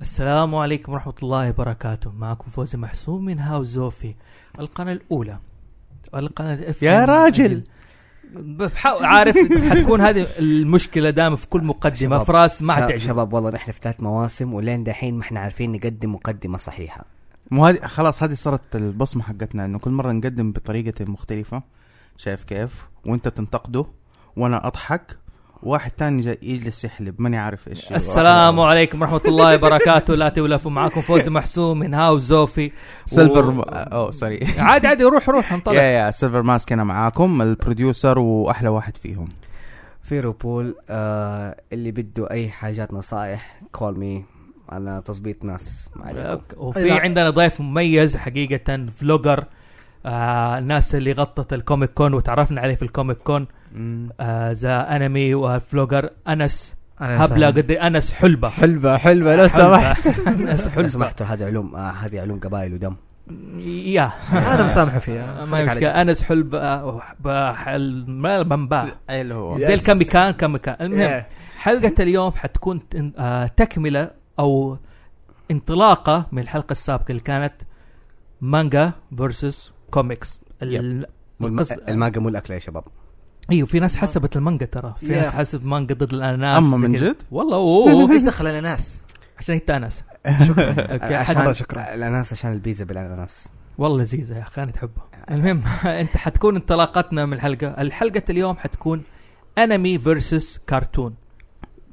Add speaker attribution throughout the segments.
Speaker 1: السلام عليكم ورحمة الله وبركاته معكم فوزي محسوم من هاو زوفي القناة الأولى القناة الإف-
Speaker 2: يا راجل.
Speaker 1: بحاول عارف حتكون هذه المشكلة دائما في كل مقدمة
Speaker 3: شباب.
Speaker 1: في راس ما
Speaker 3: شباب-
Speaker 1: حتعجب
Speaker 3: شباب والله نحن في ثلاث مواسم ولين دحين ما احنا عارفين نقدم مقدمه صحيحه
Speaker 2: مو هذه خلاص هذه صارت البصمه حقتنا انه كل مره نقدم بطريقه مختلفه شايف كيف وانت تنتقده وانا اضحك واحد تاني جاي يجلس يحلب ماني عارف ايش
Speaker 1: السلام عليكم ورحمة الله وبركاته لا تولفوا معكم فوزي محسوم من هاو زوفي
Speaker 2: سيلفر
Speaker 1: و-
Speaker 2: م- اوه سوري
Speaker 1: عادي عادي روح روح
Speaker 2: يا
Speaker 1: انطلق
Speaker 2: يا سيلفر ماسك انا معاكم البروديوسر واحلى واحد فيهم
Speaker 3: في روبول آه اللي بده اي حاجات نصائح كول مي انا تظبيط ناس ما عليكم.
Speaker 1: وفي
Speaker 2: أيوة.
Speaker 1: عندنا ضيف مميز حقيقة فلوجر آه الناس اللي غطت الكوميك كون وتعرفنا عليه في الكوميك كون آه ذا انمي وفلوجر انس هبله قد انس حلبه
Speaker 4: حلبة حلبة لو سمحت
Speaker 1: سمحت انس
Speaker 3: لو
Speaker 1: حلبه
Speaker 3: سمحتوا هذه علوم آه هذه علوم قبائل ودم
Speaker 1: يا
Speaker 4: انا مسامحه فيها
Speaker 1: ما مشكله انس حلبه وحبة- حل- ما- منبع
Speaker 2: اي اللي هو
Speaker 1: زي
Speaker 4: Yes.
Speaker 1: الكم كان كم كان المهم حلقه اليوم حتكون تن- آه، تكمله او انطلاقه من الحلقه السابقه اللي كانت مانجا فيرسس كوميكس ال-
Speaker 3: والم-
Speaker 1: القص-
Speaker 3: المانجا مو الاكل يا شباب
Speaker 1: ايوه في ناس حسبت المانجا ترى في ناس
Speaker 4: Yeah.
Speaker 1: حسب مانجا ضد الاناناس
Speaker 2: اما من
Speaker 1: زي كده.
Speaker 2: جد
Speaker 1: والله أوه، أوه،
Speaker 4: ايش دخل الاناناس؟
Speaker 1: عشان انت انس اوكي
Speaker 3: عشان
Speaker 1: حد
Speaker 3: شكرا الاناناس عشان البيتزا بالاناناس
Speaker 1: والله لذيذه يا اخي انا تحبها المهم انت حتكون انطلاقتنا من الحلقه الحلقه اليوم حتكون انمي فيرسس كرتون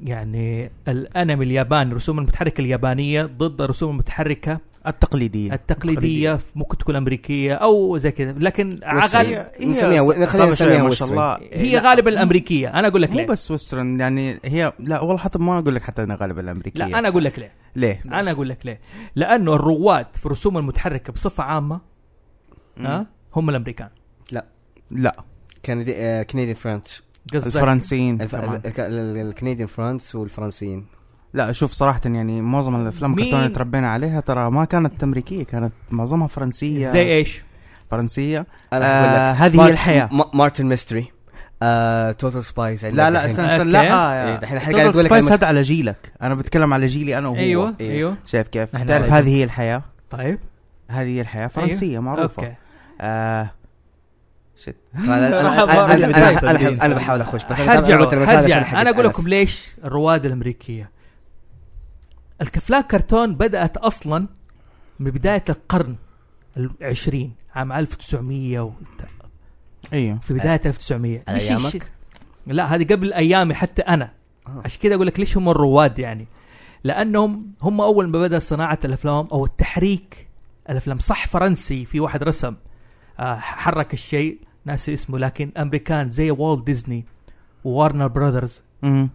Speaker 1: يعني الانمي الياباني الرسوم المتحركه اليابانيه ضد الرسوم المتحركه
Speaker 2: التقليديه
Speaker 1: التقليديه ممكن تكون امريكيه او زي كذا لكن
Speaker 3: وسري.
Speaker 1: غالب
Speaker 3: نسميها و- خلينا
Speaker 2: صعبة شوية
Speaker 3: نسميها
Speaker 2: ما شاء
Speaker 3: وسري.
Speaker 2: الله
Speaker 1: هي
Speaker 2: لا،
Speaker 1: غالبا الامريكيه انا اقول لك
Speaker 2: مو
Speaker 1: ليه
Speaker 2: بس وسترن يعني هي لا والله حتى ما اقول لك حتى انا غالبا الامريكيه
Speaker 1: لا انا اقول لك ليه
Speaker 2: ليه؟
Speaker 1: انا اقول لك ليه لانه الرواد في الرسوم المتحركه بصفه عامه ها هم الامريكان
Speaker 2: لا
Speaker 3: كندي آه كنديان فرنش
Speaker 1: قصدك
Speaker 2: الفرنسيين
Speaker 3: الف-
Speaker 2: كمان.
Speaker 3: ال- الك- ال- الكنديان فرنس والفرنسيين
Speaker 2: لا شوف صراحة يعني معظم الافلام
Speaker 1: مين؟
Speaker 2: الكرتون اللي تربينا عليها ترى ما كانت امريكية كانت معظمها فرنسية
Speaker 1: زي إيه؟ ايش؟
Speaker 2: فرنسية
Speaker 3: أقول لك
Speaker 2: آه هذه هي
Speaker 3: مارت-
Speaker 2: الحياة
Speaker 3: ما- مارتن ميستري آه توتال سبايس
Speaker 2: لا لا آه، استنى استنى،
Speaker 1: أوكي.
Speaker 2: لا
Speaker 3: إيه، دحين
Speaker 2: دحين
Speaker 3: إحنا قاعد نقول لك
Speaker 2: سبايس
Speaker 3: المش-
Speaker 2: هذا على جيلك انا بتكلم على جيلي انا وهو
Speaker 1: ايوه
Speaker 3: إيه.
Speaker 1: ايوه
Speaker 2: شايف كيف؟
Speaker 4: إحنا
Speaker 2: تعرف
Speaker 4: رأينا.
Speaker 2: هذه هي الحياة
Speaker 1: طيب
Speaker 2: هذه هي الحياة فرنسية معروفة
Speaker 1: اوكي
Speaker 2: آه شت
Speaker 3: انا
Speaker 1: ما- ما-
Speaker 3: انا أنا- أنا-
Speaker 4: ما-
Speaker 3: أنا-
Speaker 4: ما-
Speaker 3: أنا- انا بحاول اخش بس أنا
Speaker 1: حرجعوا
Speaker 3: قلت الرسالة عشان
Speaker 1: حرجع
Speaker 3: حقت
Speaker 1: انا اقول
Speaker 3: أنس.
Speaker 1: لكم ليش الرواد الامريكيه الافلام كرتون بدات اصلا من بدايه القرن العشرين عام 1900 و...
Speaker 2: ايوه
Speaker 1: في بدايه 1900
Speaker 3: على
Speaker 1: إيش- إيش-
Speaker 3: أيامك؟
Speaker 1: لا هذه قبل ايامي حتى انا
Speaker 3: آه.
Speaker 1: عشان كذا اقول لك ليش هم الرواد يعني لانهم هم اول ما بدا صناعه الافلام او التحريك الافلام صح فرنسي في واحد رسم آه، حرك الشيء ناسي اسمه لكن امريكان زي والت ديزني وارنر براذرز
Speaker 2: مم.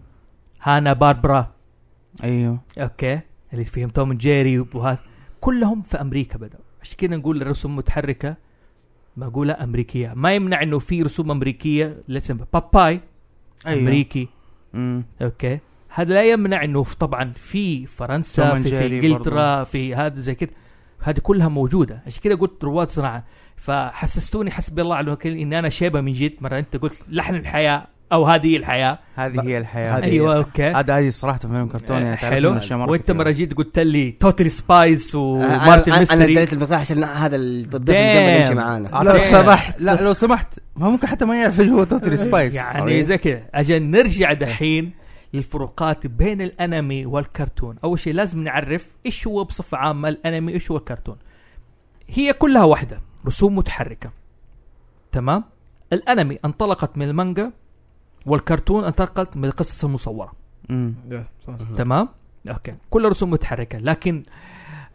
Speaker 1: هانا باربرا
Speaker 2: ايوه
Speaker 1: اوكي اللي فيهم توم أند جيري وهذا كلهم في امريكا بداوا عشان كذا نقول الرسوم متحركه مقوله امريكيه ما يمنع انه في رسوم امريكيه لسه باباي
Speaker 2: ايوه
Speaker 1: امريكي
Speaker 2: مم.
Speaker 1: اوكي هذا لا يمنع انه في- طبعا في فرنسا
Speaker 2: توم أند
Speaker 1: في, في
Speaker 2: جيري
Speaker 1: انجلترا في هذا زي كده هذه كلها موجوده عشان كده قلت رواد صناعه فحسستوني حسبي الله على الوكيل ان انا شيبه من جد مره انت قلت لحن الحياه او هذه الحياه
Speaker 2: هذه هي الحياة أيوه.
Speaker 4: هذه
Speaker 1: ايوه اوكي
Speaker 2: هذا هذه صراحة فيلم كرتون يعني تعرف
Speaker 1: آه، حلو
Speaker 2: من الأشياء مرة
Speaker 1: وانت
Speaker 2: كثيرة.
Speaker 1: مره جيت قلت لي توتال سبايس
Speaker 3: آه، أنا-
Speaker 1: ومارتن
Speaker 3: أنا- انا
Speaker 1: ميستري
Speaker 3: اديت المقطع عشان هذا الضد الجنب يمشي معانا
Speaker 2: أعتقد-
Speaker 4: لو سمحت.
Speaker 2: لا لو سمحت ما ممكن حتى ما يعرف ايش هو توتري سبايس
Speaker 1: يعني زي كده عشان نرجع دحين للفروقات بين الانمي والكرتون اول شيء لازم نعرف ايش هو بصفه عامه الانمي وايش هو الكرتون هي كلها واحده رسوم متحركه تمام الانمي انطلقت من المانجا والكرتون انطلقت من القصص المصوره
Speaker 2: مم.
Speaker 1: تمام اوكي كلها رسوم متحركه لكن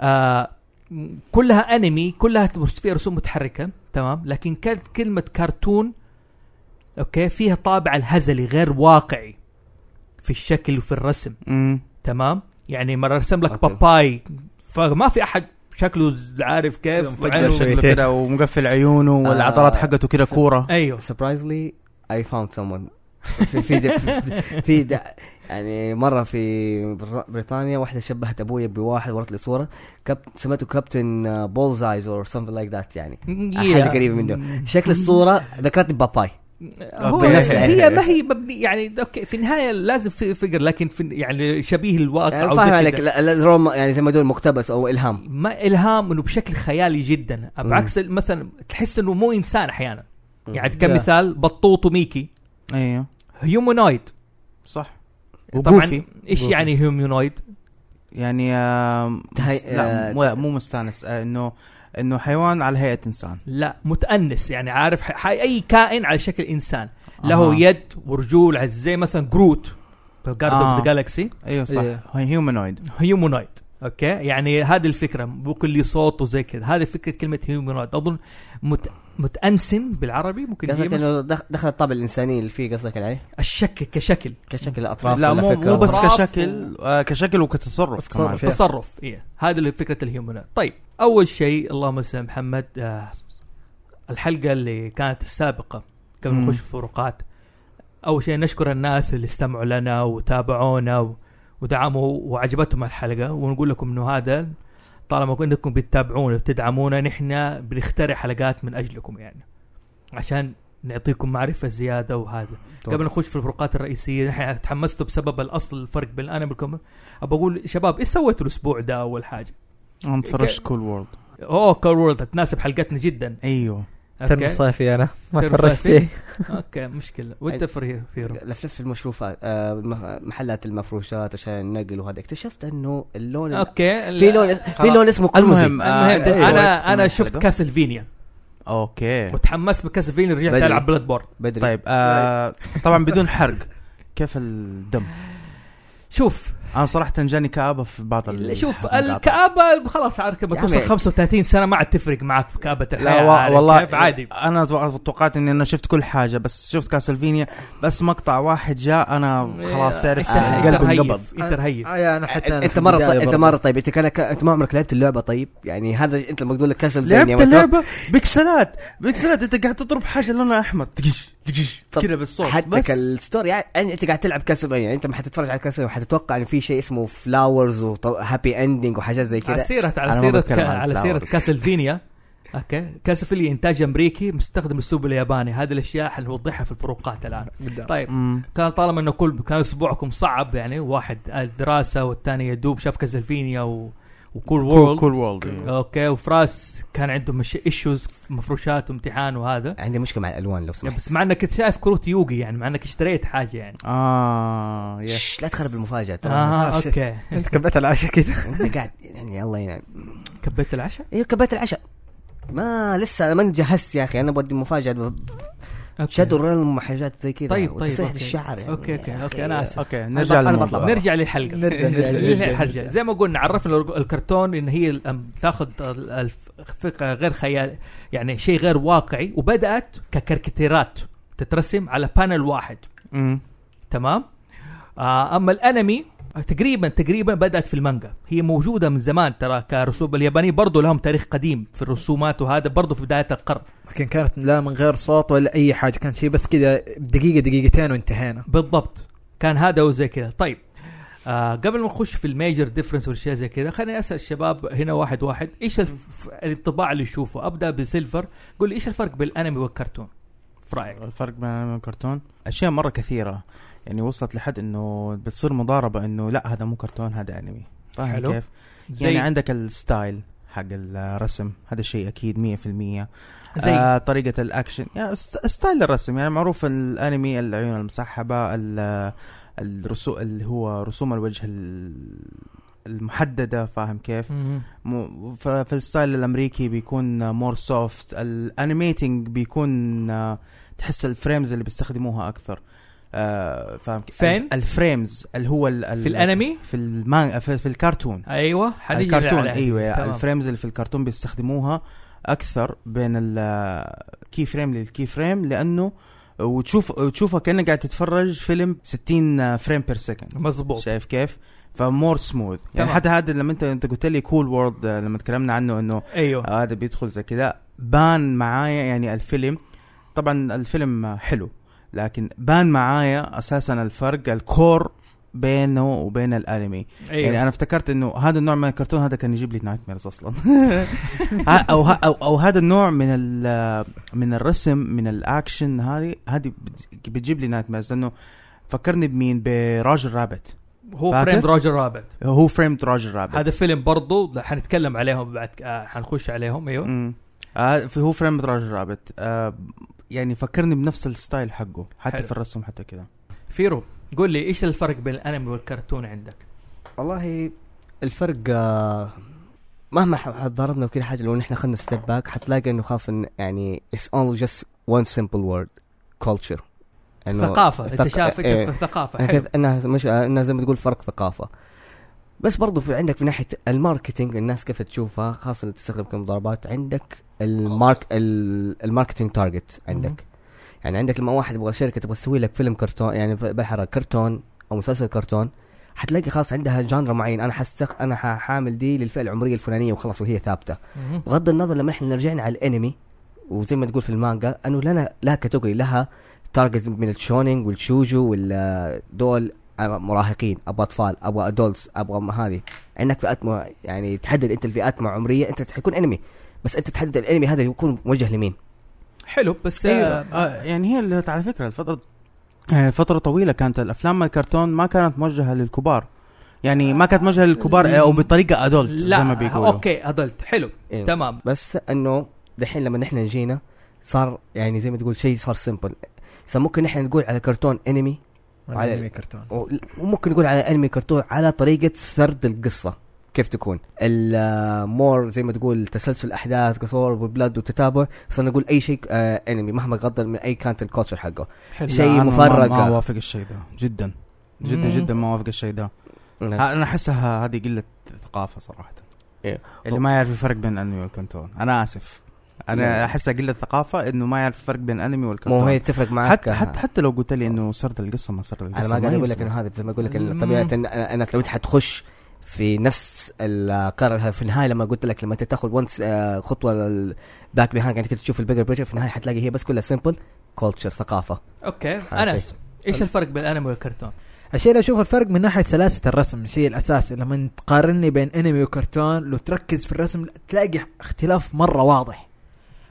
Speaker 1: آه م- كلها انمي كلها فيها رسوم متحركه تمام لكن كانت كلمه كرتون اوكي فيها طابع الهزلي غير واقعي في الشكل وفي الرسم
Speaker 2: مم.
Speaker 1: تمام يعني مره رسم لك
Speaker 3: أوكي.
Speaker 1: باباي فما في احد شكله عارف كيف
Speaker 4: مفجر
Speaker 1: عينه-
Speaker 4: شوي.
Speaker 2: شكله
Speaker 4: شويتين.
Speaker 2: كده ومقفل عيونه والعضلات حقته كده كورة
Speaker 1: ايوه
Speaker 3: سربرايزلي اي فاوند سمون في في في- في د- يعني مره في بر- بريطانيا واحده شبهت ابويا بواحد ورت لي صوره كاب uh, سمته كابتن بولز ايز اور سمثينج لايك ذات يعني
Speaker 1: م-
Speaker 3: حاجه
Speaker 1: yeah.
Speaker 3: قريبه منه شكل الصوره ذكرتني باباي
Speaker 1: هو يعني
Speaker 2: بالنسبة-
Speaker 1: هي ما هي مبني يعني اوكي في النهايه لازم في فقر لكن في يعني شبيه الواقع
Speaker 3: يعني
Speaker 1: أو
Speaker 3: فاهم
Speaker 1: زي
Speaker 3: عليك
Speaker 1: كده.
Speaker 3: لا- لا، روما يعني زي ما يقول مقتبس او الهام
Speaker 1: ما الهام انه بشكل خيالي جدا
Speaker 3: مم.
Speaker 1: بعكس ال- مثلا تحس انه مو انسان احيانا يعني
Speaker 4: Yeah.
Speaker 1: كمثال بطوط وميكي
Speaker 2: ايوه
Speaker 1: هيومونويد
Speaker 2: صح
Speaker 1: طبعا
Speaker 2: وجوفي
Speaker 1: ايش
Speaker 3: جوفي.
Speaker 1: يعني هيومونويد؟
Speaker 2: يعني آه
Speaker 3: تهي-
Speaker 2: لا
Speaker 3: آه،
Speaker 2: مو- لا مو مستانس آه، انه انه حيوان على هيئه انسان
Speaker 1: لا متأنس يعني عارف ح- ح- اي كائن على شكل انسان له
Speaker 2: أها.
Speaker 1: يد ورجول عز- زي مثلا جروت جارد
Speaker 2: آه.
Speaker 1: اوف ذا جالكسي
Speaker 2: ايوه صح
Speaker 4: إيه.
Speaker 2: هي هيومانويد
Speaker 1: هيومونويد اوكي يعني هذه الفكره ممكن لي صوت وزي كذا هذه فكره كلمه هيومونويد اظن مت... متأنسن بالعربي ممكن
Speaker 3: قصدك
Speaker 1: يجيب
Speaker 3: انه دخ- دخل الطابع الانساني اللي فيه قصدك عليه
Speaker 1: الشكل كشكل
Speaker 3: كشكل الاطراف
Speaker 2: لا
Speaker 3: ولا
Speaker 2: مو
Speaker 3: فكرة
Speaker 2: مو بس
Speaker 1: أطراف
Speaker 2: كشكل آه كشكل وكتصرف كمان
Speaker 4: تصرف. فيها.
Speaker 1: تصرف إيه. هذا اللي فكره الهيومنويد طيب اول شيء اللهم صل على محمد آه الحلقه اللي كانت السابقه قبل ما
Speaker 2: مم.
Speaker 1: نخش في الفروقات اول شيء نشكر الناس اللي استمعوا لنا وتابعونا و- ودعموا وعجبتهم الحلقه ونقول لكم انه هذا طالما كن- انكم بتتابعونا وبتدعمونا نحن بنخترع حلقات من اجلكم يعني عشان نعطيكم معرفه زياده وهذا
Speaker 3: طبعاً.
Speaker 1: قبل نخش في الفروقات الرئيسيه نحن تحمستوا بسبب الاصل الفرق بين الانمي والكوميدي ابى اقول شباب ايش سويتوا الاسبوع ده اول حاجه؟
Speaker 2: انا تفرجت كول وورد
Speaker 1: اوه كول وورلد تناسب حلقتنا جدا
Speaker 2: ايوه
Speaker 4: ترم
Speaker 1: اوكي
Speaker 4: صيفي انا ما
Speaker 1: ترم
Speaker 4: تفرجت
Speaker 1: صيفي.
Speaker 4: فيه
Speaker 1: اوكي مشكله وانت فري فيرو
Speaker 3: لفلف المشروفات آه، مه- محلات المفروشات عشان النقل وهذا اكتشفت انه اللون ال-
Speaker 1: اوكي ال-
Speaker 3: في لون في
Speaker 2: خلاص.
Speaker 3: لون اسمه
Speaker 2: المهم
Speaker 3: قرمزي
Speaker 2: آه،
Speaker 1: المهم
Speaker 2: أنت إيش سويت
Speaker 1: انا
Speaker 2: من
Speaker 1: انا
Speaker 2: الحلقة؟
Speaker 1: شفت كاسلفينيا
Speaker 2: اوكي
Speaker 1: وتحمست بكاسلفينيا رجعت
Speaker 3: بدري.
Speaker 1: العب بلاد بورن
Speaker 3: بدري
Speaker 2: طيب آه طبعا بدون حرق كيف الدم
Speaker 1: شوف
Speaker 2: انا صراحه جاني كابه في بعض ال-
Speaker 1: شوف
Speaker 2: المقاطع.
Speaker 1: الكابه خلاص عارف لما
Speaker 3: يا
Speaker 1: توصل
Speaker 3: عمي.
Speaker 1: 35 سنه ما عاد تفرق معك في كابه الحياه
Speaker 2: لا و-
Speaker 1: عارف
Speaker 2: والله
Speaker 1: كيف؟ عادي
Speaker 2: انا تو- توقعت اني انا شفت كل حاجه بس شفت كاسلفينيا بس مقطع واحد جاء انا آه، خلاص تعرف
Speaker 1: انت- انت
Speaker 2: قلبي
Speaker 1: رهيف.
Speaker 2: انقبض
Speaker 1: انت رهيف
Speaker 4: آه، يا انا حتى أنا
Speaker 3: انت
Speaker 4: في
Speaker 3: مره
Speaker 4: البداية
Speaker 3: طيب انت
Speaker 4: برضه.
Speaker 3: مره طيب انت كانك انت ما عمرك لعبت اللعبه طيب يعني هذا انت لما تقول لك كاسل
Speaker 2: لعبت اللعبة بكسلات بكسلات انت قاعد تضرب حاجة لونها احمر تقش تقش
Speaker 3: طب
Speaker 2: كذا بالصوت
Speaker 3: حتى
Speaker 2: بس
Speaker 3: كالستوري يعني انت قاعد تلعب كاسلفينيا يعني انت ما حتتفرج على كاسلفينيا حتتوقع ان في شيء اسمه فلاورز وهابي اندنج وحاجات زي
Speaker 1: على
Speaker 3: كذا
Speaker 1: سيرة
Speaker 2: أنا
Speaker 1: على
Speaker 2: ما
Speaker 1: سيرة
Speaker 2: بتكلم
Speaker 1: ك-
Speaker 2: عن
Speaker 1: على سيرة
Speaker 2: flowers.
Speaker 1: كاسلفينيا اوكي كاسلفينيا انتاج امريكي مستخدم الاسلوب الياباني هذه الاشياء حنوضحها في الفروقات الان
Speaker 4: قدام.
Speaker 1: طيب
Speaker 2: مم.
Speaker 1: كان طالما انه كل كان اسبوعكم صعب يعني واحد الدراسه والثاني يدوب شاف كاسلفينيا و... وكول
Speaker 2: كول
Speaker 1: وورلد
Speaker 2: كول إيه. وورلد
Speaker 1: اوكي وفراس كان عندهم مش... ايشوز مفروشات وامتحان وهذا
Speaker 3: عندي مشكله مع الالوان لو
Speaker 1: يعني
Speaker 3: سمحت
Speaker 1: بس مع انك كنت شايف كروت يوغي يعني مع انك اشتريت حاجه يعني
Speaker 2: اه يس
Speaker 3: شش، لا تخرب المفاجاه ترى
Speaker 1: اه
Speaker 4: آه، shit.
Speaker 1: اوكي
Speaker 4: انت كبيت العشاء كذا
Speaker 3: انت قاعد يعني الله ينعم
Speaker 1: كبيت العشاء
Speaker 3: ايوه كبيت العشاء ما لسه انا ما جهزت يا اخي انا بودي مفاجاه
Speaker 1: أوكي.
Speaker 3: شادو ريلم وحاجات زي كذا
Speaker 1: طيب، طيب،
Speaker 3: وتسريحة
Speaker 1: أوكي.
Speaker 3: الشعر يعني
Speaker 1: أوكي، أوكي،
Speaker 3: يا
Speaker 1: أوكي،
Speaker 3: أخي.
Speaker 1: أنا آسف.
Speaker 2: اوكي
Speaker 3: بطلع-
Speaker 2: نرجع
Speaker 3: أنا
Speaker 2: للموضوع.
Speaker 3: بطلع.
Speaker 1: نرجع للحلقه
Speaker 4: نرجع- نرجع-
Speaker 1: نرجع
Speaker 4: نرجع-
Speaker 1: للحلقه زي ما قلنا عرفنا الأرج- الكرتون ان هي تاخذ الفكره غير خيال يعني شيء غير واقعي وبدات ككاريكاتيرات تترسم على بانل واحد
Speaker 2: مم.
Speaker 1: تمام آه، اما الانمي تقريبا تقريبا بدات في المانجا هي موجوده من زمان ترى كرسوم اليابانيين برضو لهم تاريخ قديم في الرسومات وهذا برضو في بدايه القرن
Speaker 4: لكن كانت لا من غير صوت ولا اي حاجه كان شيء بس كذا دقيقه دقيقتين وانتهينا
Speaker 1: بالضبط كان هذا وزي كذا طيب آه قبل ما نخش في الميجر ديفرنس والاشياء زي كذا خليني اسال الشباب هنا واحد واحد ايش الف... الانطباع اللي يشوفه ابدا بسيلفر قول لي ايش الفرق بين الانمي والكرتون في رايك
Speaker 2: الفرق بين الانمي والكرتون اشياء مرة كثيرة يعني وصلت لحد انه بتصير مضاربة انه لا هذا مو كرتون هذا انمي فاهم
Speaker 1: حلو.
Speaker 2: كيف؟
Speaker 1: زي
Speaker 2: يعني عندك الستايل حق الرسم هذا شيء اكيد 100%
Speaker 1: زي آه
Speaker 2: آه طريقة الأكشن يعني ست- ستايل الرسم يعني معروف الأنمي العيون المسحبة ال- الرسو اللي هو رسوم الوجه ال- المحددة فاهم كيف مو- ف- في الستايل الأمريكي بيكون مور سوفت الأنيميتنج بيكون آه، تحس الفريمز اللي بيستخدموها أكثر آه، فاهم كيف
Speaker 1: فين؟
Speaker 2: الفريمز اللي هو ال- ال-
Speaker 1: في الانمي
Speaker 2: في المان في, في الكرتون
Speaker 1: ايوه حنيجي
Speaker 2: الكرتون
Speaker 1: على-
Speaker 2: ايوه
Speaker 1: تمام.
Speaker 2: الفريمز اللي في الكرتون بيستخدموها اكثر بين آه، الكي فريم للكي فريم لانه وتشوف وتشوفها كانك قاعد تتفرج فيلم آه، 60 فريم بير سكند
Speaker 1: مزبوط
Speaker 2: شايف كيف؟ فمور سموث يعني
Speaker 1: تمام.
Speaker 2: حتى هذا لما انت انت قلت لي كول وورد لما تكلمنا عنه انه
Speaker 1: ايوه
Speaker 2: هذا بيدخل زي كذا بان معايا يعني الفيلم طبعا الفيلم حلو لكن بان معايا اساسا الفرق الكور بينه وبين الانمي
Speaker 1: أيوه.
Speaker 2: يعني انا افتكرت انه هذا النوع من الكرتون هذا كان يجيب لي نايت ميرز اصلا ه- او ه- او او هذا النوع من ال- من الرسم من الاكشن هذه هذه بت- بتجيب لي نايت ميرز لانه فكرني بمين براجل رابت
Speaker 1: هو
Speaker 2: فاكر؟
Speaker 1: فريند روجر رابت
Speaker 2: هو فريمد راجل رابت
Speaker 1: هذا فيلم برضو ده حنتكلم عليهم بعد آه حنخش عليهم ايوه
Speaker 2: مم. آه في هو فريمد راجل رابت آه يعني فكرني بنفس الستايل حقه حتى
Speaker 1: حلو.
Speaker 2: في الرسم حتى كذا
Speaker 1: فيرو قول لي ايش الفرق بين الانمي والكرتون عندك؟
Speaker 3: والله الفرق آه، مهما ح- ضربنا وكل حاجه لو نحن اخذنا ستيب باك حتلاقي انه خاص إن يعني اتس اونلي جاست وان سمبل وورد كلتشر
Speaker 1: ثقافه انت شايف انت
Speaker 2: إيه.
Speaker 1: في الثقافه حلو.
Speaker 3: يعني كيف انها مش انها زي ما تقول فرق ثقافه بس برضو في عندك في ناحيه الماركتينج الناس كيف تشوفها خاصه اللي تستخدم كم ضربات عندك المارك ال- الماركتينج تارجت عندك يعني عندك لما واحد يبغى شركه تبغى تسوي لك فيلم كرتون يعني بحرة كرتون او مسلسل كرتون حتلاقي خاص عندها جانرا معين انا حستخ... انا حامل دي للفئه العمريه الفلانيه وخلاص وهي ثابته
Speaker 1: مهم.
Speaker 3: بغض النظر لما احنا رجعنا على الانمي وزي ما تقول في المانجا انه لنا لها كاتيجوري لها تارجتس من الشونينج والشوجو والدول مراهقين ابغى اطفال ابغى ادولتس ابغى م- هذه عندك فئات م... يعني تحدد انت الفئات مع عمريه انت حيكون انمي بس انت تحدد الانمي هذا يكون موجه لمين
Speaker 1: حلو بس
Speaker 2: ايوه
Speaker 1: آه،
Speaker 2: آه يعني هي اللي على فكره الفتره آه، فترة طويلة كانت الأفلام الكرتون ما كانت موجهة للكبار يعني ما كانت موجهة للكبار أو بطريقة أدولت زي ما
Speaker 1: لا
Speaker 2: بيقولوا
Speaker 1: اوكي ادلت حلو
Speaker 3: إيه.
Speaker 1: تمام
Speaker 3: بس انه دحين لما نحن جينا صار يعني زي ما تقول شيء صار سمبل صار ممكن نحن نقول على كرتون انمي على-
Speaker 4: على كرتون
Speaker 3: و- وممكن نقول على انمي كرتون على طريقه سرد القصه كيف تكون المور زي ما تقول تسلسل احداث قصور وبلاد وتتابع صرنا نقول اي شيء آه انمي مهما غض من اي كانت الكوتشر حقه
Speaker 1: حلو
Speaker 3: شيء
Speaker 2: لا، أنا ما-
Speaker 3: مفرقة.
Speaker 2: ما أوافق الشيء ده جدا جدا
Speaker 1: مم.
Speaker 2: جدا ما أوافق الشيء ده
Speaker 3: نعم.
Speaker 2: ها، أنا أحسها هذه قلة ثقافة صراحة
Speaker 3: إيه.
Speaker 2: اللي ما يعرف الفرق بين الأنمي والكرتون أنا آسف
Speaker 3: إيه.
Speaker 2: أنا أحسها قلة ثقافة إنه ما يعرف الفرق بين الأنمي والكرتون
Speaker 3: مو هي تفرق معك
Speaker 2: حتى حتى حتى لو قلت لي انه سرد القصه ما سرد القصه
Speaker 3: انا ما قاعد اقول لك
Speaker 2: يفرق.
Speaker 3: انه هذا زي ما اقول لك
Speaker 1: مم.
Speaker 3: إن طبيعه إن انا أنا لو انت حتخش في نفس القرار في النهايه لما قلت لك لما انت تاخذ آه، ونس خطوه باك بيهاند يعني كده تشوف البيجر بيتشر في النهايه حتلاقي هي بس كلها سمبل كولتشر ثقافه
Speaker 1: اوكي
Speaker 3: حلو.
Speaker 1: انس ايش الفرق بين الانمي والكرتون؟
Speaker 4: الشيء اللي اشوفه الفرق من ناحيه سلاسه الرسم الشيء الاساسي لما تقارني بين انمي وكرتون لو تركز في الرسم تلاقي اختلاف مره واضح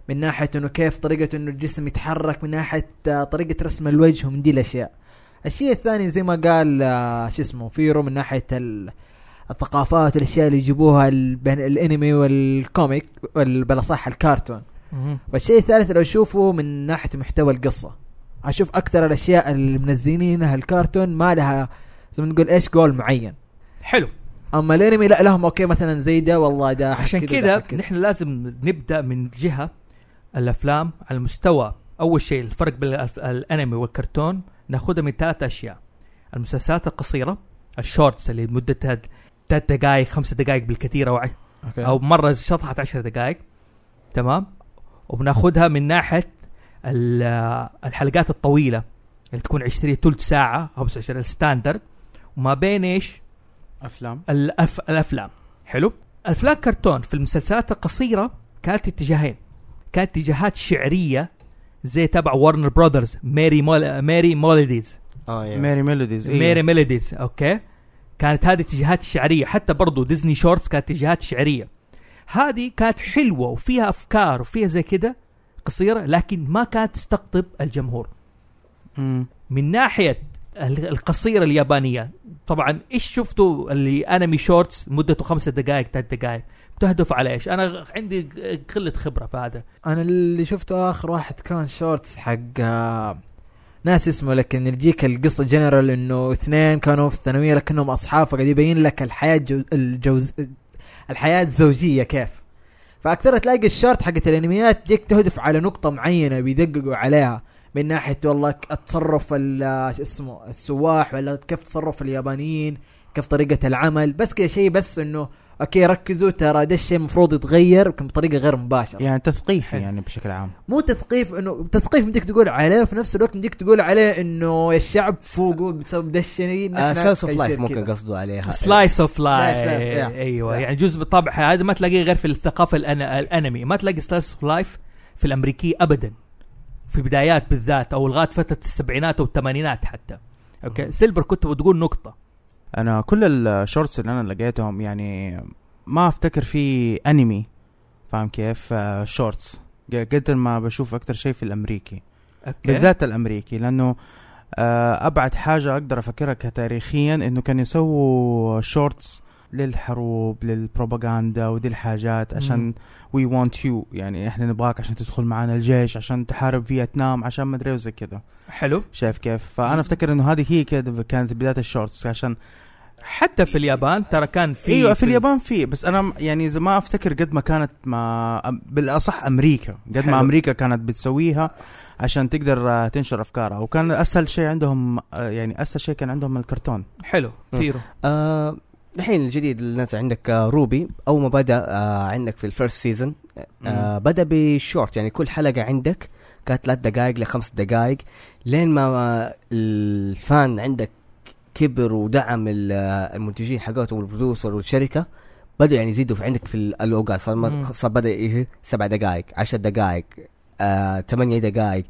Speaker 4: من ناحيه انه كيف طريقه انه الجسم يتحرك من ناحيه آه، طريقه رسم الوجه ومن دي الاشياء الشيء الثاني زي ما قال آه، شو اسمه فيرو من ناحيه ال- الثقافات والاشياء اللي يجيبوها ال- بين الانمي والكوميك وال- بلا صح الكرتون والشيء الثالث اللي اشوفه من ناحيه محتوى القصه اشوف اكثر الاشياء اللي منزلينها الكرتون ما لها زي ما نقول ايش جول معين
Speaker 1: حلو
Speaker 4: اما الانمي لا لهم اوكي مثلا زي ده والله ده حق
Speaker 1: عشان
Speaker 4: ده
Speaker 1: كذا
Speaker 4: حق
Speaker 1: نحن لازم نبدا من جهه الافلام على المستوى اول شيء الفرق بين الأف- الانمي والكرتون ناخذها من ثلاث اشياء المسلسلات القصيره الشورتس اللي مدتها ثلاث دقائق خمس دقائق بالكثير او ع- او مره شطحت عشر دقائق تمام وبناخذها من ناحيه ال- الحلقات الطويله اللي تكون 20 ثلث ساعه 25 الستاندرد وما بين ايش
Speaker 2: افلام
Speaker 1: الأف... الافلام حلو الافلام كرتون في المسلسلات القصيره كانت اتجاهين كانت اتجاهات شعريه زي تبع ورنر براذرز ماري مول... ماري مولوديز
Speaker 3: اه
Speaker 2: ميري ميلوديز إيه.
Speaker 1: ماري ميلوديز اوكي كانت هذه اتجاهات شعريه حتى برضو ديزني شورتس كانت اتجاهات شعريه هذه كانت حلوه وفيها افكار وفيها زي كده قصيره لكن ما كانت تستقطب الجمهور
Speaker 2: مم.
Speaker 1: من ناحيه ال- القصيره اليابانيه طبعا ايش شفتوا اللي انمي شورتس مدته خمسة دقائق ثلاث دقائق بتهدف على ايش؟ انا عندي قله خبره في هذا
Speaker 4: انا اللي شفته اخر واحد كان شورتس حق آه، ناس اسمه لكن يجيك القصه جنرال انه اثنين كانوا في الثانويه لكنهم اصحاب فقاعد يبين لك الحياه الجو... الجوز... الحياه الزوجيه كيف فاكثر تلاقي الشورت حقت الانميات تجيك تهدف على نقطه معينه بيدققوا عليها من ناحيه والله ك- التصرف ال- شو اسمه السواح ولا كيف تصرف اليابانيين كيف طريقه العمل بس كذا شيء بس انه اوكي ركزوا ترى ده الشيء المفروض يتغير يمكن بطريقه غير مباشره
Speaker 2: يعني تثقيفي يعني بشكل عام
Speaker 4: مو تثقيف انه تثقيف بدك تقول عليه وفي نفس الوقت بدك تقول عليه انه الشعب فوقه بسبب ده الشيء نحن
Speaker 3: سيلز اوف
Speaker 4: حيصير
Speaker 3: لايف ممكن
Speaker 4: كذا.
Speaker 3: قصده عليها
Speaker 1: سلايس اوف لايف
Speaker 4: Slice of- yeah.
Speaker 1: ايوه
Speaker 4: Yeah.
Speaker 1: يعني جزء بالطبع هذا ما تلاقيه غير في الثقافه الأن... الانمي ما تلاقي سلايس اوف لايف في الامريكيه ابدا في بدايات بالذات او لغايه فتره السبعينات او الثمانينات حتى اوكي سيلفر كنت بتقول نقطه
Speaker 2: انا كل الشورتس اللي انا لقيتهم يعني ما افتكر في انمي فاهم كيف آه، شورتس قد ما بشوف اكتر شيء في الامريكي
Speaker 1: اوكي
Speaker 2: بالذات الامريكي لانه آه، ابعد حاجه اقدر افكرها كتاريخيا انه كانوا يسووا شورتس للحروب للبروباغندا ودي الحاجات عشان وي وانت يو يعني احنا نبغاك عشان تدخل معنا الجيش عشان تحارب فيتنام عشان ما ادري وزي كذا
Speaker 1: حلو
Speaker 2: شايف كيف فانا افتكر انه هذه هي كده كانت بدايه الشورتس عشان
Speaker 1: حتى في اليابان ترى كان في
Speaker 4: أيوة،
Speaker 2: ايوه في اليابان في بس انا م- يعني اذا ما افتكر قد ما كانت ما أم- بالاصح امريكا قد
Speaker 1: حلو.
Speaker 2: ما امريكا كانت بتسويها عشان تقدر آه، تنشر افكارها وكان اسهل شيء عندهم آه، يعني اسهل شيء كان عندهم الكرتون
Speaker 1: حلو كثير
Speaker 3: آه، الحين الجديد اللي نازل عندك آه، روبي اول ما بدا آه، عندك في الفيرست سيزون آه بدا بشورت يعني كل حلقه عندك كانت ثلاث دقائق لخمس دقائق لين ما آه، الفان عندك كبر ودعم ال- آه، المنتجين حقتهم والبرودوسر والشركه بدا يعني يزيدوا في عندك في ال- الاوقات صار
Speaker 1: مم.
Speaker 3: ما- صار بدا ي- سبع دقائق عشر دقائق آه، ثمانية دقائق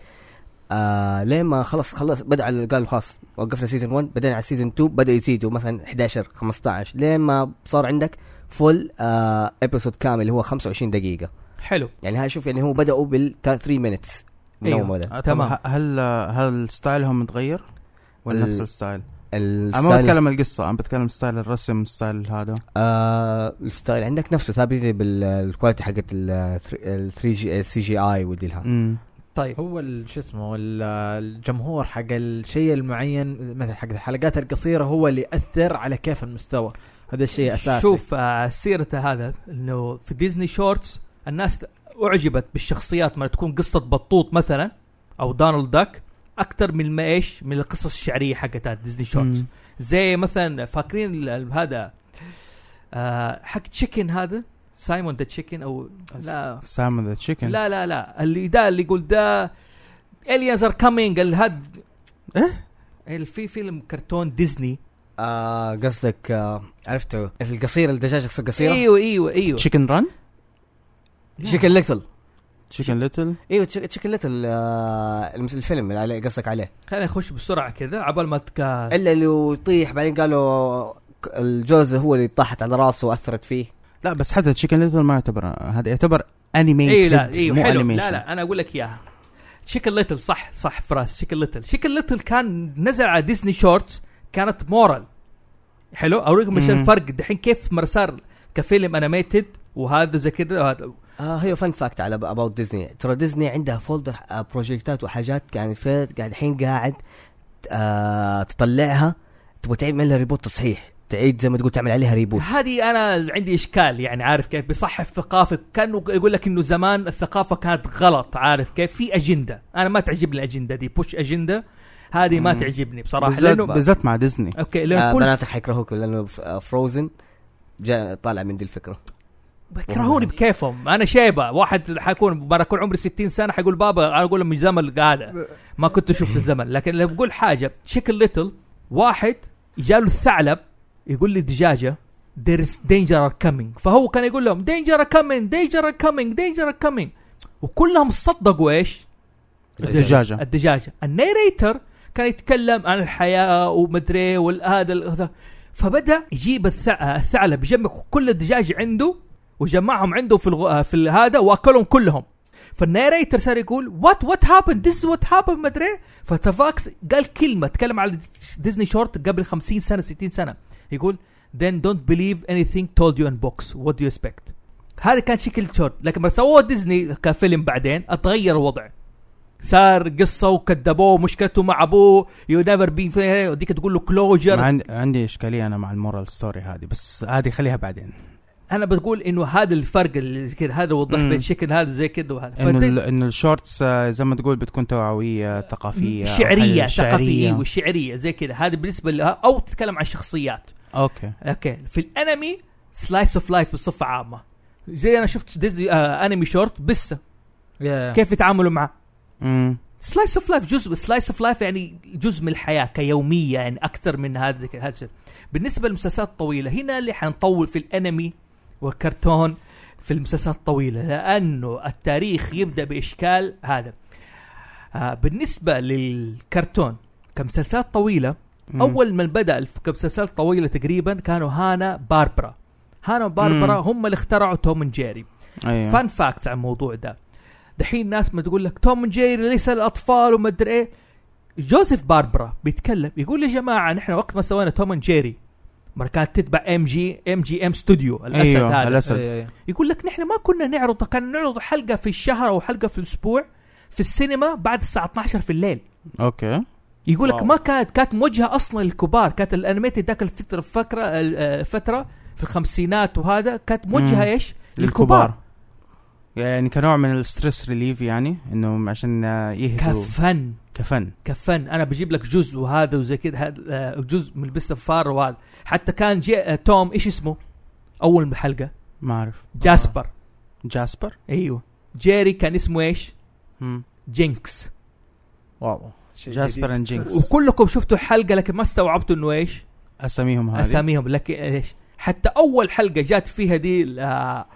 Speaker 3: آه لين ما خلص خلص بدا على- قالوا خلاص وقفنا سيزون 1 بدينا على سيزون 2 بدا يزيدوا مثلا 11 15 لين ما صار عندك فول آه ابيسود كامل اللي هو 25 دقيقه
Speaker 1: حلو
Speaker 3: يعني ها شوف يعني هو بداوا بال 3 مينتس من
Speaker 1: أيوه.
Speaker 3: اول ما بدا
Speaker 2: آه، طب
Speaker 1: تمام.
Speaker 2: ه- هل آه، هل ستايلهم متغير؟ ولا
Speaker 3: ال-
Speaker 2: نفس الستايل؟ انا ما
Speaker 3: الستايل
Speaker 2: بتكلم القصه انا بتكلم ستايل الرسم ستايل هذا
Speaker 3: آه الستايل عندك نفسه ثابت بالكواليتي حقت ال 3 جي سي جي اي ودي لها
Speaker 2: امم
Speaker 1: طيب
Speaker 4: هو ال- شو اسمه ال- الجمهور حق الشيء المعين مثلا حق الحلقات القصيره هو اللي ياثر على كيف المستوى هذا الشيء اساسي
Speaker 1: شوف آه، سيرته هذا انه في ديزني شورتس الناس اعجبت بالشخصيات ما تكون قصه بطوط مثلا او دونالد داك اكثر من ما ايش من القصص الشعريه حقتها ديزني شورتس زي مثلا فاكرين ال- ال- هذا آه حق تشيكن هذا سايمون ذا تشيكن او لا
Speaker 2: سام ذا تشيكن
Speaker 1: لا لا لا اللي ده اللي يقول ده aliens are coming الهد
Speaker 2: إيه؟
Speaker 1: في فيلم كرتون ديزني
Speaker 3: آه قصدك آه عرفته القصير الدجاجه القصيره
Speaker 1: ايوه ايوه ايوه
Speaker 2: تشيكن ران
Speaker 3: شكل ليتل
Speaker 2: تشيكن ليتل
Speaker 3: ايوه تشيكن ليتل آه المس- الفيلم اللي عليه- قصدك عليه
Speaker 1: خلينا نخش بسرعه كذا عبال ما تك...
Speaker 3: الا اللي هو يطيح بعدين قالوا ك- الجوزه هو اللي طاحت على راسه واثرت فيه
Speaker 2: لا بس حتى تشيكن ليتل ما يعتبر هذا يعتبر انيميتد
Speaker 1: اي إيه، لا اي
Speaker 2: مو
Speaker 1: حلو
Speaker 2: animation.
Speaker 1: لا لا انا اقول لك اياها شكل ليتل صح صح فراس شكل ليتل شكل ليتل كان نزل على ديزني شورتس كانت مورال حلو اوريك مش
Speaker 2: مم.
Speaker 1: الفرق دحين كيف مر صار كفيلم انيميتد وهذا زي كذا وهذا
Speaker 3: آه هي فان فاكت على اباوت ديزني ترى ديزني عندها فولدر آه، بروجكتات وحاجات يعني في- قاعد الحين قاعد آه تطلعها تبغى تعمل لها ريبوت تصحيح تعيد زي ما تقول تعمل عليها ريبوت
Speaker 1: هذه انا عندي اشكال يعني عارف كيف بيصحف ثقافه كانه يقول لك انه زمان الثقافه كانت غلط عارف كيف في اجنده انا ما تعجبني الاجنده دي بوش اجنده هذه ما
Speaker 2: مم.
Speaker 1: تعجبني بصراحه
Speaker 2: بالذات,
Speaker 1: لانه
Speaker 2: بالذات مع ديزني
Speaker 1: اوكي
Speaker 3: آه
Speaker 1: لانه كل
Speaker 3: بناتك حيكرهوك لانه فروزن جاء طالع من دي الفكره
Speaker 1: كرهوني بكيفهم انا شايبه واحد حيكون انا اكون عمري 60 سنه حيقول بابا انا اقول من زمن هذا ما كنت شفت الزمن لكن لو بقول حاجه شكل ليتل واحد جاله الثعلب يقول لي دجاجه there is danger are coming فهو كان يقول لهم danger are coming danger are coming danger are coming وكلهم صدقوا ايش؟
Speaker 2: الدجاجه
Speaker 1: الدجاجه النيريتر كان يتكلم عن الحياه ومدري إيه والهذا هذا فبدا يجيب الثع- الثعلب يجمع كل الدجاج عنده وجمعهم عنده في الغ... في ال- هذا واكلهم كلهم فالنيريتر صار يقول وات وات هابن ذس وات هابن مدري إيه؟" فتافاكس قال كلمه تكلم على ديزني شورت قبل 50 سنه 60 سنه يقول then don't believe anything told you in books what do you expect هذا كان شكل شورت لكن لما سووه ديزني كفيلم بعدين اتغير الوضع صار قصه وكذبوه مشكلته مع ابوه يو نيفر بين وديك تقول له
Speaker 2: مع
Speaker 1: كلوجر
Speaker 2: عن- عندي اشكاليه انا مع المورال ستوري هذه بس هذه خليها بعدين
Speaker 1: انا بقول انه هذا الفرق اللي زي كده هذا وضح
Speaker 2: مم.
Speaker 1: بين شكل هذا زي كده وهذا
Speaker 2: انه
Speaker 1: فدي-
Speaker 2: ال- انه الشورتس آه، زي ما تقول بتكون توعويه ثقافيه أو
Speaker 1: شعريه
Speaker 2: حاجة
Speaker 1: ثقافيه وشعريه زي كده هذا بالنسبه لها او تتكلم عن شخصيات
Speaker 2: اوكي
Speaker 1: اوكي في الانمي سلايس اوف لايف بصفه عامه زي انا شفت ديزني آه انمي شورت بس
Speaker 4: يا-
Speaker 1: كيف يتعاملوا معه
Speaker 2: امم
Speaker 1: سلايس اوف لايف جزء سلايس اوف لايف يعني جزء من الحياه كيوميه يعني اكثر من هذا هذا الشيء. بالنسبه للمسلسلات الطويله هنا اللي حنطول في الانمي والكرتون في المسلسلات الطويله لانه التاريخ يبدا باشكال هذا آه بالنسبه للكرتون كمسلسلات طويله
Speaker 2: مم.
Speaker 1: اول ما بدا الف- كمسلسلات طويله تقريبا كانوا هانا باربرا هانا باربرا
Speaker 2: مم.
Speaker 1: هم اللي اخترعوا توم اند جيري
Speaker 2: ايوه
Speaker 1: فان فاكت عن الموضوع ده دحين ناس ما تقول لك توم جيري ليس للاطفال وما ادري ايه جوزيف باربرا بيتكلم يقول يا جماعه نحن وقت ما سوينا توم جيري مرة كانت تتبع ام جي ام جي ام ستوديو الاسد
Speaker 2: أيوة،
Speaker 1: هذا
Speaker 2: الأسد.
Speaker 4: أي- أي.
Speaker 1: يقول لك نحن ما كنا نعرض كان نعرض حلقه في الشهر او حلقه في الاسبوع في السينما بعد الساعه 12 في الليل
Speaker 2: اوكي
Speaker 1: يقول لك
Speaker 5: واو.
Speaker 1: ما كانت كانت موجهه اصلا للكبار كانت الانيميتد ذاك الفتره الفكره الفتره آه، في الخمسينات وهذا كانت موجهه
Speaker 2: مم.
Speaker 1: ايش؟
Speaker 2: للكبار يعني كنوع من الستريس ريليف يعني انهم عشان آه، يهدوا
Speaker 1: كفن
Speaker 2: كفن
Speaker 1: كفن انا بجيب لك جزء وهذا وزي كذا هذا آه، جزء من البستفار وهذا حتى كان جي آه، توم ايش اسمه؟ اول حلقه
Speaker 2: ما اعرف
Speaker 1: جاسبر
Speaker 2: جاسبر
Speaker 1: ايوه جيري كان اسمه ايش؟
Speaker 2: مم.
Speaker 1: جينكس
Speaker 4: واو شيء
Speaker 2: جاسبر
Speaker 4: جديد.
Speaker 2: اند جينكس
Speaker 1: وكلكم شفتوا حلقه لكن ما استوعبتوا انه ايش؟
Speaker 2: اساميهم هذه
Speaker 1: اساميهم لكن ايش؟ حتى اول حلقه جات فيها دي ال- آه،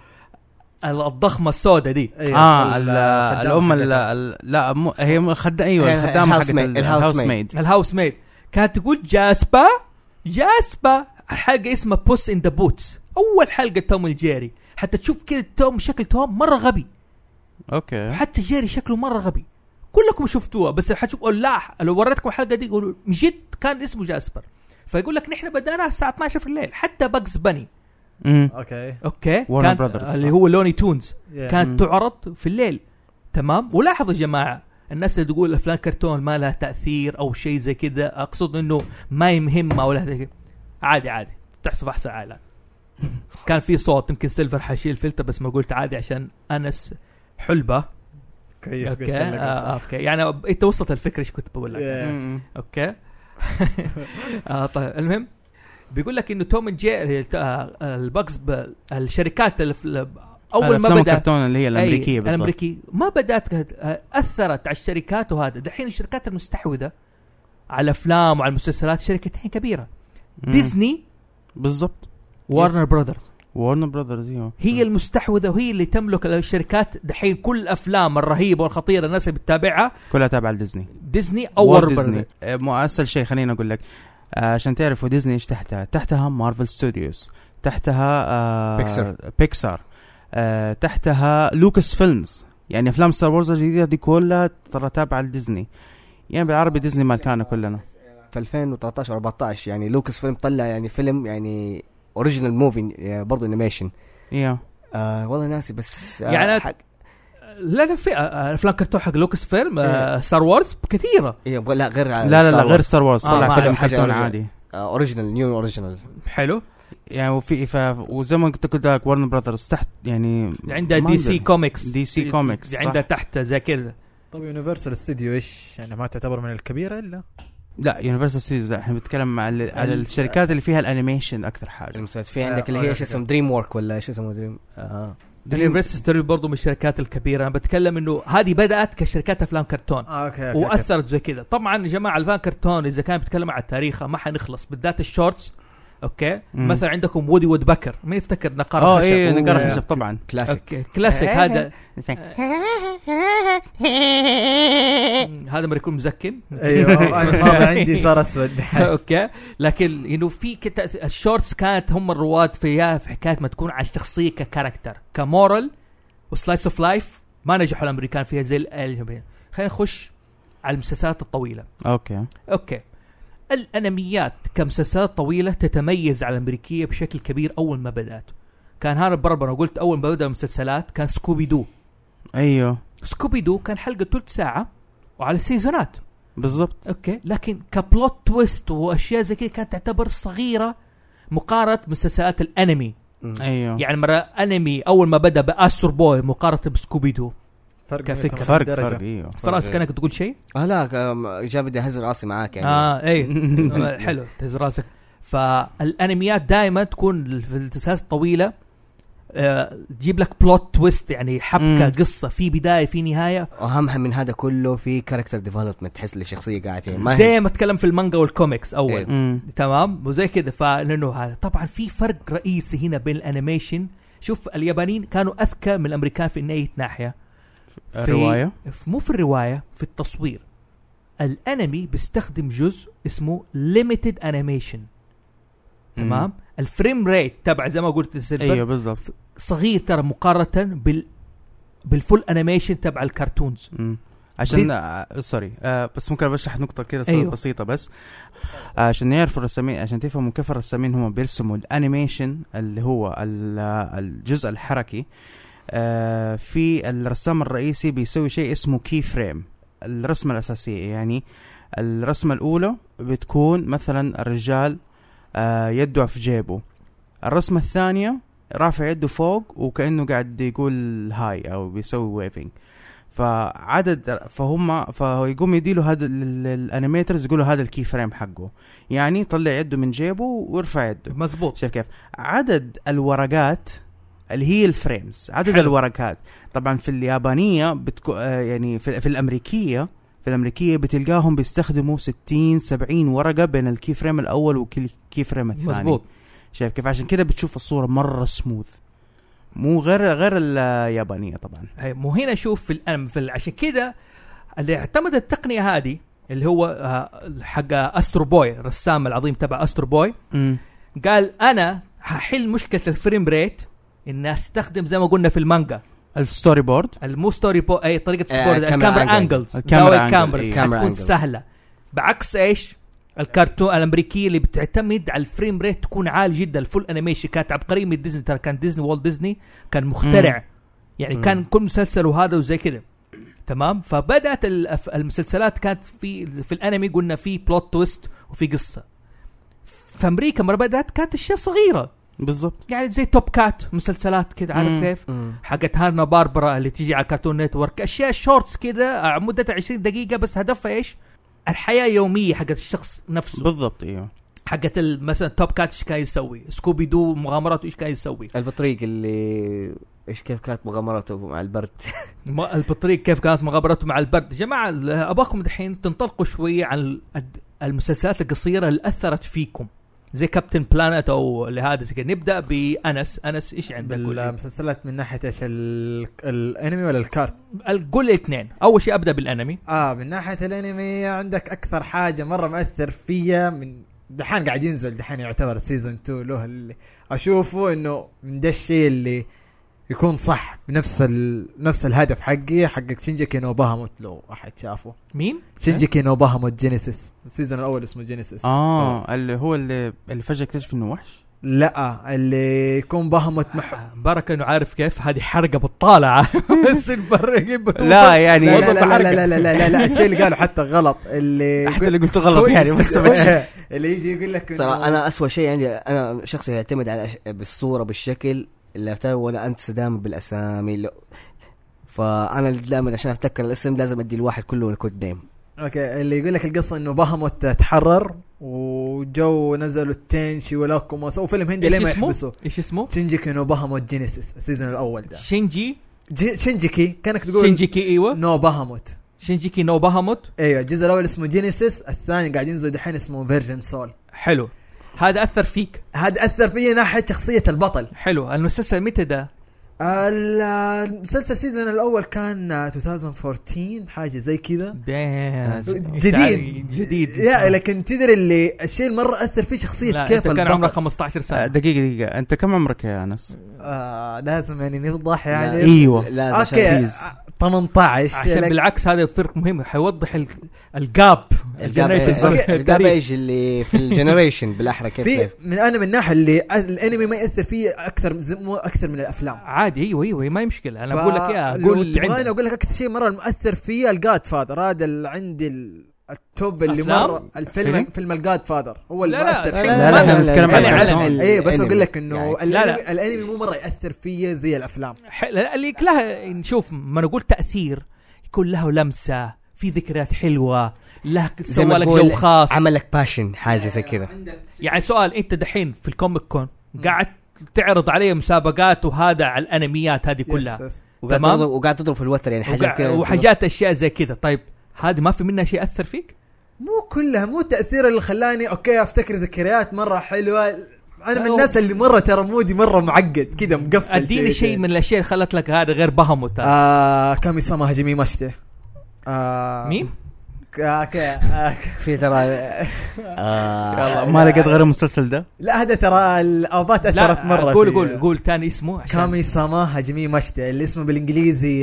Speaker 1: الضخمه السوداء دي
Speaker 4: أيوة.
Speaker 2: اه ال-
Speaker 4: الخدامة
Speaker 2: الام ال-
Speaker 4: حقتها.
Speaker 2: ال- لا مو هي مو- خد ايوه
Speaker 3: هي-
Speaker 2: الخدامه
Speaker 3: house
Speaker 2: حقت
Speaker 3: maid،
Speaker 2: ال-
Speaker 3: الhouse
Speaker 2: house
Speaker 3: maid.
Speaker 2: maid.
Speaker 1: الهاوس ميد كانت تقول جاسبا جاسبا حلقه اسمها بوس ان ذا بوتس اول حلقه توم الجيري حتى تشوف كذا توم شكل توم مره غبي
Speaker 2: اوكي
Speaker 1: حتى جيري شكله مره غبي كلكم شفتوها بس حتشوفوا لا لو وريتكم الحلقه دي يقولوا من جد كان اسمه جاسبر فيقول لك نحن بدانا الساعه 12 في الليل حتى باجز بني
Speaker 2: مم.
Speaker 4: اوكي
Speaker 1: اوكي
Speaker 2: Warner
Speaker 1: كان
Speaker 2: Brothers.
Speaker 1: اللي هو لوني تونز
Speaker 4: Yeah.
Speaker 1: كانت
Speaker 2: مم.
Speaker 1: تعرض في الليل تمام ولاحظوا يا جماعه الناس اللي تقول افلام كرتون ما لها تاثير او شيء زي كذا اقصد انه ما يهمها ولا هذا- عادي عادي تحصل في احسن عائلات كان في صوت يمكن سيلفر حيشيل فلتر بس ما قلت عادي عشان انس حلبه
Speaker 4: كويس قلت
Speaker 1: اوكي
Speaker 4: لك
Speaker 1: آه
Speaker 4: بس.
Speaker 1: اوكي يعني أب- انت وصلت الفكره ايش كنت بقول لك
Speaker 4: Yeah.
Speaker 2: مم.
Speaker 1: اوكي آه طيب المهم بيقول لك انه توم جيري آه، الباكس الشركات الف- اول ما
Speaker 2: الأفلام
Speaker 1: بدات
Speaker 2: الكرتون اللي هي الامريكيه
Speaker 1: أي،
Speaker 2: بالضبط
Speaker 1: الامريكي ما بدات كهد- اثرت على الشركات وهذا دحين الشركات المستحوذه على الافلام وعلى المسلسلات شركتين كبيره
Speaker 2: مم.
Speaker 1: ديزني
Speaker 2: بالضبط
Speaker 1: وارنر براذرز
Speaker 2: وارنر براذرز ايوه
Speaker 1: هي المستحوذه وهي اللي تملك الشركات دحين كل الافلام الرهيبه والخطيره الناس اللي بتتابعها
Speaker 2: كلها تابعه لديزني
Speaker 1: ديزني او وارنر
Speaker 2: ديزني
Speaker 1: براذرز
Speaker 2: آه، مو اسهل شيء خليني اقول لك آه، عشان تعرفوا ديزني ايش تحتها تحتها مارفل ستوديوز تحتها آه
Speaker 3: بيكسار.
Speaker 2: بيكسار آه تحتها لوكاس فيلمز يعني افلام ستار وورز الجديده دي كلها ترى تابعه لديزني يعني بالعربي ديزني مالكانا كلنا
Speaker 3: في 2013 14 يعني لوكس فيلم طلع يعني فيلم يعني اوريجينال موفي برضه انيميشن
Speaker 2: ايوه
Speaker 3: آه والله ناسي بس آه
Speaker 1: يعني
Speaker 3: حق
Speaker 1: لا لا في آه، افلام كرتون حق لوكس فيلم آه،
Speaker 3: إيه.
Speaker 1: ستار وورز كثيره
Speaker 3: إيه، لا غير
Speaker 2: لا لا لا غير ستار وورز
Speaker 1: آه، ما
Speaker 2: طلع فيلم
Speaker 1: أعرف
Speaker 3: حاجة
Speaker 2: كرتون
Speaker 3: أوريجينال.
Speaker 2: عادي
Speaker 3: اوريجينال نيو اوريجينال
Speaker 1: حلو
Speaker 2: يعني وفي ف... وزي ما قلت قلت لك ورن براذرز تحت يعني
Speaker 1: عندها
Speaker 2: ما
Speaker 1: دي سي
Speaker 2: أقدر.
Speaker 1: كوميكس
Speaker 2: دي سي كوميكس، صح.
Speaker 1: عندها تحت زي كذا
Speaker 4: طب يونيفرسال استوديو ايش يعني ما تعتبر من الكبيره الا
Speaker 2: لا يونيفرسال ستوديوز لا احنا بنتكلم على على
Speaker 1: ال-
Speaker 2: الشركات اللي فيها الانيميشن اكثر حاجه
Speaker 3: المسلسلات في
Speaker 4: آه،
Speaker 3: عندك اللي هي ايش
Speaker 4: أوريجينال.
Speaker 3: اسمه دريم وورك ولا ايش اسمه دريم آه.
Speaker 1: يونيفرسال ستوديو برضه من الشركات الكبيره انا بتكلم انه هذه بدات كشركات افلام كرتون
Speaker 4: آه اوكي أوكي، أوكي.
Speaker 1: واثرت زي كذا طبعا يا جماعه الفان كرتون اذا كان بيتكلم على تاريخها ما حنخلص بالذات الشورتس اوكي
Speaker 2: مم.
Speaker 1: مثلا عندكم وودي وود بكر مين يفتكر نقار
Speaker 2: اه
Speaker 4: آه،
Speaker 1: خشب؟
Speaker 2: ايه نقرا
Speaker 4: و-
Speaker 2: خشب طبعا
Speaker 3: كلاسيك
Speaker 1: أوكي. كلاسيك هذا مم، هذا ما يكون مزكن
Speaker 4: ايوه انا الماضي عندي صار اسود
Speaker 1: اوكي لكن انه في كت... الشورتس كانت هم الرواد فيها في حكايه ما تكون على الشخصيه ككاركتر كمورال وسلايس اوف لايف ما نجحوا الامريكان فيها زي ال- اليابان. خلينا نخش على المسلسلات الطويله
Speaker 2: اوكي
Speaker 1: اوكي الانميات كمسلسلات طويله تتميز على الامريكيه بشكل كبير اول ما بدات كان هارب بربر أنا قلت اول ما بدا المسلسلات كان سكوبي دو
Speaker 2: ايوه
Speaker 1: سكوبي دو كان حلقه ثلث ساعه وعلى سيزونات
Speaker 2: بالضبط
Speaker 1: اوكي لكن كبلوت تويست واشياء زي كذا كانت تعتبر صغيره مقارنه بمسلسلات الانمي
Speaker 4: إيه.
Speaker 2: ايوه
Speaker 3: آه.
Speaker 1: يعني مره انمي اول ما بدا باستر بوي مقارنه بسكوبي دو
Speaker 4: فرق
Speaker 1: كفكرة.
Speaker 4: 180
Speaker 2: فرق
Speaker 4: درجة.
Speaker 2: فرق ايوه
Speaker 1: فراس كانك تقول شيء
Speaker 3: اه لا آم، جاب بدي اهز راسي معاك يعني
Speaker 4: آه.
Speaker 1: اه اي حلو تهز راسك فالانميات دائما تكون في المسلسلات الطويله آه، تجيب لك بلوت تويست يعني حبكه
Speaker 2: مم.
Speaker 1: قصه في بدايه في نهايه
Speaker 3: واهمها من هذا كله في كاركتر ديفلوبمنت تحس الشخصيه قاعده يعني ما
Speaker 1: زي ما اتكلم في المانجا والكوميكس اول
Speaker 3: إيه.
Speaker 2: امم
Speaker 1: تمام وزي كذا فلانه هذا طبعا في فرق رئيسي هنا بين الانيميشن شوف اليابانيين كانوا اذكى من الامريكان في ناحيه
Speaker 2: الروايه
Speaker 1: في مو في الروايه في التصوير الانمي بيستخدم جزء اسمه ليميتد انيميشن تمام الفريم ريت تبع زي ما قلت السيلفر
Speaker 2: ايوه
Speaker 1: أيوه.
Speaker 2: بالضبط
Speaker 1: صغير ترى مقارنه بال بالفول انيميشن تبع الكرتونز
Speaker 2: مم. عشان آه سوري آه بس ممكن بشرح نقطة كده
Speaker 1: أيوه.
Speaker 2: أيوه. بسيطة بس آه عشان يعرفوا الرسامين عشان تفهموا كيف الرسامين هم بيرسموا الانيميشن اللي هو ال- آه، الجزء الحركي آه في الرسام الرئيسي بيسوي شيء اسمه كي فريم الرسمة الأساسية يعني الرسمة الأولى بتكون مثلا الرجال آه يده في جيبه الرسمة الثانية رافع يده فوق وكأنه قاعد يقول هاي أو بيسوي ويفنج فعدد فهم فيقوم يديله هذا ال- الانيميترز يقولوا هذا الكي فريم حقه يعني طلع يده من جيبه وارفع يده
Speaker 1: مزبوط
Speaker 2: شايف كيف عدد الورقات اللي هي الفريمز عدد
Speaker 1: حلو.
Speaker 2: حلو. الورقات طبعا في اليابانيه بتكو آه، يعني في, في الامريكيه في الامريكيه بتلقاهم بيستخدموا 60 70 ورقه بين الكي فريم الاول والكي فريم الثاني
Speaker 1: مزبوط
Speaker 2: شايف كيف عشان كده بتشوف الصوره مره سموث مو غير غير اليابانيه طبعا
Speaker 1: أي، مو هنا شوف في الانمي في ال- عشان كده اللي اعتمد التقنيه هذه اللي هو آه، حق استرو بوي الرسام العظيم تبع استرو بوي
Speaker 2: امم
Speaker 1: قال انا هحل مشكله الفريم ريت ان استخدم زي ما قلنا في المانجا
Speaker 2: الستوري بورد
Speaker 1: المو ستوري بو اي طريقه
Speaker 3: آه،
Speaker 1: ستوري
Speaker 3: كاميرا
Speaker 1: الكاميرا
Speaker 3: angle.
Speaker 1: انجلز
Speaker 2: الكاميرا
Speaker 1: زاوية
Speaker 2: angle،
Speaker 1: الكاميرا
Speaker 2: إيه.
Speaker 3: كاميرا
Speaker 1: تكون
Speaker 3: angle.
Speaker 1: سهله بعكس ايش الكرتون الامريكيه اللي بتعتمد على الفريم ريت تكون عالي جدا الفول انيميشن كانت عبقريه من ديزني ترى كان ديزني والت ديزني كان مخترع يعني
Speaker 3: مم.
Speaker 1: كان كل مسلسل وهذا وزي كذا تمام فبدات ال- المسلسلات كانت في في الانمي قلنا في بلوت تويست وفي قصه في امريكا مره بدات كانت اشياء صغيره
Speaker 2: بالضبط
Speaker 1: يعني زي توب كات مسلسلات كذا عارف
Speaker 2: مم.
Speaker 1: كيف حقت هانا باربرا اللي تيجي على كارتون نتورك اشياء شورتس كده آه، مدتها 20 دقيقه بس هدفها ايش؟ الحياه اليوميه حقت الشخص نفسه
Speaker 2: بالضبط ايوه
Speaker 1: حقت ال- مثلا توب كات ايش كان يسوي؟ سكوبي دو مغامراته ايش كان يسوي؟
Speaker 3: البطريق اللي ايش كيف كانت مغامرته مع البرد
Speaker 1: م- البطريق كيف كانت مغامراته مع البرد؟ يا جماعه ال- اباكم دحين تنطلقوا شويه عن ال- الد- المسلسلات القصيره اللي اثرت فيكم زي كابتن بلانت او اللي هذا زي كده. نبدا بانس انس ايش عندك؟ قول
Speaker 4: بالمسلسلات من ناحيه ايش ال- الانمي ولا الكارت
Speaker 1: لي. قول لي اثنين اول شيء ابدا بالانمي
Speaker 4: اه من ناحيه الانمي عندك اكثر حاجه مره مؤثر فيا من دحين قاعد ينزل دحين يعتبر سيزون 2 له اللي اشوفه انه من ده الشيء اللي يكون صح بنفس ال... نفس الهدف حقي حقك شينجيكي نو باهاموت لو احد شافه
Speaker 1: مين؟
Speaker 4: شينجيكي نو باهاموت جينيسيس السيزون الاول اسمه جينيسيس آه.
Speaker 2: اه اللي هو اللي اللي فجاه اكتشف انه وحش
Speaker 4: لا اللي يكون باهاموت مح...
Speaker 1: بركة انه عارف كيف هذه حرقه بتطالع بس نفرق
Speaker 2: لا يعني
Speaker 4: لا لا لا, لا لا لا لا لا لا الشيء اللي قاله حتى غلط اللي
Speaker 2: حتى اللي قلته غلط يعني بس
Speaker 4: اللي يجي يقول لك إنه-
Speaker 3: ترى انا اسوأ شيء عندي انا شخصي يعتمد على أش- بالصوره بالشكل اللي أفتكر وانا انسدام بالاسامي اللي- فانا دائما عشان اتذكر الاسم لازم ادي الواحد كله الكود نيم
Speaker 4: اوكي اللي يقول لك القصه انه بهموت تحرر وجو نزلوا التنشي ولاكوموس وفيلم هندي ليه
Speaker 1: ايش
Speaker 4: ما
Speaker 1: اسمه؟
Speaker 4: يحبسوه
Speaker 1: ايش اسمه؟
Speaker 4: شينجيكي نو بهموت جينيسيس السيزون الاول ده
Speaker 1: شينجي
Speaker 4: جي شينجيكي كانك تقول
Speaker 1: شينجيكي ايوه
Speaker 4: نو بهموت
Speaker 1: شينجيكي نو باهاموت
Speaker 4: ايوه الجزء الاول اسمه جينيسيس الثاني قاعد ينزل دحين اسمه فيرجن سول
Speaker 1: حلو هذا اثر فيك
Speaker 4: هذا اثر فيا ناحيه شخصيه البطل
Speaker 1: حلو المسلسل متى ده؟
Speaker 4: آه، المسلسل السيزون الاول كان 2014 حاجه زي كذا
Speaker 1: دام
Speaker 4: جديد
Speaker 1: يعني جديد
Speaker 4: يا لكن تدري اللي الشيء اللي مره اثر فيه شخصيه
Speaker 1: لا
Speaker 4: كيف
Speaker 1: كيف كان عمره
Speaker 4: البطل
Speaker 1: 15
Speaker 2: آه،
Speaker 1: سنه
Speaker 2: دقيقه دقيقه انت كم عمرك يا انس
Speaker 4: آه لازم يعني نوضح
Speaker 3: لا،
Speaker 4: يعني
Speaker 1: إيه،
Speaker 2: ايوه.
Speaker 3: لازم عشان
Speaker 4: اوكي
Speaker 3: تيز.
Speaker 4: آه، 18
Speaker 1: عشان
Speaker 4: لك-
Speaker 1: بالعكس هذا فرق مهم حيوضح ال- الجاب
Speaker 3: الجاب
Speaker 1: الجنريشن
Speaker 3: إيه، أوكي، الجاب
Speaker 1: التاريخ.
Speaker 3: ايش اللي في الجنريشن بالاحرى كيف
Speaker 4: في
Speaker 3: كيف
Speaker 4: من انا من الناحيه اللي الانمي ما ياثر فيه اكثر من- مو اكثر من الافلام
Speaker 1: عادي ايوه ايوه ما هي مشكله انا
Speaker 4: ف-
Speaker 1: بقول لك يا
Speaker 4: لو
Speaker 1: قول اللي
Speaker 4: تبغاني
Speaker 1: عندك
Speaker 4: اقول لك اكثر شيء مره مؤثر فيه الجاد فاذر هذا اللي عندي ال- التوب اللي
Speaker 1: أفلام؟
Speaker 4: مره الفيلم
Speaker 2: فيلم؟
Speaker 4: فيلم الجاد فاذر هو اللي
Speaker 1: لا، لا،
Speaker 4: مؤثر
Speaker 1: لا،
Speaker 4: فيه.
Speaker 1: لا، لا،
Speaker 2: لا، نتكلم عن
Speaker 1: يعني
Speaker 2: الكرتون.
Speaker 4: ايه
Speaker 1: إيه،
Speaker 4: بس اقول لك انه
Speaker 3: يعني.
Speaker 1: لا، لا.
Speaker 4: الانمي الانمي مو مره ياثر فيه زي الافلام
Speaker 1: ح- لا اللي لها نشوف ما انا اقول تاثير يكون له لمسه في ذكريات حلوه له
Speaker 3: زي ما
Speaker 1: سوى لك
Speaker 3: تقول
Speaker 1: جو خاص
Speaker 3: عمل لك باشن حاجه زي كذا
Speaker 1: يعني سؤال انت دحين في الكوميك كون قاعد تعرض عليه مسابقات وهذا على الانميات هذه كلها
Speaker 4: يس- يس.
Speaker 3: وقاعد
Speaker 1: تمام.
Speaker 3: تضرب وقاعد تضرب في الوتر يعني حاجات
Speaker 1: وقع-
Speaker 3: كذا
Speaker 1: وحاجات اشياء زي كذا طيب هذه ما في منها شيء اثر فيك؟
Speaker 4: مو كلها مو التاثير اللي خلاني اوكي افتكر ذكريات مره حلوه انا من
Speaker 1: أيوه.
Speaker 4: الناس اللي مره ترى مودي مره معقد كذا مقفل
Speaker 1: اديني شيء من الاشياء اللي خلت لك هذا غير بهموت
Speaker 4: آه كامي ساما هاجمي ماشتي آه
Speaker 1: مين؟
Speaker 4: اوكي أوكي.
Speaker 3: في ترى آه،
Speaker 2: يلا ما لقيت غير المسلسل ده
Speaker 4: لا هذا ترى الاوفات اثرت
Speaker 1: لا آه،
Speaker 4: مره
Speaker 1: قول
Speaker 4: فيه.
Speaker 1: قول قول ثاني اسمه عشان
Speaker 4: كامي ساما هاجمي ماشتي اللي اسمه آه، بالانجليزي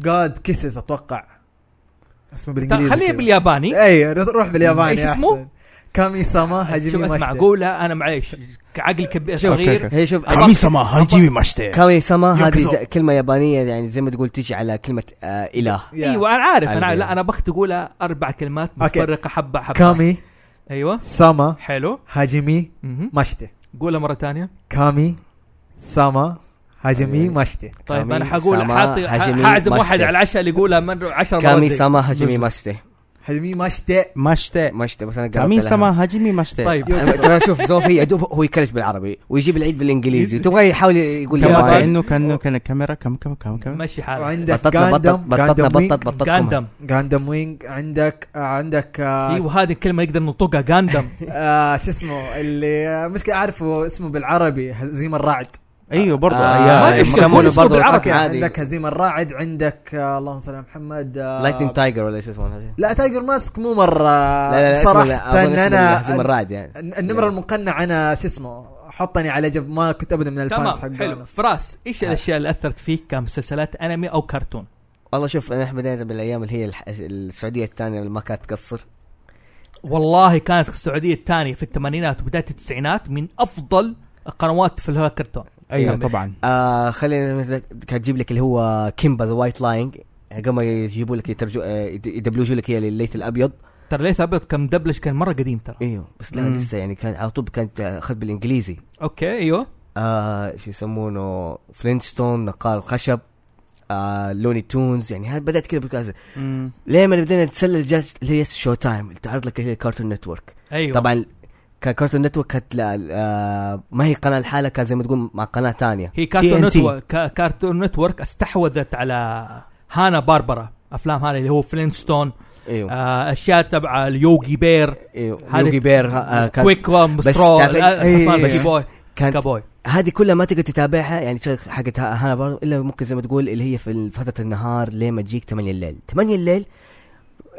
Speaker 4: جاد كيسز اتوقع
Speaker 1: طيب
Speaker 4: اسمه بالانجليزي
Speaker 1: خليه
Speaker 4: كذا.
Speaker 1: بالياباني
Speaker 4: ايوه روح بالياباني
Speaker 1: إيش
Speaker 4: يا
Speaker 1: اسمه؟
Speaker 4: أحسن. كامي ساما هاجمي
Speaker 1: شوف اسمع
Speaker 4: ماشتي
Speaker 1: قولها انا معليش كعقل كبير صغير
Speaker 2: أوكي.
Speaker 3: هي شوف
Speaker 2: خميسة ما هايجيمي ماشتي
Speaker 3: كامي سما هذه
Speaker 2: ينقذوا.
Speaker 3: زي- كلمه يابانيه يعني زي ما تقول تيجي على كلمه آه اله
Speaker 4: يا.
Speaker 1: ايوه انا عارف انا
Speaker 3: أيوة.
Speaker 1: لا انا بخت اقولها اربع كلمات
Speaker 4: أوكي.
Speaker 1: متفرقه حبه حبه
Speaker 4: كامي
Speaker 1: ايوه
Speaker 4: ساما
Speaker 1: حلو
Speaker 4: هاجمي
Speaker 1: مهم.
Speaker 4: ماشتي
Speaker 1: قولها مره ثانيه
Speaker 4: كامي ساما هاجمي
Speaker 3: أيوة.
Speaker 4: ماشتي
Speaker 1: طيب
Speaker 3: كامي
Speaker 1: انا حقول
Speaker 3: سما
Speaker 1: حاطي
Speaker 3: هاجمي
Speaker 1: حاعزم واحد
Speaker 3: ماستر.
Speaker 1: على العشاء اللي يقولها من 10
Speaker 3: كامي
Speaker 1: مرات زي.
Speaker 3: سما هاجمي ماستي
Speaker 4: هاجمي ماشتي
Speaker 2: ماشتي
Speaker 3: ماشتي بس انا قربت
Speaker 2: كامي
Speaker 3: لها.
Speaker 2: سما هاجيمي ماشتي
Speaker 1: طيب
Speaker 3: أنا- ترى شوف زوفي يا دوب هو يكلش بالعربي ويجيب العيد بالانجليزي تبغى يحاول يقول
Speaker 1: يا
Speaker 2: كما
Speaker 1: ياباني.
Speaker 3: ياباني
Speaker 2: كانه كانه كان الكاميرا كم كم كم كم
Speaker 1: ماشي حالك
Speaker 4: وعندك
Speaker 3: بطتنا بطت
Speaker 4: جاندم
Speaker 3: بطتنا
Speaker 4: جاندم
Speaker 3: بطت
Speaker 4: وينج
Speaker 3: بطت
Speaker 1: جاندم
Speaker 4: جاندم وينج عندك آه، عندك آه،
Speaker 1: ايوه هذه الكلمه نقدر ننطقها جاندم
Speaker 4: آه شو اسمه اللي آه، مشكلة اعرفه اسمه بالعربي هزيم الرعد
Speaker 2: ايوه برضه
Speaker 3: آه، ما أدري
Speaker 2: يا
Speaker 3: إيش
Speaker 2: مكان-
Speaker 3: يسمونه
Speaker 1: اسمه
Speaker 3: برضه
Speaker 1: بالعربي.
Speaker 3: بالعربي عادي
Speaker 4: عندك هزيم الرعد عندك آه اللهم صل على محمد آه
Speaker 3: لايتنج تايجر ولا ايش اسمه لا
Speaker 4: لا تايجر ماسك مو مرة
Speaker 3: لا لا
Speaker 4: صراحة
Speaker 3: اسمه انا هزيم
Speaker 4: انا
Speaker 3: الرعد يعني
Speaker 4: النمرة المقنع انا شو اسمه حطني على جنب ما كنت ابدا من الفانز
Speaker 1: تمام
Speaker 4: حقه
Speaker 1: حلو فراس ايش الاشياء اللي اثرت فيك كمسلسلات انمي او كرتون؟
Speaker 3: والله شوف انا بدينا بالايام اللي هي الح- السعوديه الثانيه اللي ما كانت تقصر
Speaker 1: والله كانت السعوديه الثانيه في الثمانينات وبدايه التسعينات من افضل القنوات في الكرتون
Speaker 3: أيوة،
Speaker 2: ايوه طبعا
Speaker 3: آه خلينا مثلا كانت تجيب لك اللي هو كيمبا ذا وايت لاينج قبل ما يجيبوا لك يترجو آه، يد- يدبلجوا لك هي لليث الابيض
Speaker 1: ترى ليث ابيض كان مدبلج كان مره قديم ترى
Speaker 4: إيه.
Speaker 3: ايوه بس لا
Speaker 2: مم.
Speaker 3: لسه يعني كان على طول كانت اخذ بالانجليزي
Speaker 1: اوكي ايوه
Speaker 3: آه شو يسمونه فلينستون نقال الخشب آه لوني تونز يعني هاد بدات كذا بالكازا ليه ما بدينا نتسلل جات اللي هي شو تايم اللي تعرض لك اللي هي كارتون نتورك
Speaker 1: ايوه
Speaker 3: طبعا كان كارتون نتورك كانت لا آه ما هي قناه لحالها كان زي ما تقول مع قناه تانية
Speaker 1: هي كارتون
Speaker 2: TNT.
Speaker 1: نتورك كارتون نتورك استحوذت على هانا باربرا افلام هانا اللي هو فلينستون
Speaker 3: ايوه
Speaker 1: آه، اشياء تبع اليوغي بير
Speaker 3: ايوه
Speaker 1: هذه-
Speaker 3: يوغي بير آه كان
Speaker 1: كويك وام سترو
Speaker 3: تعرف- إيه،
Speaker 1: الحصان
Speaker 3: بس
Speaker 1: بيكي بوي
Speaker 3: كانت
Speaker 1: كابوي
Speaker 3: هذه كلها ما تقدر تتابعها يعني شغل حقت ها- هانا برضو الا ممكن زي ما تقول اللي هي في فتره النهار لين ما تجيك 8 الليل 8 الليل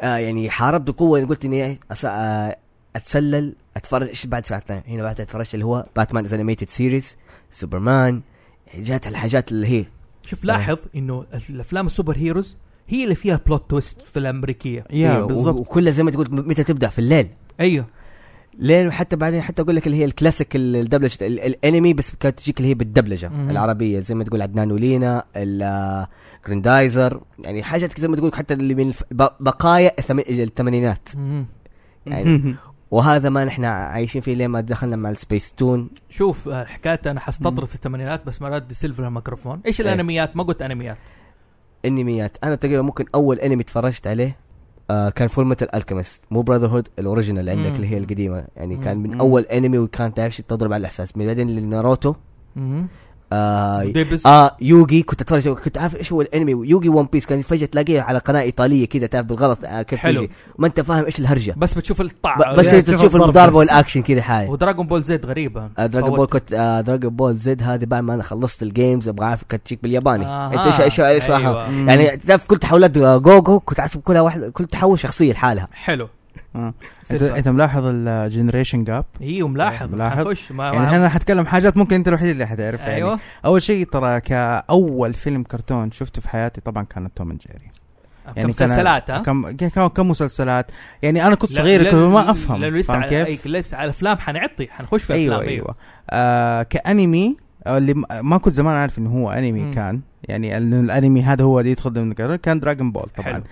Speaker 3: آه يعني حاربت بقوه يعني قلت اني أس- آه اتسلل اتفرج ايش بعد ساعتين هنا بعد اتفرج اللي هو باتمان از انيميتد سيريز سوبرمان يعني جات الحاجات اللي هي
Speaker 1: شوف
Speaker 3: نعم.
Speaker 1: لاحظ انه الافلام السوبر هيروز هي اللي فيها بلوت تويست في الامريكيه
Speaker 2: يا
Speaker 3: أيوة، و-
Speaker 2: بالضبط
Speaker 3: وكلها زي ما تقول متى تبدا في الليل
Speaker 1: ايوه
Speaker 3: لين وحتى بعدين حتى اقول لك اللي هي الكلاسيك ال- الدبلجه ال- الانمي بس كانت تجيك اللي هي بالدبلجه
Speaker 1: مم.
Speaker 3: العربيه زي ما تقول عدنان ولينا الجرندايزر يعني حاجات زي ما تقول حتى اللي من الف- ب- بقايا الثم- الثمانينات
Speaker 1: مم.
Speaker 3: يعني وهذا ما نحن عايشين فيه لين ما دخلنا مع السبيس تون
Speaker 1: شوف آه، حكايه انا حستطرد في الثمانينات بس مرات دي سيلفر الميكروفون ايش
Speaker 3: إيه.
Speaker 1: الانميات ما قلت انميات
Speaker 3: انميات انا تقريبا ممكن اول انمي تفرجت عليه آه كان فول ميتال الكيمست مو براذر هود الاوريجينال اللي عندك
Speaker 1: مم.
Speaker 3: اللي هي القديمه يعني كان من
Speaker 2: مم.
Speaker 3: اول انمي وكان تعرف شي تضرب على الاحساس من بعدين لناروتو آه
Speaker 1: ديبس
Speaker 3: اه يوغي كنت اتفرج كنت عارف ايش هو الانمي يوغي ون بيس كان فجاه تلاقيه على قناه ايطاليه كذا تعرف بالغلط آه كيف
Speaker 1: حلو. آه،
Speaker 3: تجي ما انت فاهم ايش الهرجه
Speaker 1: بس بتشوف الطع
Speaker 3: ب- بس
Speaker 4: يعني
Speaker 3: انت
Speaker 4: تشوف
Speaker 3: تشوف
Speaker 4: الضرب
Speaker 3: المضاربه
Speaker 4: بس.
Speaker 3: والاكشن كذا حاجه
Speaker 1: ودراغون بول زد غريبه
Speaker 3: آه دراجون بول
Speaker 1: فوت.
Speaker 3: كنت آه دراجون بول زد هذه بعد ما انا خلصت الجيمز ابغى اعرف كانت تجيك بالياباني
Speaker 1: آها.
Speaker 3: انت ايش ايش ايش فاهم
Speaker 1: آه. أيوة.
Speaker 2: مم.
Speaker 3: يعني تعرف كل تحولات آه، جوجو كنت احسب كلها واحد كل تحول شخصيه لحالها
Speaker 1: حلو
Speaker 2: آه. انت
Speaker 1: سيلفر.
Speaker 2: انت ملاحظ الجنريشن جاب
Speaker 1: ايوه ملاحظ
Speaker 2: ملاحظ.
Speaker 1: حنخش ما
Speaker 2: يعني انا حتكلم حاجات ممكن انت الوحيد اللي حتعرفها يعني
Speaker 3: أيوة.
Speaker 1: ايوه
Speaker 2: اول شيء ترى كاول فيلم كرتون شفته في حياتي طبعا كان توم اند جيري
Speaker 1: يعني
Speaker 2: كان-
Speaker 1: مسلسلات ها
Speaker 2: كم كم كم مسلسلات يعني انا كنت
Speaker 1: لا-
Speaker 2: صغير
Speaker 1: لا-
Speaker 2: كنت ما
Speaker 1: لا-
Speaker 2: افهم
Speaker 1: لانه لسه
Speaker 2: فاهم
Speaker 1: على
Speaker 2: كيف؟
Speaker 1: أي- أيوة. لسه على افلام حنعطي حنخش في
Speaker 2: ايوه
Speaker 1: افلام
Speaker 2: ايوه آه كانمي آه، اللي م- ما كنت زمان عارف انه هو انمي
Speaker 1: مم.
Speaker 2: كان يعني ال- الانمي هذا هو اللي يدخل ضمن الكرتون كان دراجون بول طبعا
Speaker 1: حلو.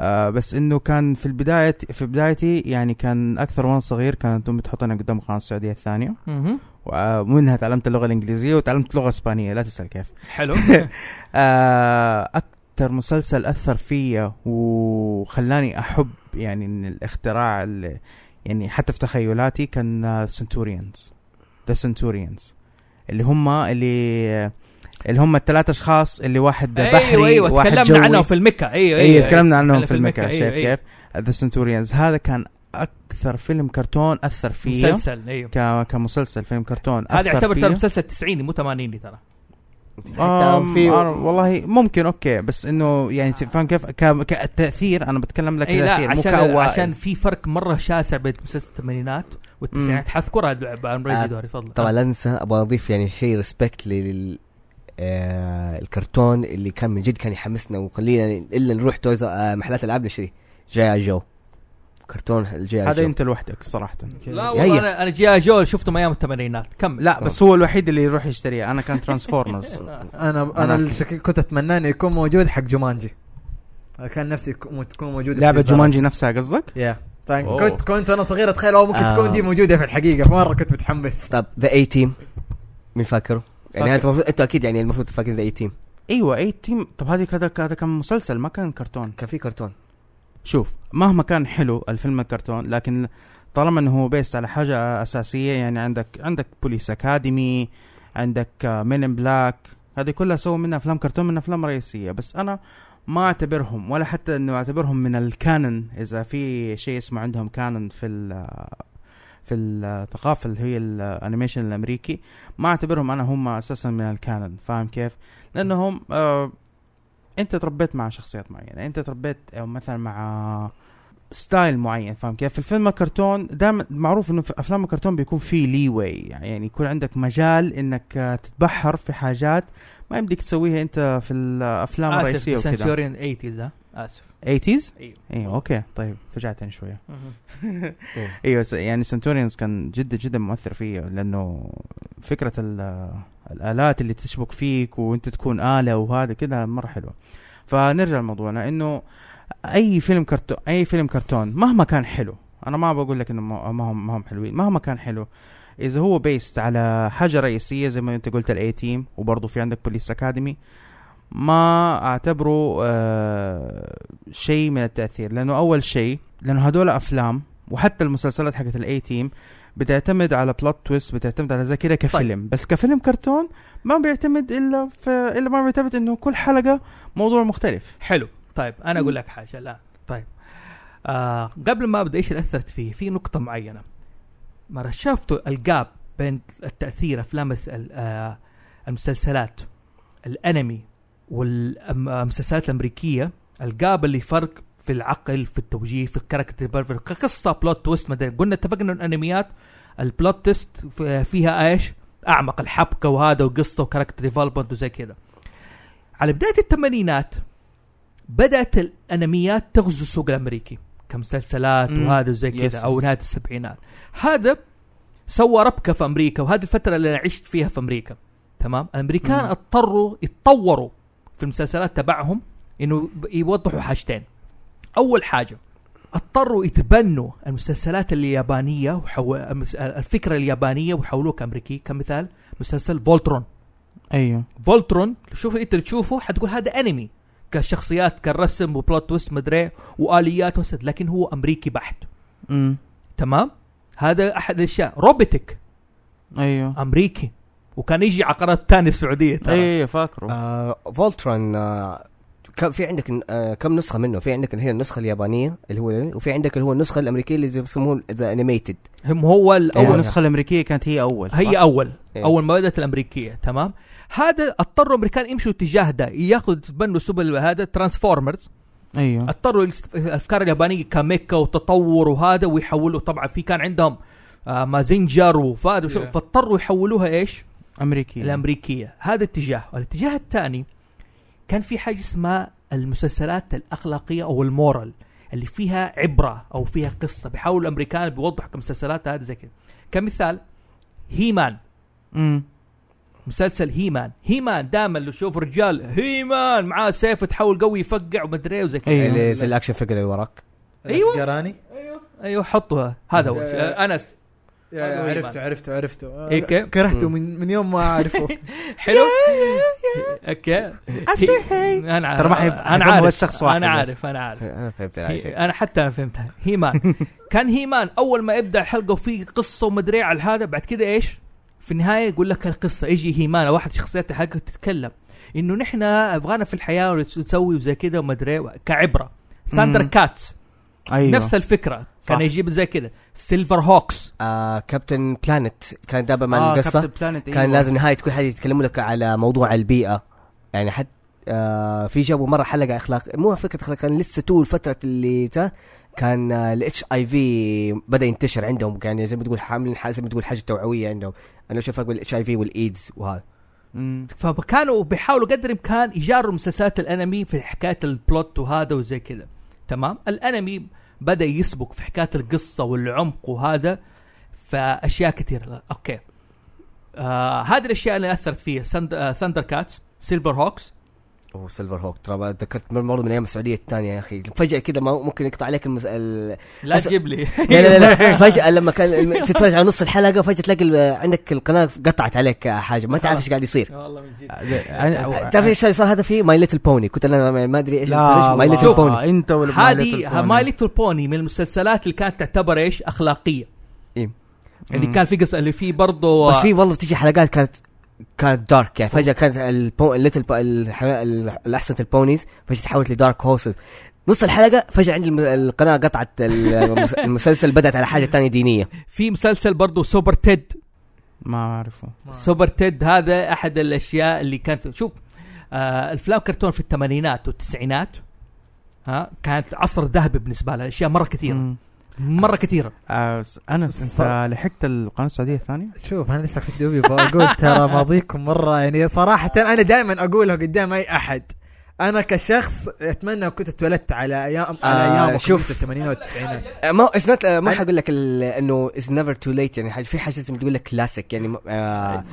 Speaker 2: آه بس انه كان في البدايه في بدايتي يعني كان اكثر وانا صغير كانت امي تحطنا قدام قناه السعوديه الثانيه
Speaker 1: مهم.
Speaker 2: ومنها آه، تعلمت اللغه الانجليزيه وتعلمت لغه اسبانيه لا تسال كيف
Speaker 1: حلو أيوة،
Speaker 2: آه، اكثر مسلسل اثر فيا وخلاني احب يعني إن الاختراع ال- يعني حتى في تخيلاتي كان سنتوريانز ذا سنتوريانز اللي هم اللي اللي هم الثلاث اشخاص اللي واحد بحري
Speaker 1: ايوه ايوه
Speaker 2: واحد
Speaker 1: تكلمنا
Speaker 2: جوي
Speaker 1: عنهم في المكة ايوه
Speaker 2: ايوه تكلمنا عنهم
Speaker 1: خلينا
Speaker 2: في المكة شايف
Speaker 1: أيوة،
Speaker 2: كيف ذا سنتوريانز هذا كان اكثر فيلم كرتون اثر فيا
Speaker 1: مسلسل ايوه
Speaker 2: ك- كمسلسل فيلم كرتون
Speaker 1: هذا
Speaker 2: اثر
Speaker 1: يعتبر
Speaker 2: فيا
Speaker 1: ترى مسلسل 90 مو 80 ترى
Speaker 3: حتى
Speaker 2: آم،
Speaker 3: في
Speaker 2: أنا والله ممكن اوكي بس انه يعني فاهم كيف ك- كتاثير انا بتكلم لك
Speaker 1: اي إيه، لا
Speaker 2: تاثير مو
Speaker 1: عشان
Speaker 2: كأوائل
Speaker 1: عشان في فرق مره شاسع بين مسلسل الثمانينات والتسعينات حذكرها
Speaker 3: آه،
Speaker 1: عمري دوري تفضل
Speaker 3: طبعا لا ننسى ابغى اضيف يعني شيء ريسبكت لل آه الكرتون اللي كان من جد كان يحمسنا وخلينا الا نروح تويز آه محلات العاب نشتري جاي جو كرتون الجاي
Speaker 2: هذا
Speaker 3: جو
Speaker 2: انت لوحدك صراحه
Speaker 1: لا
Speaker 3: جاية.
Speaker 1: والله انا انا جي جول شفتهم ايام الثمانينات كمل
Speaker 2: لا بس هو الوحيد اللي يروح يشتريها انا كان ترانسفورمرز
Speaker 4: انا انا
Speaker 2: أنا-
Speaker 4: اللي شك- كنت اتمنى انه يكون موجود حق جومانجي أنا كان نفسي يكون- تكون موجوده
Speaker 2: لعبه
Speaker 4: في الزرس.
Speaker 2: جومانجي نفسها قصدك
Speaker 4: يا طبعا
Speaker 2: أوه.
Speaker 4: كنت كنت وانا صغير اتخيل أو ممكن
Speaker 3: آه.
Speaker 4: تكون دي موجوده في الحقيقه فمره كنت متحمس
Speaker 3: طب ذا اي تيم مين فاكره؟ يعني
Speaker 2: فاكر.
Speaker 3: انت المفروض انت اكيد يعني المفروض فاكر ذا اي تيم
Speaker 2: ايوه اي تيم طب هذه هذا هذا كان مسلسل ما كان كرتون
Speaker 3: كان في كرتون
Speaker 2: شوف مهما كان حلو الفيلم الكرتون لكن طالما انه هو بيس على حاجه اساسيه يعني عندك عندك بوليس اكاديمي عندك مين ان بلاك هذه كلها سووا منها افلام كرتون من افلام رئيسيه بس انا ما اعتبرهم ولا حتى انه اعتبرهم من الكانون اذا في شيء اسمه عندهم كانون في ال في الثقافه اللي هي الانيميشن الامريكي ما اعتبرهم انا هم اساسا من الكانون فاهم كيف؟ لانهم آه انت تربيت مع شخصيات معينه انت تربيت او مثلا مع ستايل معين فاهم كيف في الفيلم الكرتون دائما معروف انه في افلام الكرتون بيكون في لي واي يعني يكون عندك مجال انك آه، تتبحر في حاجات ما يمديك تسويها انت في الافلام
Speaker 1: اسف
Speaker 2: الرئيسيه وكذا
Speaker 1: سنشوريان 80 ها اسف
Speaker 2: 80s
Speaker 1: ايوه
Speaker 2: ايوه اوكي طيب فجعتني شويه ايوه س- يعني سنتوريانز كان جدا جدا مؤثر فيه لانه فكره ال- الالات اللي تشبك فيك وانت تكون اله وهذا كده مره حلوه فنرجع لموضوعنا انه اي فيلم كرتون اي فيلم كرتون مهما كان حلو انا ما بقول لك انه ما ما هم ما هم حلوين مهما كان حلو اذا هو بيست على حاجه رئيسيه زي ما انت قلت الاي تيم وبرضه في عندك بوليس اكاديمي ما اعتبره آه شيء من التاثير لانه اول شيء لانه هدول افلام وحتى المسلسلات حقت الاي تيم بتعتمد على بلوت تويست بتعتمد على ذاكره كفيلم طيب. بس كفيلم كرتون ما بيعتمد الا في الا ما بيعتمد انه كل حلقه موضوع مختلف
Speaker 1: حلو طيب انا اقول لك حاجه الان طيب آه قبل ما ابدا ايش اللي اثرت فيه في نقطه معينه مره شفتوا الجاب بين التاثير افلام الس- ال- آه المسلسلات الانمي والمسلسلات الامريكيه الجاب اللي فرق في العقل في التوجيه في الكاركتر ديفلوبمنت، كقصه بلوت تويست مدري قلنا اتفقنا ان الانميات البلوت تويست في- فيها ايش؟ اعمق الحبكه وهذا وقصه وكاركتر ديفلوبمنت وزي كذا على بدايه الثمانينات بدات الانميات تغزو السوق الامريكي كمسلسلات
Speaker 2: مم.
Speaker 1: وهذا وزي كذا
Speaker 2: يس،
Speaker 1: او
Speaker 2: يس.
Speaker 1: نهايه السبعينات هذا سوى ربكه في امريكا وهذه الفتره اللي انا عشت فيها في امريكا تمام الامريكان
Speaker 2: مم.
Speaker 1: اضطروا يتطوروا في المسلسلات تبعهم انه ب- يوضحوا حاجتين اول حاجه اضطروا يتبنوا المسلسلات اليابانيه وحو... المس- الفكره اليابانيه وحولوها كامريكي كمثال مسلسل فولترون أيوه.
Speaker 2: ايوه
Speaker 1: فولترون شوف انت تشوفه حتقول هذا انمي كشخصيات كالرسم وبلوت تويست مدري واليات وسد لكن هو امريكي بحت
Speaker 2: امم
Speaker 1: تمام هذا احد الاشياء روبوتك أيوه.
Speaker 2: ايوه
Speaker 3: آه،
Speaker 1: امريكي وكان يجي على قناه ثانيه سعوديه
Speaker 3: إيه.
Speaker 1: ترى
Speaker 2: اي إيه، فاكره
Speaker 3: طيب. آه فولتران آه كم في عندك آه كم نسخه منه في عندك اللي هي النسخه اليابانيه اللي هو وفي عندك اللي هو النسخه الامريكيه اللي زي- يسموه ذا انيميتد
Speaker 1: هم هو الاول
Speaker 2: اول
Speaker 3: أيوة.
Speaker 2: النسخه الامريكيه كانت هي اول صح؟
Speaker 1: أيوه. هي اول
Speaker 3: إيه.
Speaker 1: اول ما بدات الامريكيه تمام هذا اضطروا الامريكان يمشوا اتجاه ده ياخذ تبنوا سبل هذا ترانسفورمرز
Speaker 2: ايوه
Speaker 1: اضطروا يست- الافكار اليابانيه كميكا وتطور وهذا ويحولوا طبعا في كان عندهم آه مازنجر وفاد وشو
Speaker 3: إيه.
Speaker 4: Yeah.
Speaker 1: فاضطروا يحولوها ايش؟
Speaker 2: امريكيه
Speaker 1: الامريكيه هذا اتجاه الاتجاه الثاني كان في حاجه اسمها المسلسلات الاخلاقيه او المورال اللي فيها عبره او فيها قصه بيحاولوا الامريكان بيوضحوا كمسلسلات هذا زي كذا كمثال هيمان
Speaker 2: امم
Speaker 1: مسلسل هيمان هيمان دائما لو تشوف رجال هيمان معاه سيف تحول قوي يفقع ومدري إيه وزي كذا
Speaker 2: أيوة.
Speaker 3: اللي زي الاكشن فيجر اللي وراك
Speaker 1: أيوة.
Speaker 4: قراني
Speaker 1: ايوه حطوها هذا هو
Speaker 4: Yeah.
Speaker 1: انس هذا هو
Speaker 4: آه، عرفته
Speaker 1: إيمان.
Speaker 4: عرفته عرفته
Speaker 1: إيه كيف؟
Speaker 4: كرهته من من يوم ما اعرفه
Speaker 1: حلو اوكي انا
Speaker 2: ترى ما
Speaker 1: عارف
Speaker 2: حيب-
Speaker 1: انا
Speaker 2: حيفهموا
Speaker 1: عارف
Speaker 2: بس شخص واحد
Speaker 1: انا
Speaker 2: بس.
Speaker 1: عارف انا عارف
Speaker 3: انا فهمت
Speaker 1: هي-
Speaker 3: على شيء
Speaker 1: انا حتى انا فهمتها هيمان كان هيمان اول ما يبدا الحلقه وفي قصه ومدري على هذا بعد كده ايش؟ في النهايه يقول لك القصه يجي هيمان واحد شخصيات الحلقه تتكلم انه نحن ابغانا في الحياه ونسوي وزي كده ومدري كعبره ثاندر
Speaker 2: مم.
Speaker 1: كاتس
Speaker 2: ايوه
Speaker 1: نفس الفكره كان
Speaker 2: صح.
Speaker 1: يجيب زي كذا سيلفر هوكس
Speaker 3: آه كابتن بلانت كان دائما
Speaker 2: آه،
Speaker 3: مع القصه
Speaker 2: بلانت
Speaker 3: كان لازم نهاية كل حلقة يتكلموا لك على موضوع البيئة يعني حتى آه في جابوا مرة حلقة أخلاق مو فكرة أخلاق كان لسه تو الفترة اللي تا كان آه، الاتش اي في بدا ينتشر عندهم كان زي ما تقول حاملين ح- زي ما تقول حاجه توعويه عندهم انا شوف الفرق بين الاتش اي في والايدز وهذا
Speaker 1: فكانوا بيحاولوا قدر الامكان يجاروا مسلسلات الانمي في حكايه البلوت وهذا وزي كذا تمام الانمي بدا يسبق في حكايه القصه والعمق وهذا فاشياء كثيره اوكي آه هذه الاشياء اللي اثرت فيها سند... آه ثاندر كاتس سيلفر هوكس
Speaker 3: وسيلفر هوك ترى بقى تذكرت برضه من ايام السعوديه الثانيه يا اخي فجاه كذا ما ممكن يقطع عليك المس... ال...
Speaker 1: لا
Speaker 3: أس-
Speaker 1: تجيب لي
Speaker 3: لا لا لا فجاه لما كان الم- تتفرج على نص الحلقه فجاه تلاقي ال- عندك القناه قطعت عليك حاجه ما تعرف ايش قاعد يصير
Speaker 1: والله من جد
Speaker 3: تعرف ايش اللي صار هذا في ماي ليتل بوني كنت انا ما- ما ادري ايش ماي ليتل بوني
Speaker 2: انت ولا My Little
Speaker 1: هذه
Speaker 2: Pony.
Speaker 1: ماي ليتل بوني من المسلسلات اللي كانت تعتبر ايش اخلاقيه
Speaker 3: إيه.
Speaker 1: اللي
Speaker 2: مم.
Speaker 1: كان في قصه اللي في برضه
Speaker 3: بس في والله بتيجي حلقات كانت كانت دارك يعني فجاه كانت البو... الليتل ب... الح... ال- الاحسن البونيز فجاه تحولت لدارك هورسز نص الحلقه فجاه عندي الم- القناه قطعت ال- المس- المسلسل بدات على حاجه تانية دينيه
Speaker 1: في مسلسل برضه سوبر تيد
Speaker 2: ما اعرفه
Speaker 4: آه.
Speaker 1: سوبر تيد هذا احد الاشياء اللي كانت شوف آه الافلام كرتون في الثمانينات والتسعينات ها كانت عصر ذهبي بالنسبه لها اشياء مره كثيره
Speaker 2: مم.
Speaker 1: مره كثيره
Speaker 2: آه، س- انس
Speaker 4: انت-
Speaker 2: آه، لحقت القناه السعوديه الثانيه؟
Speaker 4: شوف انا لسه في دوبي بقول ترى ماضيكم مره يعني صراحه انا دائما اقولها قدام اي احد انا كشخص اتمنى لو كنت اتولدت على ايام على
Speaker 3: آه،
Speaker 4: ايام
Speaker 3: شوف.
Speaker 4: شوف الثمانينات والتسعينات
Speaker 3: آه، ما اتس نوت ما حقول لك ال- انه از نيفر تو ليت يعني حاجة- في حاجات زي ما تقول لك كلاسيك يعني م- آه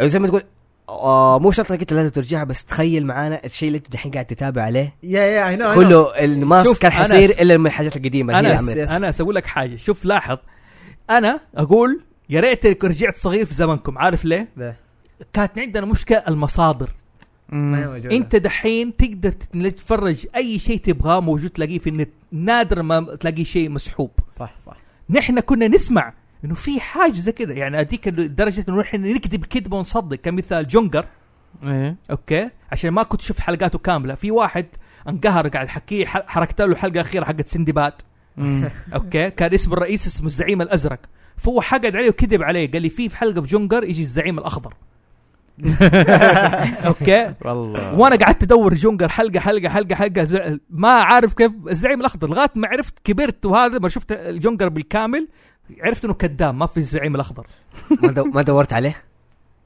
Speaker 3: زي ما تقول آه مو شرط انك انت لازم ترجعها بس تخيل معانا الشيء اللي انت الحين قاعد تتابع عليه
Speaker 4: يا يا اي نو
Speaker 3: كله ال- ما
Speaker 1: أيوه. شوف،
Speaker 3: كان
Speaker 1: أنا-
Speaker 3: حيصير الا من الحاجات القديمه اللي هي
Speaker 1: انا
Speaker 3: عملت.
Speaker 4: يس.
Speaker 1: انا اسوي لك حاجه شوف لاحظ انا اقول يا ريت إنك رجعت صغير في زمنكم عارف ليه؟
Speaker 4: ليه؟
Speaker 1: كانت عندنا مشكله المصادر انت دحين تقدر تتن- تتفرج اي شيء تبغاه موجود تلاقيه في النت نادر ما تلاقي شيء مسحوب
Speaker 4: صح صح
Speaker 1: نحن كنا نسمع انه في حاجه زي كذا يعني اديك درجه انه نحن نكذب كذبه ونصدق كمثال جونجر
Speaker 2: ايه
Speaker 1: اوكي عشان ما كنت شفت حلقاته كامله في واحد انقهر قاعد حكيه ح- حركت له الحلقه الاخيره حقت سندباد
Speaker 2: مم.
Speaker 1: اوكي كان اسم الرئيس اسمه الزعيم الازرق فهو حقد عليه وكذب عليه قال لي في في حلقه في جونجر يجي الزعيم الاخضر اوكي
Speaker 2: والله
Speaker 3: آه.
Speaker 1: وانا قعدت ادور جونجر حلقه حلقه حلقه حلقه ز- ما عارف كيف الزعيم الاخضر لغايه ما عرفت كبرت وهذا ما شفت الجونجر بالكامل عرفت انه كذاب ما في الزعيم الاخضر
Speaker 3: ما, دو... ما دورت عليه؟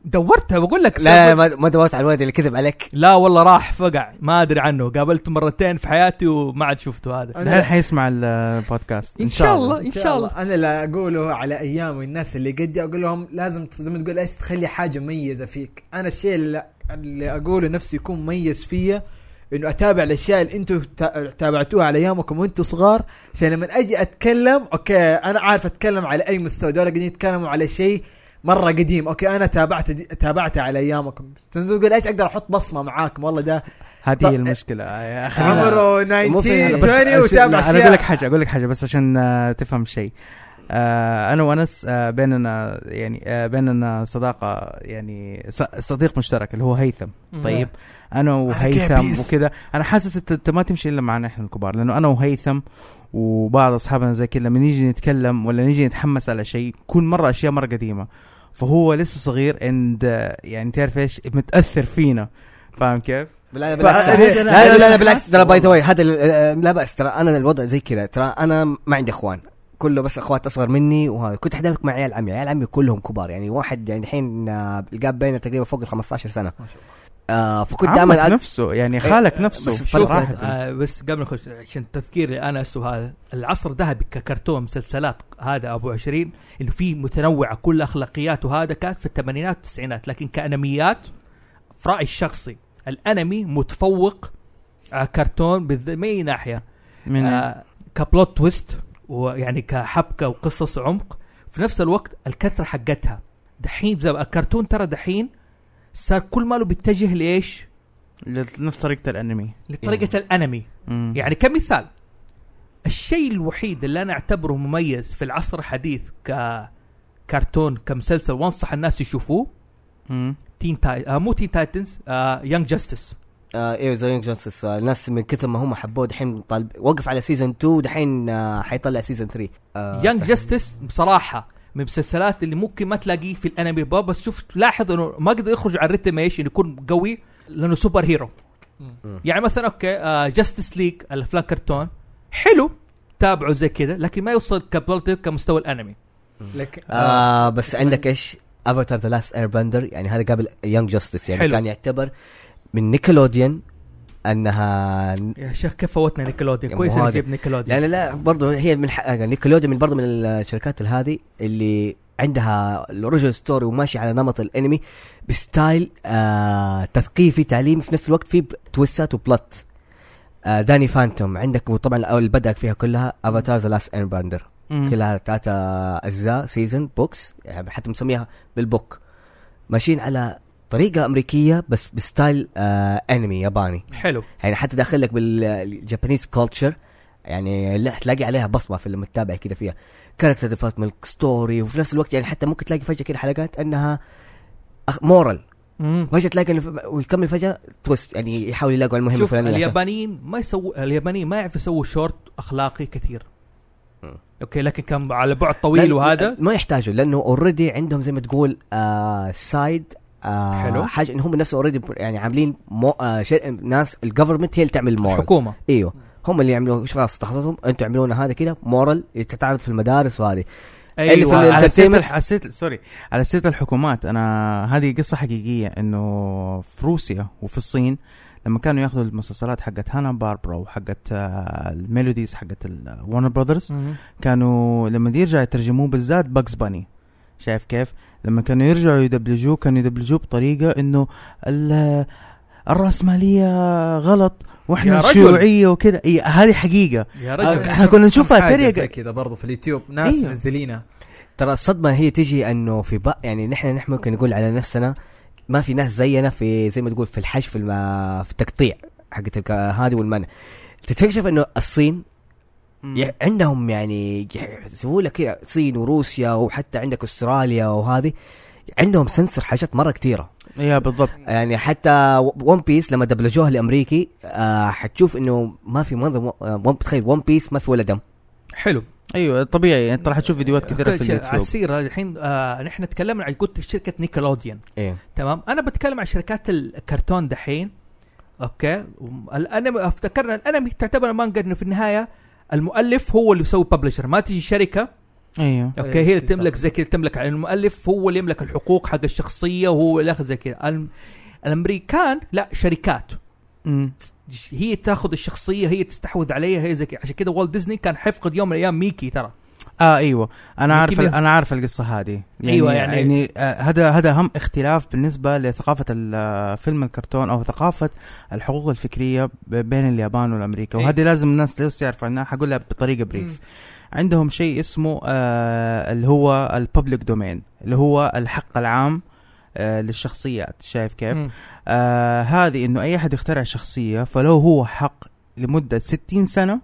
Speaker 1: دورتها بقول لك
Speaker 3: لا ما, ما دورت على الولد اللي كذب عليك
Speaker 1: لا والله راح فقع ما ادري عنه قابلته مرتين في حياتي وما عاد شفته هذا
Speaker 4: أنا-
Speaker 2: الحين حيسمع البودكاست
Speaker 1: ان شاء الله ان شاء الله
Speaker 4: انا لا اقوله على ايام الناس اللي قدي اقول لهم لازم ت- زي ما تقول ايش تخلي حاجه مميزه فيك انا الشيء اللي, اللي اقوله نفسي يكون مميز فيا انه اتابع الاشياء اللي انتم تابعتوها على ايامكم وانتم صغار عشان لما اجي اتكلم اوكي انا عارف اتكلم على اي مستوى دول قاعدين يتكلموا على شيء مره قديم اوكي انا تابعت دي- تابعته على ايامكم تقول ايش اقدر احط بصمه معاكم والله ده
Speaker 2: هذه
Speaker 4: طب-
Speaker 2: هي المشكلة
Speaker 1: إيه،
Speaker 2: يا أخي
Speaker 4: عمره
Speaker 3: مو
Speaker 4: 19
Speaker 3: في- أنا بس
Speaker 4: 20
Speaker 2: عشان-
Speaker 4: وتابع
Speaker 2: لا، انا اقول لك
Speaker 4: اشياء
Speaker 2: حاجه اقول لك حاجه بس عشان آه، تفهم شيء آه، انا وانس آه، بيننا يعني آه، بيننا صداقه يعني ص- صديق مشترك اللي هو هيثم طيب انا وهيثم
Speaker 4: كابيس.
Speaker 2: وكذا انا حاسس انت أنت ما تمشي الا معنا احنا الكبار لانه انا وهيثم وبعض اصحابنا زي كذا لما نيجي نتكلم ولا نيجي نتحمس على شيء يكون مره اشياء مره قديمه فهو لسه صغير اند يعني تعرف ايش متاثر فينا فاهم كيف؟
Speaker 3: لا
Speaker 4: بالعكس.
Speaker 3: لا
Speaker 4: لا،
Speaker 3: لا لا, لا بالعكس ترى باي ذا واي هذا ال- آه، لا باس ترى انا الوضع زي كذا ترى انا ما عندي اخوان كله بس اخوات اصغر مني وهذا كنت حدامك مع عيال عمي عيال عمي كلهم كبار يعني واحد يعني الحين آه، الجاب بينه تقريبا فوق ال 15 سنه
Speaker 4: ما شاء الله.
Speaker 3: آه فكنت
Speaker 2: عمك
Speaker 3: دائما
Speaker 2: نفسه يعني خالك نفسه
Speaker 3: بس
Speaker 1: شوف
Speaker 2: صراحه
Speaker 1: إيه، آه بس قبل ما نخش عشان تذكير انس وهذا العصر الذهبي ككرتون مسلسلات هذا ابو 20 اللي فيه متنوعه كل اخلاقيات وهذا كانت في الثمانينات والتسعينات لكن كانميات في رايي الشخصي الانمي متفوق آه كرتون بالذ- من اي ناحيه
Speaker 2: من
Speaker 1: آه كبلوت تويست ويعني كحبكه يعني وقصص عمق في نفس الوقت الكثره حقتها دحين زي الكرتون ترى دحين صار كل ماله بيتجه لايش؟
Speaker 2: نفس طريقه الانمي
Speaker 1: لطريقه الانمي
Speaker 2: مم.
Speaker 1: يعني كمثال الشيء الوحيد اللي انا اعتبره مميز في العصر الحديث ككرتون كمسلسل وانصح الناس يشوفوه
Speaker 2: مم.
Speaker 1: تين تاي... آه مو تين تايتنز آه يانج جاستس
Speaker 3: آه ايوه ذا رينج جاستس آه الناس من كثر ما هم حبوه دحين طالب وقف على سيزون 2 دحين آه حيطلع سيزون 3 آه
Speaker 1: يانج جاستس بصراحه من المسلسلات اللي ممكن ما تلاقيه في الانمي بابا بس شوف لاحظ انه ما قدر يخرج عن الريتم ايش انه يكون قوي لانه سوبر هيرو
Speaker 4: مم.
Speaker 1: يعني مثلا اوكي آه جاستس ليج الافلام كرتون حلو تابعه زي كذا لكن ما يوصل كبلطي كمستوى الانمي
Speaker 4: لك
Speaker 3: آه بس عندك ايش؟ افاتار ذا لاست اير بندر يعني هذا قبل يانج جاستس يعني
Speaker 1: حلو.
Speaker 3: حلو. كان يعتبر من نيكلوديان انها
Speaker 1: يا شيخ كيف فوتنا نيكلوديان
Speaker 3: يا
Speaker 1: كويس
Speaker 3: مو
Speaker 1: اني
Speaker 3: هذا.
Speaker 1: جبت نيكلوديان
Speaker 3: يعني لا برضه هي من حق- نيكلوديان من برضه من الشركات هذه اللي عندها الاوريجنال ستوري وماشي على نمط الانمي بستايل آه تثقيفي تعليمي في نفس الوقت في تويستات وبلوت آه داني فانتوم عندك طبعا اول بدا فيها كلها افاتار ذا لاست اير بندر كلها ثلاثة أجزاء سيزن بوكس يعني حتى مسميها بالبوك ماشيين على طريقة أمريكية بس بستايل آه أنمي ياباني
Speaker 1: حلو
Speaker 3: يعني حتى داخل لك بالجابانيز كولتشر يعني لا تلاقي عليها بصمة في لما تتابع كده فيها كاركتر ديفلوبمنت ستوري وفي نفس الوقت يعني حتى ممكن تلاقي فجأة كده حلقات أنها مورال
Speaker 1: مم.
Speaker 3: فجأة تلاقي إنه ف- ويكمل فجأة تويست يعني يحاول يلاقوا المهم
Speaker 1: شوف
Speaker 3: الفلاني عشان-
Speaker 1: اليابانيين ما يسووا اليابانيين ما يعرفوا يسووا شورت اخلاقي كثير
Speaker 3: مم.
Speaker 1: اوكي لكن كان على بعد
Speaker 3: لا-
Speaker 1: طويل
Speaker 3: لا-
Speaker 1: وهذا
Speaker 3: ما يحتاجوا لانه اوريدي عندهم زي ما تقول آه سايد آه
Speaker 1: حلو.
Speaker 3: حاجه ان هم ناس اوريدي يعني عاملين مو آه شيء ناس الجفرمنت هي اللي تعمل مورال
Speaker 1: الحكومه
Speaker 3: ايوه هم اللي يعملوا خلاص تخصصهم انتم اعملونا هذا كده مورال تتعرض في المدارس وهذه اللي في
Speaker 1: ايوه
Speaker 3: ال-
Speaker 2: أيوة، على سيره
Speaker 3: الانترتينمنت.
Speaker 2: الح- سيرة- سوري على سيره الحكومات انا هذه قصه حقيقيه انه في روسيا وفي الصين لما كانوا ياخذوا المسلسلات حقت هانا باربرا وحقت آه، الميلوديز حقت ورنر براذرز
Speaker 1: مم.
Speaker 2: كانوا لما يرجع يترجموه بالذات باكس باني شايف كيف؟ لما كانوا يرجعوا يدبلجوه كانوا يدبلجوه بطريقه انه ال- الرأسمالية غلط
Speaker 1: يا
Speaker 2: واحنا
Speaker 1: رجل.
Speaker 2: شيوعية وكذا اي هذه حقيقة
Speaker 1: يا
Speaker 2: آه،
Speaker 1: رجل
Speaker 2: إحنا كنا نشوفها
Speaker 4: طيب، حاجة
Speaker 2: تريقة.
Speaker 4: زي كذا برضه في اليوتيوب ناس
Speaker 2: أيوه.
Speaker 4: منزلينها
Speaker 3: ترى الصدمه هي تجي انه في بق يعني نحن نحن ممكن نقول على نفسنا ما في ناس زينا في زي ما تقول في الحشو في, الم- في التقطيع حقت الك- هذه والمنع تكتشف انه الصين يع- عندهم يعني يسووا لك كذا الصين وروسيا وحتى عندك استراليا وهذه عندهم سنسر حاجات مره كثيره
Speaker 2: يا إيه، بالضبط
Speaker 3: يعني حتى ون بيس لما دبلجوها الامريكي آه حتشوف انه ما في منظر آه، ون- تخيل ون بيس ما في ولا دم
Speaker 1: حلو
Speaker 2: ايوه طبيعي انت راح تشوف فيديوهات كثيرة
Speaker 1: أوكي،
Speaker 2: في
Speaker 1: شيء- على
Speaker 2: اليوتيوب
Speaker 1: السيره الحين آه نحن تكلمنا عن قلت شركه نيكلوديان
Speaker 3: ايه
Speaker 1: تمام انا بتكلم عن شركات الكرتون دحين اوكي وم- الانمي افتكرنا الانمي تعتبر مانجا انه في النهايه المؤلف هو اللي يسوي ببلشر ما تجي شركه
Speaker 2: ايوه
Speaker 1: اوكي هي اللي تملك زي كذا تملك يعني المؤلف هو اللي يملك الحقوق حق الشخصيه وهو اللي ياخذ زي كذا الم- الامريكان لا شركات
Speaker 2: مم.
Speaker 1: هي تاخذ الشخصيه هي تستحوذ عليها هي زي كذا عشان كذا والت ديزني كان حيفقد يوم من الايام ميكي ترى
Speaker 2: اه ايوه انا عارف
Speaker 1: يمكن-
Speaker 2: انا عارف القصه هذه
Speaker 1: أيوة، يعني-
Speaker 2: يعني آه، هذا هذا اهم اختلاف بالنسبه لثقافه ال- آه، فيلم الكرتون او ثقافه الحقوق الفكريه ب- بين اليابان والامريكا
Speaker 1: أيوة.
Speaker 2: وهذه لازم الناس لو تعرف عنها حقولها بطريقه بريف عندهم شيء اسمه آه اللي هو الببليك دومين اللي هو الحق العام آه للشخصيات شايف كيف؟
Speaker 1: مم.
Speaker 2: آه هذه انه اي احد يخترع شخصيه فلو هو حق لمده 60 سنه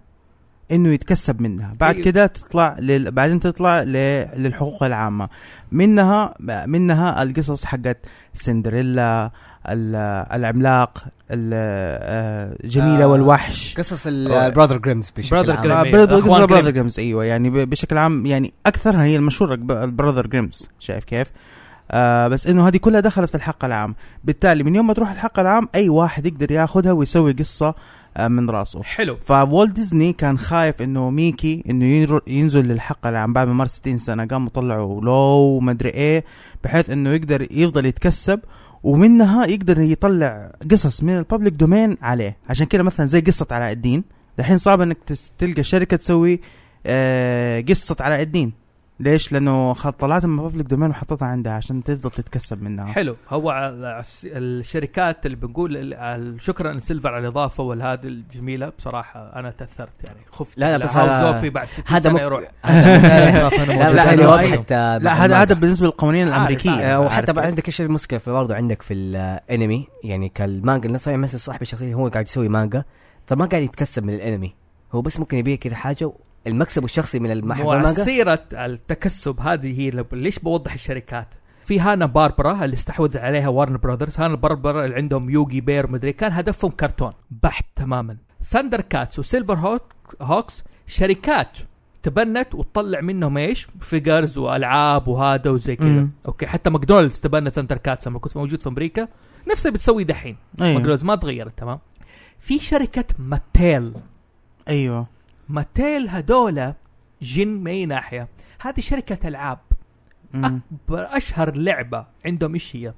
Speaker 2: انه يتكسب منها بعد
Speaker 1: أيوة.
Speaker 2: كده تطلع لل... بعدين تطلع ل... للحقوق العامه منها منها القصص حقت سندريلا ال- العملاق ال- آه، جميله
Speaker 3: آه،
Speaker 2: آه والوحش
Speaker 3: قصص
Speaker 2: آه،
Speaker 3: البرادر جريمز بشكل
Speaker 1: Brother
Speaker 3: عام.
Speaker 1: Grimm.
Speaker 2: آه،
Speaker 1: Grimm.
Speaker 2: براد-
Speaker 1: أخوان
Speaker 2: قصة
Speaker 1: Grimm.
Speaker 2: براذر جريمز ايوه يعني ب- بشكل عام يعني اكثرها هي المشهوره البراذر جريمز شايف كيف؟ آه بس انه هذه كلها دخلت في الحق العام، بالتالي من يوم ما تروح الحق العام اي واحد يقدر ياخذها ويسوي قصه آه من راسه.
Speaker 1: حلو
Speaker 2: فوالت ديزني كان خايف انه ميكي انه ينر- ينزل للحق العام بعد ما مر 60 سنه قاموا طلعوا لو مدري ايه بحيث انه يقدر يفضل يتكسب ومنها يقدر يطلع قصص من الببليك دومين عليه عشان كده مثلا زي قصه علاء الدين دحين صعب انك تس- تلقى شركه تسوي آه، قصه علاء الدين ليش؟ لانه خ- طلعت من الببليك دومين وحطيتها عندها عشان تفضل تتكسب منها
Speaker 1: حلو هو على الس- الشركات اللي بنقول ال- ال- شكرا سيلفر على الاضافه والهذه الجميله بصراحه انا تاثرت يعني خفت
Speaker 3: لا، لا،
Speaker 1: على
Speaker 3: بس
Speaker 1: هاو
Speaker 3: هذا-
Speaker 1: زوفي بعد ست
Speaker 3: هذا
Speaker 1: سنه
Speaker 3: مك-
Speaker 1: يروح
Speaker 3: هذا-
Speaker 4: لا
Speaker 3: لا بس
Speaker 2: لا،
Speaker 3: هذه
Speaker 2: لا،
Speaker 3: وضحت آه،
Speaker 2: لا
Speaker 3: بعض
Speaker 2: هذا هذا
Speaker 3: المرات.
Speaker 2: بالنسبه للقوانين
Speaker 1: عارف،
Speaker 2: الامريكيه
Speaker 3: آه، وحتى
Speaker 2: عارف.
Speaker 3: بعد عندك ايش المشكله في برضه عندك في الانمي يعني كالمانجا الناس يعني مثل صاحب الشخصيه هو قاعد يسوي مانجا طب ما قاعد يتكسب من الانمي هو بس ممكن يبيع كذا حاجه المكسب الشخصي من الم- حق المانجا
Speaker 1: وسيرة التكسب هذه هي لب- ليش بوضح الشركات في هانا باربرا اللي استحوذ عليها وارن براذرز هانا باربرا اللي عندهم يوغي بير مدري كان هدفهم كرتون بحت تماما ثاندر كاتس وسيلفر هوك هوكس شركات تبنت وتطلع منهم ايش؟ فيجرز والعاب وهذا وزي كذا
Speaker 2: مم.
Speaker 1: اوكي حتى ماكدونالدز تبنى ثاندر كاتس لما كنت موجود في امريكا نفس اللي بتسويه دحين
Speaker 2: ايوه
Speaker 1: ماكدونالدز ما تغيرت تمام في شركه ماتيل
Speaker 2: ايوه
Speaker 1: ماتيل هذولا جن من اي ناحيه هذه شركه العاب
Speaker 2: مم.
Speaker 1: أكبر اشهر لعبه عندهم ايش هي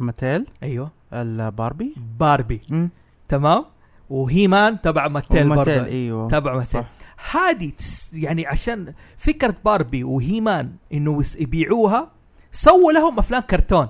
Speaker 2: ماتيل
Speaker 1: ايوه
Speaker 2: الباربي
Speaker 1: باربي
Speaker 2: مم.
Speaker 1: تمام وهيمان تبع ماتيل
Speaker 2: وماتيل
Speaker 1: برضه
Speaker 2: ايوه
Speaker 1: تبع
Speaker 2: صح.
Speaker 1: ماتيل هذه تس- يعني عشان فكره باربي وهيمان انه يس- يبيعوها سووا لهم افلام كرتون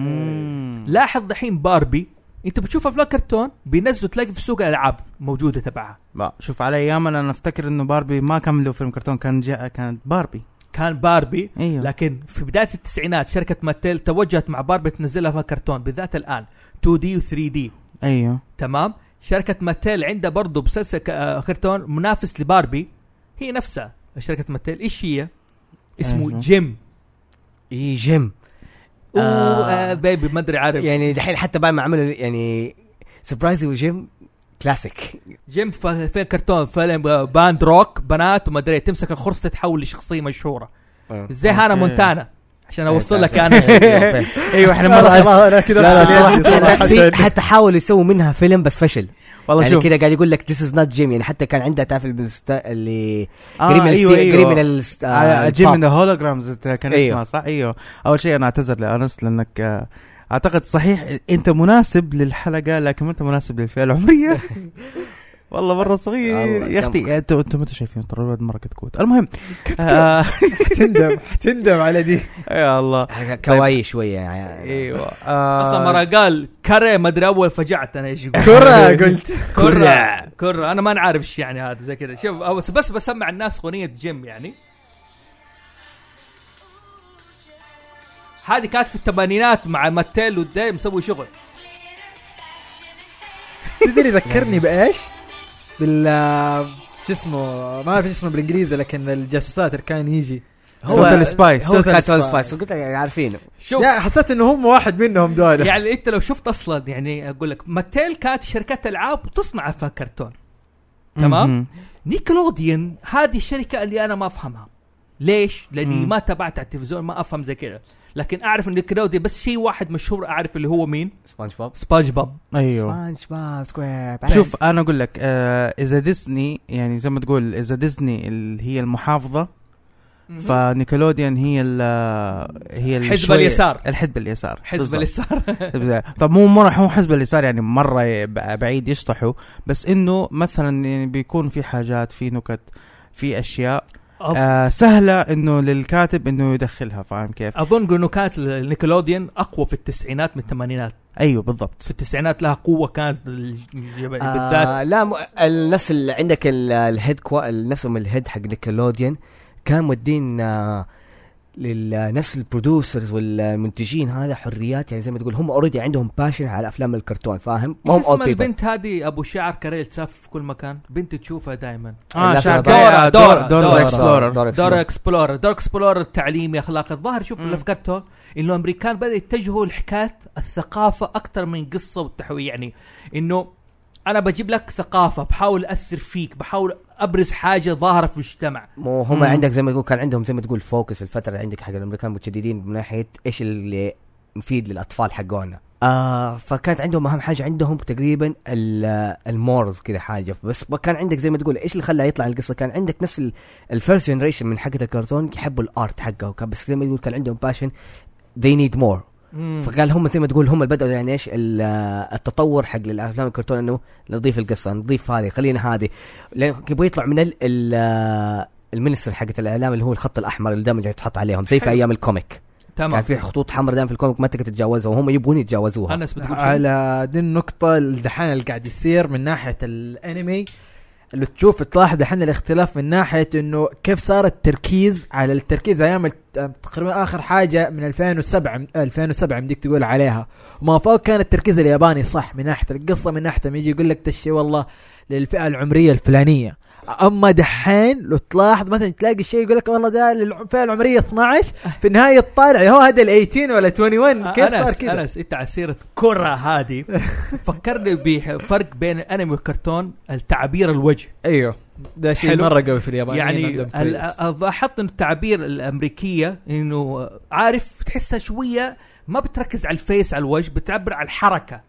Speaker 2: مم.
Speaker 1: لاحظ دحين باربي انت بتشوف افلام كرتون بينزلوا تلاقي في سوق الالعاب موجوده تبعها
Speaker 2: لا شوف على ايامنا انا افتكر انه باربي ما كان له فيلم كرتون كان جاء كانت باربي
Speaker 1: كان باربي
Speaker 3: أيوه.
Speaker 2: ايوه
Speaker 1: لكن في بدايه التسعينات شركه ماتيل توجهت مع باربي تنزلها في كرتون بالذات الان 2 دي و 3 دي
Speaker 2: ايوه
Speaker 1: تمام شركه ماتيل عندها برضه مسلسل ك- آه، كرتون منافس لباربي هي نفسها شركه ماتيل ايش هي؟ اسمه
Speaker 2: أيوه.
Speaker 1: جيم
Speaker 3: اي جيم
Speaker 1: آه.
Speaker 3: آه.
Speaker 1: آه بيبي ما ادري
Speaker 2: طيب.
Speaker 1: عارف
Speaker 3: يعني دحين حتى بعد ما عملوا يعني سبرايز وجيم كلاسيك
Speaker 1: جيم ف- في كرتون فيلم آه، باند روك بنات وما ادري تمسك الخرص تتحول لشخصيه مشهوره زي هانا
Speaker 2: أوكي.
Speaker 1: مونتانا عشان اوصل لك انا
Speaker 2: ايوه احنا
Speaker 3: لا،
Speaker 2: مره
Speaker 3: لا،
Speaker 2: انا كذا
Speaker 3: لا لا صراحه في- حتى حاولوا يسووا منها فيلم بس فشل
Speaker 2: والله
Speaker 3: يعني
Speaker 2: شوف
Speaker 3: كذا قاعد يقول لك ذيس از نوت جيم يعني حتى كان عندها تعرف الست- اللي
Speaker 2: آه،
Speaker 3: قريب من
Speaker 2: أيوة،
Speaker 3: الست-
Speaker 2: أيوة.
Speaker 3: قريب من الست- آه،
Speaker 2: على جيم
Speaker 3: الباب.
Speaker 2: من هولوجرامز كان
Speaker 4: إيوه.
Speaker 3: أيوه.
Speaker 2: اسمها صح ايوه اول شيء انا اعتذر لانس لانك آه، اعتقد صحيح انت مناسب للحلقه لكن ما انت مناسب للفئه العمريه والله مره صغير
Speaker 3: والله
Speaker 2: يا
Speaker 3: كم-
Speaker 2: اختي انتم انتم انتم شايفين ترى الولد مره كتكوت المهم آه،
Speaker 4: حتندم حتندم على دي
Speaker 2: يا الله
Speaker 3: كواي شويه يعني
Speaker 2: ايوه آه،
Speaker 1: اصلا مره قال كره ما ادري اول فجعت انا ايش يقول
Speaker 4: كرة قلت
Speaker 1: كرة كرة انا ما نعرف ايش يعني هذا زي كذا شوف أو بس- بس بسمع الناس اغنية جيم يعني هذه كانت في الثمانينات مع ماتيل والدي مسوي شغل
Speaker 4: تدري ذكرني بايش؟ بال آه، شو اسمه ما اعرف إيش اسمه بالانجليزي لكن الجاسوسات اللي كان يجي
Speaker 2: توتال سبايس
Speaker 3: هو
Speaker 4: Total
Speaker 3: كان
Speaker 4: Spice.
Speaker 3: سبايس قلت لك عارفينه
Speaker 1: شوف
Speaker 4: يا حسيت انه هم واحد منهم دول
Speaker 1: يعني انت لو شفت اصلا يعني اقول لك ماتيل كانت شركات العاب وتصنع افلام كرتون تمام؟ نيكلوديان هذه الشركة اللي أنا ما أفهمها ليش؟ لأني
Speaker 2: مم.
Speaker 1: ما تابعت على التلفزيون ما أفهم زي كذا لكن أعرف إن نيكلوديان بس شيء واحد مشهور أعرف اللي هو مين؟
Speaker 3: سبونج بوب
Speaker 1: سبونج بوب
Speaker 2: ايوه
Speaker 3: سبونج بوب سكوير
Speaker 2: شوف انا اقول لك آه اذا ديزني يعني زي ما تقول اذا ديزني اللي هي المحافظه فنيكلوديان هي ال هي ال
Speaker 1: حزب
Speaker 2: شوية-
Speaker 1: اليسار.
Speaker 2: الحزب اليسار
Speaker 1: حزب
Speaker 2: بالضبط.
Speaker 1: اليسار
Speaker 2: حزب اليسار. طب مو مره هو حزب اليسار يعني مره ي- ب- بعيد يشطحوا بس انه مثلا يعني بيكون في حاجات في نكت في اشياء
Speaker 1: أظ-
Speaker 2: آه سهله انه للكاتب انه يدخلها فاهم كيف؟
Speaker 1: أظن إنه كانت نيكلوديان أقوى في التسعينات من الثمانينات
Speaker 2: ايوه بالضبط
Speaker 1: في التسعينات لها قوة كانت ال- الجب-
Speaker 3: آه
Speaker 1: إيه، بالذات
Speaker 3: لا م... ال- نفس اللي عندك ال- الهيد كوا ال- نفسهم الهيد حق نيكلوديان كان مدين آه لنفس البرودوسرز والمنتجين هذا حريات يعني زي ما تقول هم اوريدي عندهم باشن على افلام الكرتون فاهم؟ ما هم
Speaker 1: اسم
Speaker 3: اول بيبل
Speaker 1: البنت هذه ابو شعر كريل تسف في كل مكان بنت تشوفها دائما
Speaker 2: اه
Speaker 3: لا،
Speaker 2: شعر
Speaker 1: دورا-
Speaker 2: دورا دورا
Speaker 1: دورا- دورا-
Speaker 2: دورا اكسبلورر
Speaker 1: دار اكسبلورر دار اكسبلورر التعليمي اخلاقي الظاهر شوف
Speaker 2: مم.
Speaker 1: اللي فكرته انه الامريكان بدأوا يتجهوا لحكايه الثقافه اكثر من قصه والتحويل يعني انه انا بجيب لك ثقافه بحاول اثر فيك بحاول ابرز حاجه ظاهره في المجتمع
Speaker 3: مو هم
Speaker 2: مم.
Speaker 3: عندك زي ما تقول كان عندهم زي ما تقول فوكس الفتره اللي عندك حق الامريكان متشددين من ناحيه ايش اللي مفيد للاطفال حقونا آه فكانت عندهم اهم حاجه عندهم تقريبا ال- المورز كذا حاجه بس ما كان عندك زي ما تقول ايش اللي خلى يطلع القصه كان عندك نفس الفيرست جنريشن من حقه الكرتون يحبوا الارت حقه وكان بس زي ما تقول كان عندهم باشن they need more فقال هم زي ما تقول هم اللي بدأوا يعني ايش ال- التطور حق الافلام الكرتون انه نضيف القصه نضيف هذه خلينا هذه لان يبغى يطلع من ال ال المنستر حقت الاعلام اللي هو الخط الاحمر اللي دائما يتحط عليهم زي في
Speaker 1: حلو.
Speaker 3: ايام الكوميك كان
Speaker 1: تمام
Speaker 3: في خطوط حمراء دائما في الكوميك ما تقدر تتجاوزها وهم يبغون يتجاوزوها
Speaker 1: انس بتقول شيء؟
Speaker 4: على دي النقطة اللي دحين اللي قاعد يصير من ناحية الانمي اللي تشوف تلاحظ دحين الاختلاف من ناحية انه كيف صار التركيز على التركيز ايام الت- تقريبا اخر حاجة من 2007 من 2007 مديك تقول عليها وما فوق كان التركيز الياباني صح من ناحية القصة من ناحية لما يجي يقول لك تشي والله للفئة العمرية الفلانية اما دحين لو تلاحظ مثلا تلاقي شيء يقول لك والله ده للفئه العمريه 12 في النهايه تطالع هو هذا ال 18 ولا 21 كيف صار
Speaker 1: انس
Speaker 4: كذا؟
Speaker 1: انس انت على سيره كره هذه فكرني بفرق بين الانمي والكرتون التعبير الوجه
Speaker 4: ايوه ده شيء
Speaker 1: حلو.
Speaker 4: مره قوي في
Speaker 3: إيه،
Speaker 4: اليابان أيوه،
Speaker 1: يعني ال- لاحظت ان التعابير الامريكيه انه عارف تحسها شويه ما بتركز على الفيس على الوجه بتعبر على الحركه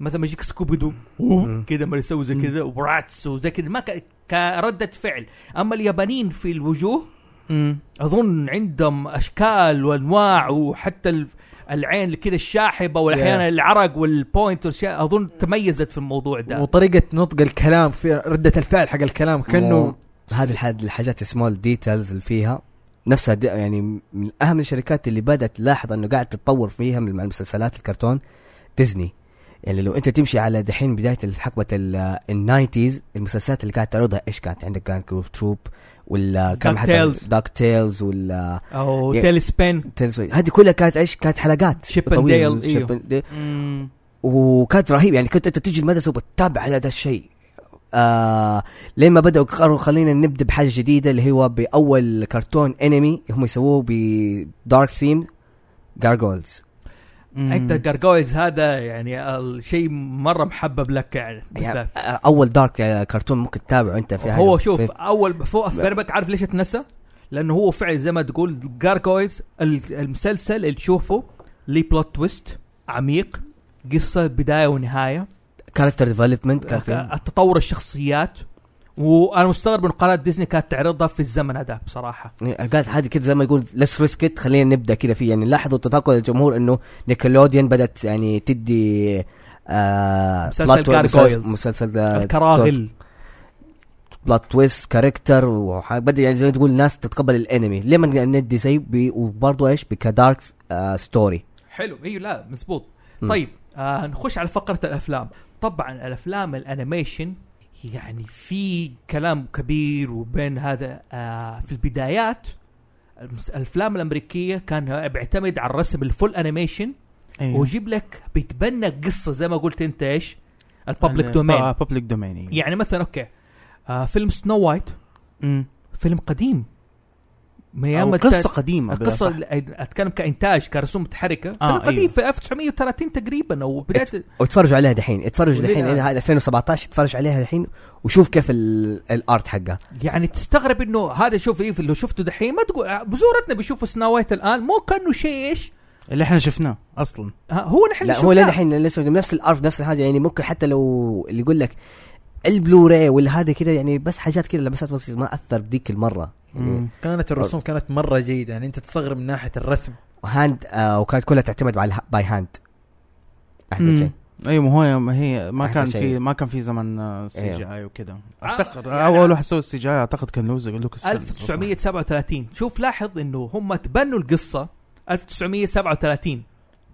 Speaker 1: مثلا ما يجيك سكوبي دو
Speaker 3: مم.
Speaker 1: كذا ما يسوي زي كذا وبراتس وزي كذا ما ك- كرده فعل اما اليابانيين في الوجوه اظن عندهم اشكال وانواع وحتى ال- العين كذا الشاحبه واحيانا
Speaker 4: Yeah.
Speaker 1: العرق والبوينت والاشياء اظن تميزت في الموضوع ده
Speaker 4: وطريقه نطق الكلام في رده الفعل حق الكلام كانه
Speaker 3: هذه الحاج- الحاجات السمول ديتيلز اللي فيها نفسها دي يعني من اهم الشركات اللي بدات تلاحظ انه قاعد تتطور فيها من مع المسلسلات الكرتون ديزني يعني لو انت تمشي على دحين بدايه حقبه الناينتيز المسلسلات اللي قاعد تعرضها ايش كانت عندك كان جروف تروب ولا كان
Speaker 1: Duck Tales.
Speaker 3: داك تيلز ولا
Speaker 1: او
Speaker 3: Yeah.
Speaker 1: تيل سبين
Speaker 3: تيلز هذه كلها كانت ايش كانت حلقات
Speaker 1: Chip and
Speaker 3: طويلة.
Speaker 1: Dale، إيوه.
Speaker 3: Chip and Dale. وكانت رهيب يعني كنت انت تجي المدرسه وبتتابع على هذا الشيء آه لما بداوا قالوا خلينا نبدا بحاجه جديده اللي هو باول كرتون انمي هم يسووه بدارك ثيم جارجولز
Speaker 1: انت جارجويز هذا يعني الشيء مره محبب لك يعني
Speaker 3: يعني
Speaker 1: بالذات.
Speaker 3: آه، اول دارك آه، كرتون ممكن تتابعه انت في
Speaker 1: هو
Speaker 3: حاجة-
Speaker 1: شوف
Speaker 3: في-
Speaker 1: اول فوق اسبربك عارف ليش اتنسى؟ لانه هو فعلا زي ما تقول جارجويز المسلسل اللي تشوفه ليه بلوت تويست عميق قصه بدايه ونهايه
Speaker 3: كاركتر ديفلوبمنت كان
Speaker 1: تطور الشخصيات وانا مستغرب من قناه ديزني كانت تعرضها في الزمن هذا بصراحه
Speaker 3: قالت هذه يعني كده زي ما يقول لس ريسكت خلينا نبدا كده فيه يعني لاحظوا تناقل الجمهور انه نيكلوديان بدات يعني تدي آه
Speaker 1: مسلسل
Speaker 3: بلات تو-
Speaker 1: Gargoyles.
Speaker 3: مسلسل آه،
Speaker 1: الكراغل
Speaker 3: بلات تويست كاركتر وبدا يعني زي ما تقول الناس تتقبل الانمي ليه ما ندي زي بي- وبرضه ايش بكدارك آه ستوري
Speaker 1: حلو ايوه لا مزبوط
Speaker 3: مم.
Speaker 1: طيب آه نخش على فقره الافلام طبعا الافلام الانيميشن يعني في كلام كبير وبين هذا آه في البدايات المس- الافلام الامريكيه كان بيعتمد على الرسم الفول انيميشن
Speaker 2: أيوه.
Speaker 1: ويجيب لك بيتبنى قصه زي ما قلت انت ايش الببليك دومين
Speaker 2: بابليك دومين
Speaker 1: يعني مثلا اوكي آه فيلم سنو وايت فيلم قديم من ايام الت-
Speaker 2: قصه قديمه
Speaker 1: القصه
Speaker 2: بالأصح.
Speaker 1: ال- اتكلم كانتاج كرسوم متحركه فيلم
Speaker 2: آه،
Speaker 1: قديم
Speaker 2: أيوه.
Speaker 1: في 1930 تقريبا او بدايه
Speaker 3: وتفرجوا عليها دحين اتفرج
Speaker 1: وليه
Speaker 3: دحين
Speaker 1: لا؟
Speaker 3: هذا 2017 اتفرج عليها دحين وشوف كيف ال- الارت حقها
Speaker 1: يعني تستغرب انه هذا شوف ايه لو شفته دحين ما تقول بزورتنا بيشوفوا سناو وايت الان مو كانه شيء ايش
Speaker 2: اللي احنا شفناه اصلا
Speaker 1: ها، هو نحن
Speaker 3: لا هو
Speaker 1: شفناه.
Speaker 3: لين دحين لسه نفس الارت نفس الحاجه يعني ممكن حتى لو اللي يقول لك البلوراي ولا هذا كده يعني بس حاجات كده لمسات بسيطه ما اثر بديك المره يعني
Speaker 4: كانت الرسوم كانت مره جيده يعني انت تصغر من ناحيه الرسم
Speaker 3: هاند آه وكانت كلها تعتمد على باي هاند احسن شيء
Speaker 2: ايوه ما هو ما هي ما
Speaker 3: أحسن
Speaker 2: كان
Speaker 3: شيء.
Speaker 2: في ما كان في زمن سي جي
Speaker 3: أيوة.
Speaker 2: اي وكذا
Speaker 1: آه،
Speaker 2: اعتقد
Speaker 1: يعني-
Speaker 2: اول واحد سوى السي جي اي اعتقد كان لوز لوكاس فيلم.
Speaker 1: 1937 شوف لاحظ انه هم تبنوا القصه 1937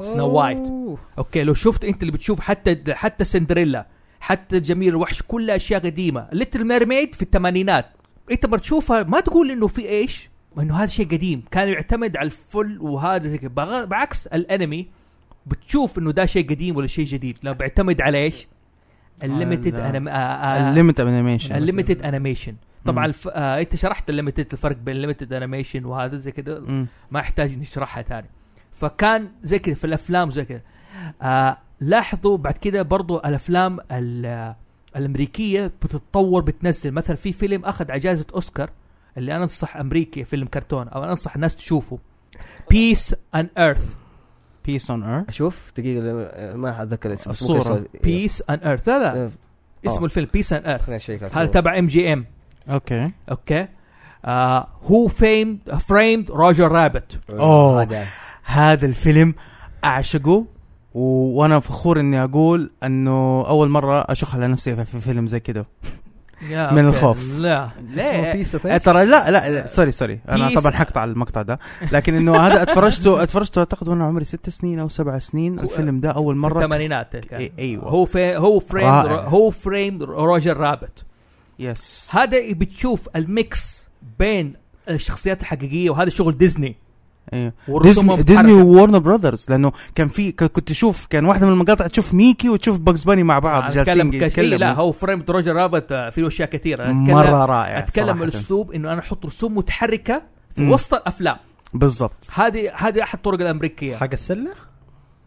Speaker 1: سنو وايت
Speaker 4: أوه.
Speaker 1: اوكي لو شفت انت اللي بتشوف حتى حتى سندريلا حتى جميل الوحش كلها اشياء قديمه ليتل ميرميد في الثمانينات انت بتشوفها ما تقول انه في ايش انه هذا شيء قديم كان يعتمد على الفل وهذا زي كده. بغ- بعكس الانمي بتشوف انه ده شيء قديم ولا شيء جديد لا بيعتمد على ايش الليمتد
Speaker 2: على-
Speaker 1: انيميشن
Speaker 2: الليمت انيميشن
Speaker 1: الليمتد انيميشن طبعا
Speaker 2: مم.
Speaker 1: الف... آه انت شرحت الليمتد الفرق بين الليمتد انيميشن وهذا زي كده
Speaker 2: مم.
Speaker 1: ما يحتاج نشرحها ثاني فكان زي كذا في الافلام زي كذا آه لاحظوا بعد كذا برضو الافلام ال- آه، الامريكيه بتتطور بتنزل مثلا في فيلم اخذ على جائزه اوسكار اللي انا انصح امريكي فيلم كرتون او انا انصح الناس تشوفه بيس ان ايرث
Speaker 2: بيس اون ايرث
Speaker 3: اشوف دقيقه ما اتذكر الاسم بس
Speaker 2: الصورة.
Speaker 3: ممكن أسوي-
Speaker 1: بيس ان ايرث لا لا
Speaker 3: آه،
Speaker 1: اسمه الفيلم بيس ان ايرث
Speaker 3: خليني
Speaker 2: آه.
Speaker 3: اشيك على
Speaker 1: هذا
Speaker 3: الصورة.
Speaker 1: تبع ام جي ام
Speaker 2: اوكي
Speaker 1: اوكي آه، هو فيمد فريمد روجر رابت
Speaker 2: أوه.
Speaker 3: إيه. هذا.
Speaker 2: هذا الفيلم اعشقه و... وانا فخور اني اقول انه اول مره اشخ على نفسي في فيلم زي كده من الخوف.
Speaker 1: لا
Speaker 4: اسمه
Speaker 2: لا
Speaker 4: بيس اوف
Speaker 2: آه، ترى لا لا لا، سوري سوري انا
Speaker 1: طيب. Peace.
Speaker 2: طبعا حقطع على المقطع ده لكن انه هذا اتفرجته اتفرجته اعتقد وانا عمري ست سنين او سبع سنين الفيلم ده اول
Speaker 1: مره
Speaker 2: مره
Speaker 1: الثمانينات كان.
Speaker 2: إي- ايوه
Speaker 1: هو في هو فريم
Speaker 2: رائع.
Speaker 1: هو فريم روجر رابت
Speaker 2: يس
Speaker 1: هذا بتشوف الميكس بين الشخصيات الحقيقيه وهذا شغل ديزني
Speaker 2: ايوه
Speaker 1: والرسوم
Speaker 2: ديزني,
Speaker 1: متحركة.
Speaker 2: ديزني وورنر براذرز لانه كان في ك- كنت اشوف كان واحده من المقاطع تشوف ميكي وتشوف باكس باني مع بعض جالسين
Speaker 1: اتكلم كثير لا
Speaker 2: يتكلموا
Speaker 1: هو فريم روجر رابط آه، فيه اشياء كثيره أنا أتكلم-
Speaker 2: مره رائع
Speaker 1: اتكلم
Speaker 2: صراحة.
Speaker 1: الاسلوب انه انا احط رسوم متحركه في
Speaker 2: مم.
Speaker 1: وسط الافلام
Speaker 2: بالضبط
Speaker 1: هذه هذه احد الطرق الامريكيه
Speaker 5: حق السله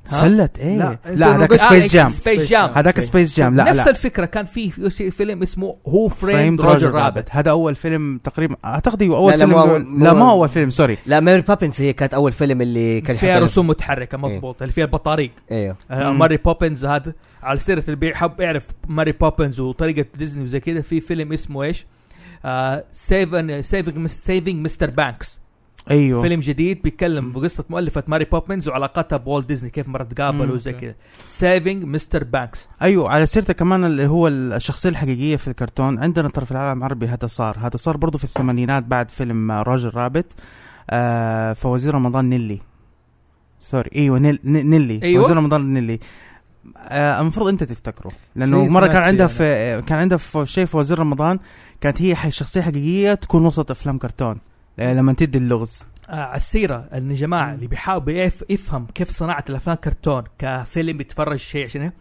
Speaker 1: ها؟
Speaker 2: سلت ايه
Speaker 4: لا،
Speaker 2: لا,
Speaker 4: أنت لو
Speaker 2: هذاك
Speaker 4: قلت-
Speaker 2: سبيس جام
Speaker 1: سبيس جام
Speaker 2: هذاك سبيس جام لا
Speaker 1: نفس
Speaker 2: لا
Speaker 1: الفكره كان في في شيء- فيلم اسمه هو فريم روجر رابط
Speaker 2: هذا اول فيلم تقريبا اعتقد هو اول
Speaker 3: لا، لا،
Speaker 2: فيلم
Speaker 3: مو
Speaker 2: لا,
Speaker 3: أول-
Speaker 2: لا
Speaker 3: مو
Speaker 2: ما
Speaker 3: أول.
Speaker 2: اول فيلم سوري
Speaker 3: لا ميري بابنز هي كانت اول فيلم
Speaker 2: إيه،
Speaker 3: اللي كان
Speaker 1: فيها
Speaker 3: يحط-
Speaker 1: رسوم متحركه مضبوط اللي فيها البطاريق
Speaker 3: ايوه
Speaker 1: آه،
Speaker 2: مم.
Speaker 1: ماري بوبنز هذا على سيره البيع حب اعرف ماري بوبنز وطريقه ديزني وزي كذا في فيلم اسمه آه، ايش؟ سيفن سيفنج سيفنج مستر بانكس
Speaker 2: ايوه
Speaker 1: فيلم جديد بيتكلم
Speaker 2: مم.
Speaker 1: بقصه مؤلفه ماري بوبنز وعلاقتها بوالت ديزني كيف مره تقابلوا
Speaker 2: مم.
Speaker 1: وزي كذا سيفنج مستر بانكس
Speaker 2: ايوه على سيرته كمان اللي هو الشخصيه الحقيقيه في الكرتون عندنا ترى في العالم العربي هذا صار هذا صار برضو في الثمانينات بعد فيلم آه، راجل رابط آه فوزير رمضان نيلي سوري ايوه نيل ن- نيلي
Speaker 1: أيوة.
Speaker 2: وزير رمضان نيلي آه، المفروض انت تفتكره لانه
Speaker 1: شي
Speaker 2: مره
Speaker 1: سمعت يعني.
Speaker 2: كان عندها
Speaker 1: فيه
Speaker 2: في آه، كان عندها في شيء في وزير رمضان كانت هي ح- شخصيه حقيقيه تكون وسط افلام كرتون آه، لما تدي اللغز
Speaker 1: آه، على السيره ان جماعه اللي بيحاول يف- يفهم كيف صناعه الافلام كرتون كفيلم يتفرج شيء عشان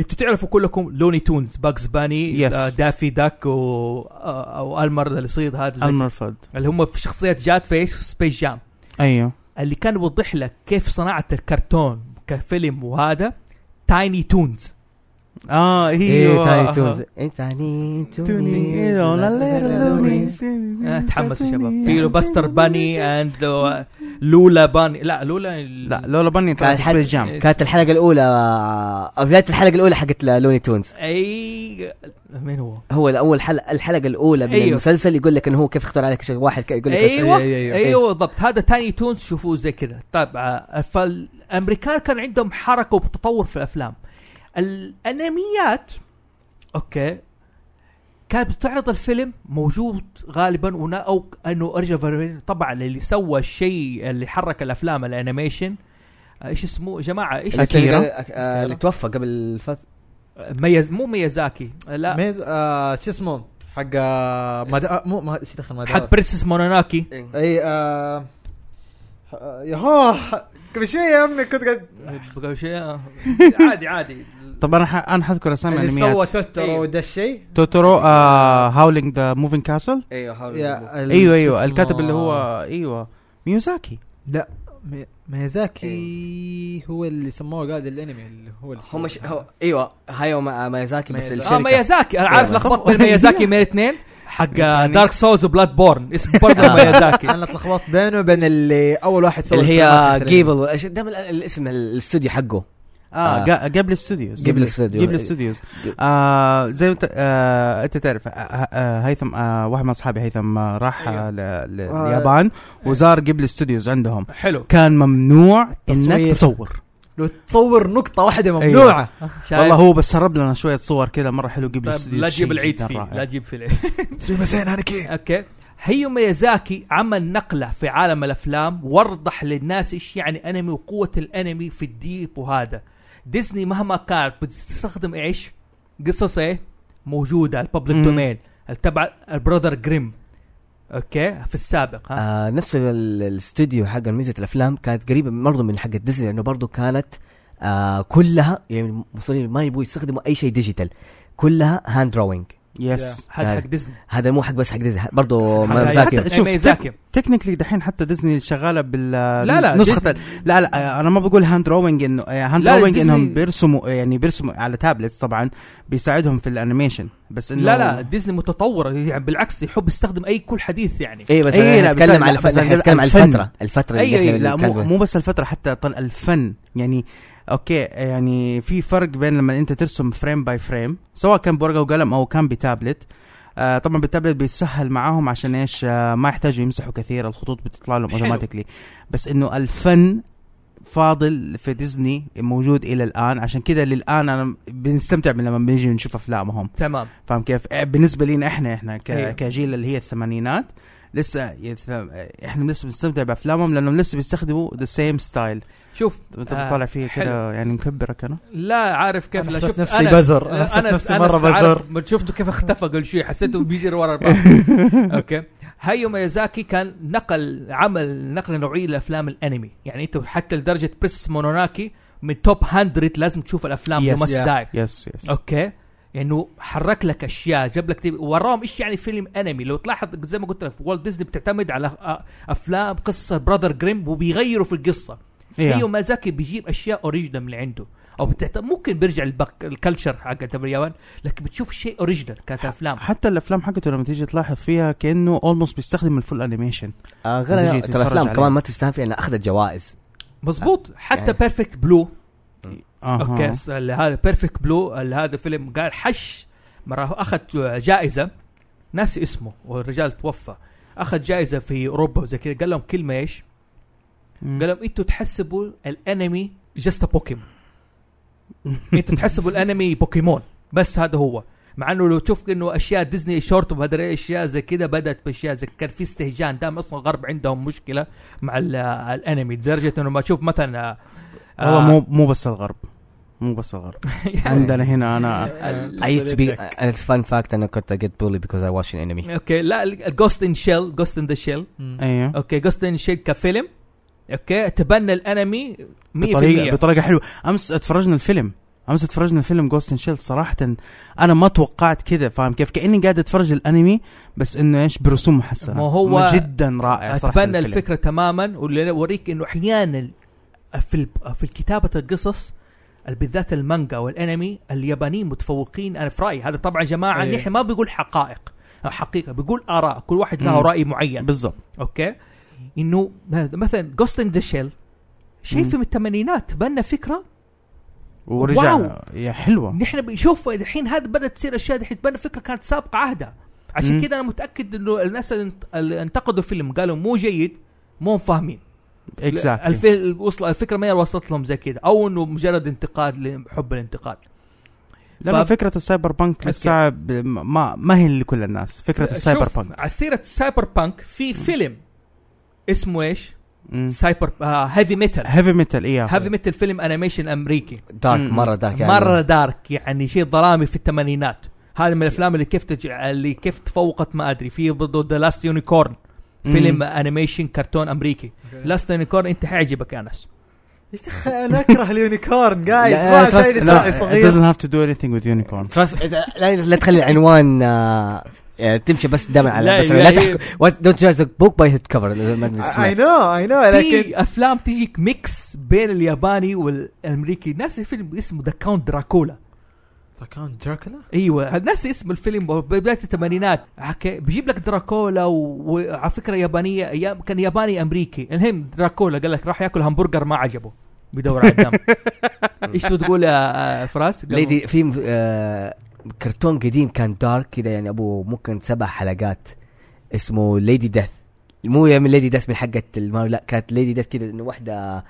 Speaker 1: انتوا تعرفوا كلكم لوني تونز باكس باني
Speaker 2: Yes.
Speaker 1: آه، دافي داك و... آه، او المر اللي يصيد هذا زي-
Speaker 2: المرفض
Speaker 1: اللي هم في شخصيات جات في إيش؟ في سبيس جام
Speaker 2: ايوه
Speaker 1: اللي كان يوضح لك كيف صناعه الكرتون كفيلم وهذا تايني تونز
Speaker 2: اه
Speaker 3: ايوه
Speaker 1: إيه.
Speaker 2: ايوه
Speaker 3: تايني تونز تايني تونز
Speaker 1: آه تحمسوا يا شباب في باستر باني آه، اند لولا باني لا لولا
Speaker 2: لا لولا بني
Speaker 3: كان
Speaker 2: طلعت في
Speaker 3: حد- آه،
Speaker 2: سبيس جام
Speaker 3: كانت الحلقه الاولى أو بدايه الحلقه الاولى حقت لوني تونز
Speaker 1: اي مين هو؟
Speaker 3: هو الاول حلقه الحلقه الاولى من
Speaker 1: أيوه.
Speaker 3: المسلسل يقول لك انه هو كيف اختار عليك شيء واحد ك- يقول لك إيه،
Speaker 1: ايوه
Speaker 3: بس-
Speaker 1: ايوه, أيوة بالضبط هذا تاني تونز شوفوه زي كذا طيب آه، فالامريكان كان عندهم حركه وتطور في الافلام الانميات اوكي كانت بتعرض الفيلم موجود غالبا ونا او انه ارجع فر- طبعا اللي سوى الشيء اللي حرك الافلام الانيميشن آه، ايش اسمه جماعه ايش
Speaker 3: اللي
Speaker 2: أكيرا.
Speaker 3: كان- آه، اللي توفى قبل فتره
Speaker 1: ميز آه، مو ميازاكي آه، لا
Speaker 5: ميز آه شو اسمه حق آه مد... آه مو ما شو دخل مدارس
Speaker 1: حق برنسس مونوناكي
Speaker 4: إيه.
Speaker 5: اي آه آه، يهوه قبل شوي يا امي كنت قاعد
Speaker 1: بقى شيء- آه، عادي عادي
Speaker 2: طب انا ح- انا حذكر اسامي
Speaker 5: اللي سوى
Speaker 2: انميات
Speaker 1: أيوه.
Speaker 5: توترو وده الشيء
Speaker 2: توتورو آه هاولينج ذا موفينج كاسل
Speaker 3: ايوه
Speaker 4: أيوه،
Speaker 5: يا ال-
Speaker 2: ايوه
Speaker 5: شو
Speaker 2: ايوه
Speaker 5: اسمه؟
Speaker 2: الكاتب اللي هو ايوه ميوزاكي
Speaker 4: لا مي- ميازاكي
Speaker 5: هو اللي سموه قائد الانمي اللي هو اللي سوى.
Speaker 3: هم ش... هو... ايوه هايو ما- مايازاكي بس
Speaker 5: مايازاكي.
Speaker 1: اه
Speaker 3: الشركه
Speaker 1: ميازاكي انا عارف
Speaker 3: أيوة.
Speaker 1: لخبطت بين ميازاكي آه، من الاثنين حق
Speaker 2: يعني-
Speaker 1: دارك سولز وبلاد بورن اسمه برضه
Speaker 3: آه.
Speaker 1: ميازاكي
Speaker 5: انا اتلخبطت بينه وبين اللي اول واحد سوى
Speaker 3: اللي
Speaker 5: الفيلمات
Speaker 3: هي
Speaker 5: التلاتة.
Speaker 3: جيبل وإيش- دائما ال- الاسم ال- الاستوديو حقه آه.
Speaker 2: اه جا- قبل استوديوز
Speaker 3: قبل الاستوديو.
Speaker 2: قبل استوديوز آه زي ما انت آه انت تعرف آه آه هيثم آه واحد من اصحابي هيثم آه راح آه ل- ل-
Speaker 4: آه.
Speaker 2: اليابان وزار قبل استوديوز عندهم
Speaker 1: حلو
Speaker 2: كان ممنوع انك
Speaker 4: تصوير.
Speaker 2: تصور
Speaker 4: لو تصور نقطة واحدة ممنوعة
Speaker 1: شايف؟
Speaker 2: والله هو بس سرب لنا شويه صور كذا مره حلو قبل
Speaker 1: طيب
Speaker 2: استوديوز
Speaker 1: لا تجيب
Speaker 2: شيء
Speaker 1: العيد
Speaker 2: جداً
Speaker 1: فيه
Speaker 2: رائع.
Speaker 1: لا تجيب في العيد
Speaker 4: سويمسين هانكي
Speaker 1: اوكي هيو ميازاكي عمل نقله في عالم الافلام ووضح للناس ايش يعني انمي وقوه الانمي في الديب وهذا ديزني مهما كانت بتستخدم ايش قصص ايه موجوده الببليك
Speaker 2: مم.
Speaker 1: دومين تبع البرادر جريم اوكي في السابق ها
Speaker 3: آه نفس ال- الاستوديو حق ميزه الافلام كانت قريبه برضه من حق ديزني لانه برضه كانت آه كلها يعني مصرين ما يبغوا يستخدموا اي شيء ديجيتال كلها هاند دروينج
Speaker 2: يس
Speaker 1: هذا حق ديزني
Speaker 3: هذا مو حق بس حق ديزني برضه
Speaker 1: حق-
Speaker 3: مايازاكي
Speaker 2: حتى- شوف،
Speaker 1: ميازاكي
Speaker 2: تكنيكلي دحين حتى ديزني شغاله بال
Speaker 1: لا لا،
Speaker 2: نسخه لا لا آه، انا ما بقول هاند دروينج انه آه، هاند
Speaker 1: لا،
Speaker 2: دروينج
Speaker 1: ديزني-
Speaker 2: انهم بيرسموا آه، يعني بيرسموا على تابلتس طبعا بيساعدهم في الانيميشن بس انه
Speaker 1: لا لا ديزني متطوره يعني بالعكس يحب يستخدم اي كل حديث يعني
Speaker 3: اي بس
Speaker 2: إيه، لا،
Speaker 3: انا
Speaker 2: بس
Speaker 3: اتكلم
Speaker 2: لا،
Speaker 3: على الف-
Speaker 2: بس أنا
Speaker 3: اتكلم على
Speaker 2: الفن.
Speaker 3: الفتره الفتره
Speaker 1: أي-
Speaker 3: اللي
Speaker 1: أي،
Speaker 3: احنا
Speaker 2: لا مو
Speaker 3: بنتكلم.
Speaker 2: مو بس الفتره حتى طل الفن يعني اوكي يعني في فرق بين لما انت ترسم فريم باي فريم سواء كان بورقه وقلم او كان بتابلت آه طبعا بالتابلت بيتسهل معاهم عشان ايش آه ما يحتاجوا يمسحوا كثير الخطوط بتطلع لهم
Speaker 1: حلو.
Speaker 2: اوتوماتيكلي بس انه الفن فاضل في ديزني موجود الى الان عشان كذا للان انا بنستمتع من لما بنجي نشوف افلامهم
Speaker 1: تمام
Speaker 2: فاهم كيف؟ آه، بالنسبه لنا احنا احنا ك-
Speaker 1: أيوه.
Speaker 2: كجيل اللي هي الثمانينات لسه يث... احنا لسه بنستمتع بافلامهم لانهم لسه بيستخدموا ذا سيم ستايل
Speaker 1: شوف
Speaker 2: انت
Speaker 1: آه،
Speaker 2: بتطالع فيه كذا يعني مكبرك انا
Speaker 1: لا عارف كيف
Speaker 5: أنا
Speaker 1: لا
Speaker 5: حسيت
Speaker 1: شوف
Speaker 5: نفسي بزر. أنا حسيت نفسي مرة
Speaker 1: عارف-
Speaker 5: بزر.
Speaker 1: ما شفته كيف اختفى قبل شوي حسيته بيجري ورا البعض اوكي هايو ميازاكي كان نقل عمل نقله نوعيه لافلام الانمي يعني انت حتى لدرجه بريس مونوناكي من توب 100 لازم تشوف الافلام
Speaker 2: Yes.
Speaker 1: يو ماست
Speaker 4: Yeah.
Speaker 1: داي
Speaker 2: يس يس
Speaker 1: اوكي انه يعني حرك لك اشياء جاب لك تيب- وراهم ايش يعني فيلم انمي لو تلاحظ زي ما قلت لك والت ديزني بتعتمد على أ- افلام قصه براذر جريم وبيغيروا في القصه
Speaker 2: إيه.
Speaker 1: هيو مازاكي بيجيب اشياء اوريجنال من اللي عنده او بتعت... ممكن بيرجع البك... الكلتشر حقت اليابان لكن بتشوف شيء اوريجنال كانت افلام
Speaker 2: حتى الافلام حقته لما تيجي تلاحظ فيها كانه اولموست بيستخدم الفول انيميشن
Speaker 3: آه غير
Speaker 2: وتجي
Speaker 3: ترى
Speaker 2: تتفرج
Speaker 3: الافلام
Speaker 2: عليه.
Speaker 3: كمان ما تستهان فيها انها اخذت جوائز
Speaker 1: مظبوط حتى
Speaker 3: يعني-
Speaker 1: بيرفكت بلو
Speaker 2: اها
Speaker 1: اوكي س- اللي هذا بيرفكت بلو اللي هذا فيلم قال حش مره هو اخذ جائزه ناسي اسمه والرجال توفى اخذ جائزه في اوروبا وزي كذا قال لهم كلمه ايش؟ قال لهم انتوا تحسبوا الانمي جست بوكيمون انتوا تحسبوا الانمي بوكيمون بس هذا هو مع انه لو تشوف انه اشياء ديزني شورت وما ادري إيش، اشياء زي كذا بدات باشياء زي كان في استهجان دام اصلا الغرب عندهم مشكله مع ال- الانمي لدرجه انه ما اشوف مثلا آه، آه،
Speaker 2: والله
Speaker 1: يعني.
Speaker 2: مو مو بس الغرب مو بس الغرب عندنا هنا انا
Speaker 1: آه،
Speaker 3: اي used to be انا فان فاكت انا كنت اجيت بولي بيكوز اي واتش انمي
Speaker 1: اوكي لا الجوست ان شيل جوست ان ذا شيل
Speaker 2: ايوه
Speaker 1: اوكي جوست ان شيل كفيلم اوكي تبنى الانمي 100%
Speaker 2: بطريقه بطريقه حلوه امس اتفرجنا الفيلم امس اتفرجنا الفيلم جوست شيل صراحه انا ما توقعت كذا فاهم كيف كاني قاعد اتفرج الانمي بس انه ايش برسوم محسنه
Speaker 1: ما هو
Speaker 2: جدا رائع صراحه
Speaker 1: اتبنى
Speaker 2: الفيلم.
Speaker 1: الفكره تماما واللي اوريك انه احيانا في ال- في كتابه القصص بالذات المانجا والانمي اليابانيين متفوقين انا في رايي هذا طبعا جماعه
Speaker 4: إيه.
Speaker 1: نحن ما بيقول حقائق أو حقيقه بيقول اراء كل واحد له
Speaker 2: مم.
Speaker 1: راي معين
Speaker 2: بالضبط
Speaker 1: اوكي انه مثلا جوست ان ذا شيل شيء
Speaker 2: مم.
Speaker 1: في من الثمانينات بنى فكره واو.
Speaker 2: ورجع يا حلوه
Speaker 1: نحن بنشوف الحين هذا بدات تصير اشياء دحين تبان الفكره كانت سابقه عهدها عشان
Speaker 2: مم.
Speaker 1: كذا انا متاكد انه الناس اللي انت- اللي انتقدوا الفيلم قالوا مو جيد مو فاهمين
Speaker 2: اكزاكتلي
Speaker 1: الف... وصل الفكره ما هي وصلت لهم زي كذا او انه مجرد انتقاد لحب الانتقاد
Speaker 2: لما
Speaker 1: ف-
Speaker 2: فكره السايبر بانك لسه ب- ما ما هي لكل الناس فكره السايبر
Speaker 1: شوف،
Speaker 2: بانك
Speaker 1: على سيره السايبر بانك في فيلم اسمه ايش؟
Speaker 2: مم.
Speaker 1: سايبر آه هيفي ميتال
Speaker 2: هيفي ميتال ايه
Speaker 1: هيفي ميتال فيلم انيميشن امريكي
Speaker 3: دارك
Speaker 2: مم.
Speaker 3: مره دارك يعني
Speaker 1: مره دارك يعني شيء ظلامي في الثمانينات هذا من الافلام اللي كيف تج... اللي كيف تفوقت ما ادري في برضه ذا لاست يونيكورن
Speaker 2: مم.
Speaker 1: فيلم انيميشن كرتون امريكي
Speaker 5: لا
Speaker 1: لاست يونيكورن انت حيعجبك يا انس
Speaker 5: ايش دخل- انا اكره اليونيكورن جايز
Speaker 3: لا،
Speaker 5: ما
Speaker 3: ترى-
Speaker 5: شيء
Speaker 3: لا،
Speaker 5: نسائي
Speaker 2: it
Speaker 5: صغير
Speaker 2: doesn't have to do anything with unicorn
Speaker 3: Trust- إذا- لا لا تخلي العنوان آه، آه، تمشي بس دمع على
Speaker 1: لا،
Speaker 3: بس
Speaker 1: لا،
Speaker 3: لا
Speaker 1: هي-
Speaker 3: تحكم دونت جاج بوك باي هيد كفر
Speaker 5: اي نو اي نو لكن
Speaker 1: في افلام تجيك ميكس بين الياباني والامريكي ناسي فيلم اسمه ذا كاونت دراكولا
Speaker 4: فكان دراكولا
Speaker 1: ايوه ناسي اسم الفيلم بدايه الثمانينات حكي- بيجيب لك دراكولا و- وعلى فكره يابانيه أيام- كان ياباني امريكي المهم دراكولا قال لك راح ياكل همبرجر ما عجبه بيدور على الدم ايش تقول يا آه، فراس؟ قال-
Speaker 3: ليدي في آه، كرتون قديم كان دارك كذا يعني ابو ممكن سبع حلقات اسمه ليدي ديث مو يا من ليدي ديث من حقة الماريو لا كانت ليدي ديث كذا انه واحدة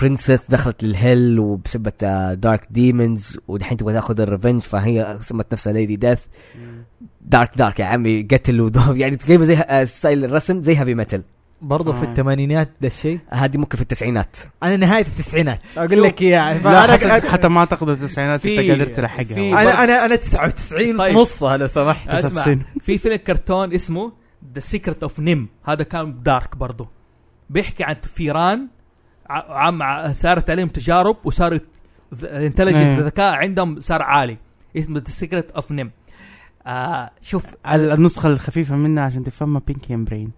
Speaker 3: برنسس دخلت للهيل وبسبة دارك ديمونز ودحين تبغى تاخذ الريفنج فهي سمت نفسها ليدي ديث دارك دارك يا عمي قتل وضرب يعني تقريبا زي آه، ستايل الرسم زي هابي ميتال
Speaker 4: برضه في
Speaker 2: آه.
Speaker 4: الثمانينات ده الشيء
Speaker 3: هذه ممكن في التسعينات
Speaker 4: انا نهايه التسعينات
Speaker 5: اقول لك اياه يعني
Speaker 2: لا
Speaker 5: انا
Speaker 2: حتى, حتى ما اعتقد التسعينات
Speaker 1: في-
Speaker 2: انت قادر
Speaker 1: في-
Speaker 2: تلحقها
Speaker 5: انا انا انا 99
Speaker 1: طيب.
Speaker 5: نصها لو سمحت
Speaker 1: اسمع
Speaker 2: 99.
Speaker 1: في فيلم كرتون اسمه ذا سيكرت اوف نيم هذا كان دارك برضو بيحكي عن فيران ع- عم ع- صارت عليهم تجارب وصارت ذ- الانتليجنس
Speaker 2: إيه.
Speaker 1: الذكاء عندهم صار عالي اسمه ذا سيكرت اوف نيم آه شوف
Speaker 2: ال- النسخه الخفيفه منها عشان تفهمها بينكي ام برين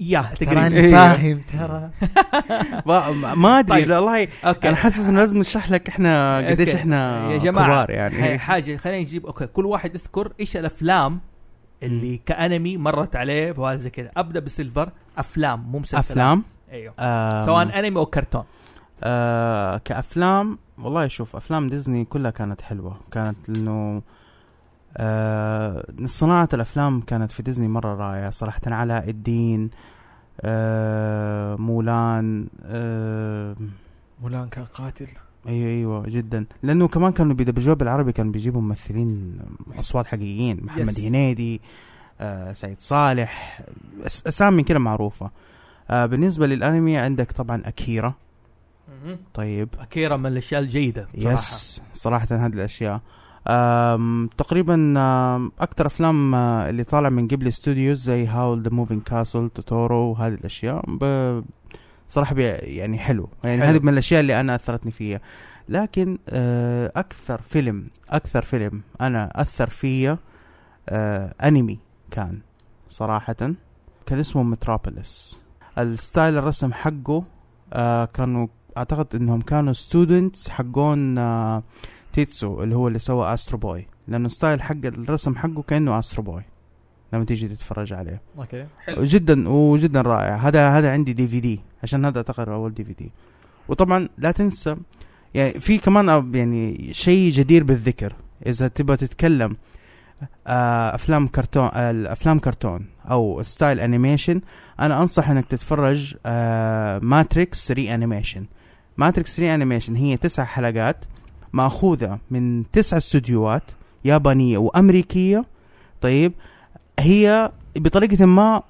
Speaker 1: يا
Speaker 4: ترى
Speaker 1: تقريبا
Speaker 4: انا
Speaker 2: إيه.
Speaker 4: فاهم ترى
Speaker 2: ما- ما ادري
Speaker 1: طيب.
Speaker 2: لا والله
Speaker 1: اوكي
Speaker 2: انا حاسس انه لازم نشرح لك احنا قديش
Speaker 1: أوكي.
Speaker 2: احنا
Speaker 1: يا جماعه
Speaker 2: كبار
Speaker 1: هاي
Speaker 2: يعني
Speaker 1: حاجه خلينا نجيب اوكي كل واحد يذكر ايش الافلام اللي كانمي مرت عليه وهذا زي كذا ابدا بسيلفر افلام مو مسلسلات
Speaker 2: افلام
Speaker 1: ايوه
Speaker 2: آم،
Speaker 1: سواء انمي او كرتون
Speaker 2: آه كافلام والله شوف افلام ديزني كلها كانت حلوه كانت انه آه صناعه الافلام كانت في ديزني مره رائعه صراحه علاء الدين آه مولان آه
Speaker 4: مولان كان قاتل
Speaker 2: ايوه ايوه جدا لانه كمان كانوا بيدبجوها بالعربي كانوا بيجيبوا ممثلين اصوات حقيقيين محمد
Speaker 4: Yes.
Speaker 2: هنيدي آه سعيد صالح أس- اسامي كده معروفه آه بالنسبه للانمي عندك طيب، طبعا اكيرا طيب
Speaker 1: اكيرا من الاشياء الجيده صراحه
Speaker 2: يس صراحه هذه الاشياء أم، تقريبا أم، اكتر افلام أه، اللي طالع من جيبلي ستوديوز زي هاول ذا موفينج كاسل توتورو وهذه الاشياء ب- صراحه بي- يعني حلو يعني
Speaker 1: حلو.
Speaker 2: هذه من الاشياء اللي انا اثرتني فيها لكن أه، اكثر فيلم اكثر فيلم انا اثر فيا أه، انمي كان صراحه كان اسمه متروبوليس الستايل الرسم حقه آه كانوا اعتقد انهم كانوا ستودنتس حقون آه تيتسو اللي هو اللي سوى استرو بوي لانه ستايل حق الرسم حقه كانه استرو بوي لما تيجي تتفرج عليه
Speaker 4: اوكي
Speaker 1: حلو.
Speaker 2: جدا وجدا رائع هذا هذا عندي دي في دي عشان هذا اعتقد اول دي في دي وطبعا لا تنسى يعني في كمان أب- يعني شيء جدير بالذكر اذا تبغى تتكلم آه، افلام كرتون آه، الافلام كرتون او ستايل انيميشن انا انصح انك تتفرج آه، ماتريكس ري انيميشن ماتريكس ري انيميشن هي تسع حلقات ماخوذه من تسع استديوهات يابانيه وامريكيه طيب هي بطريقه ما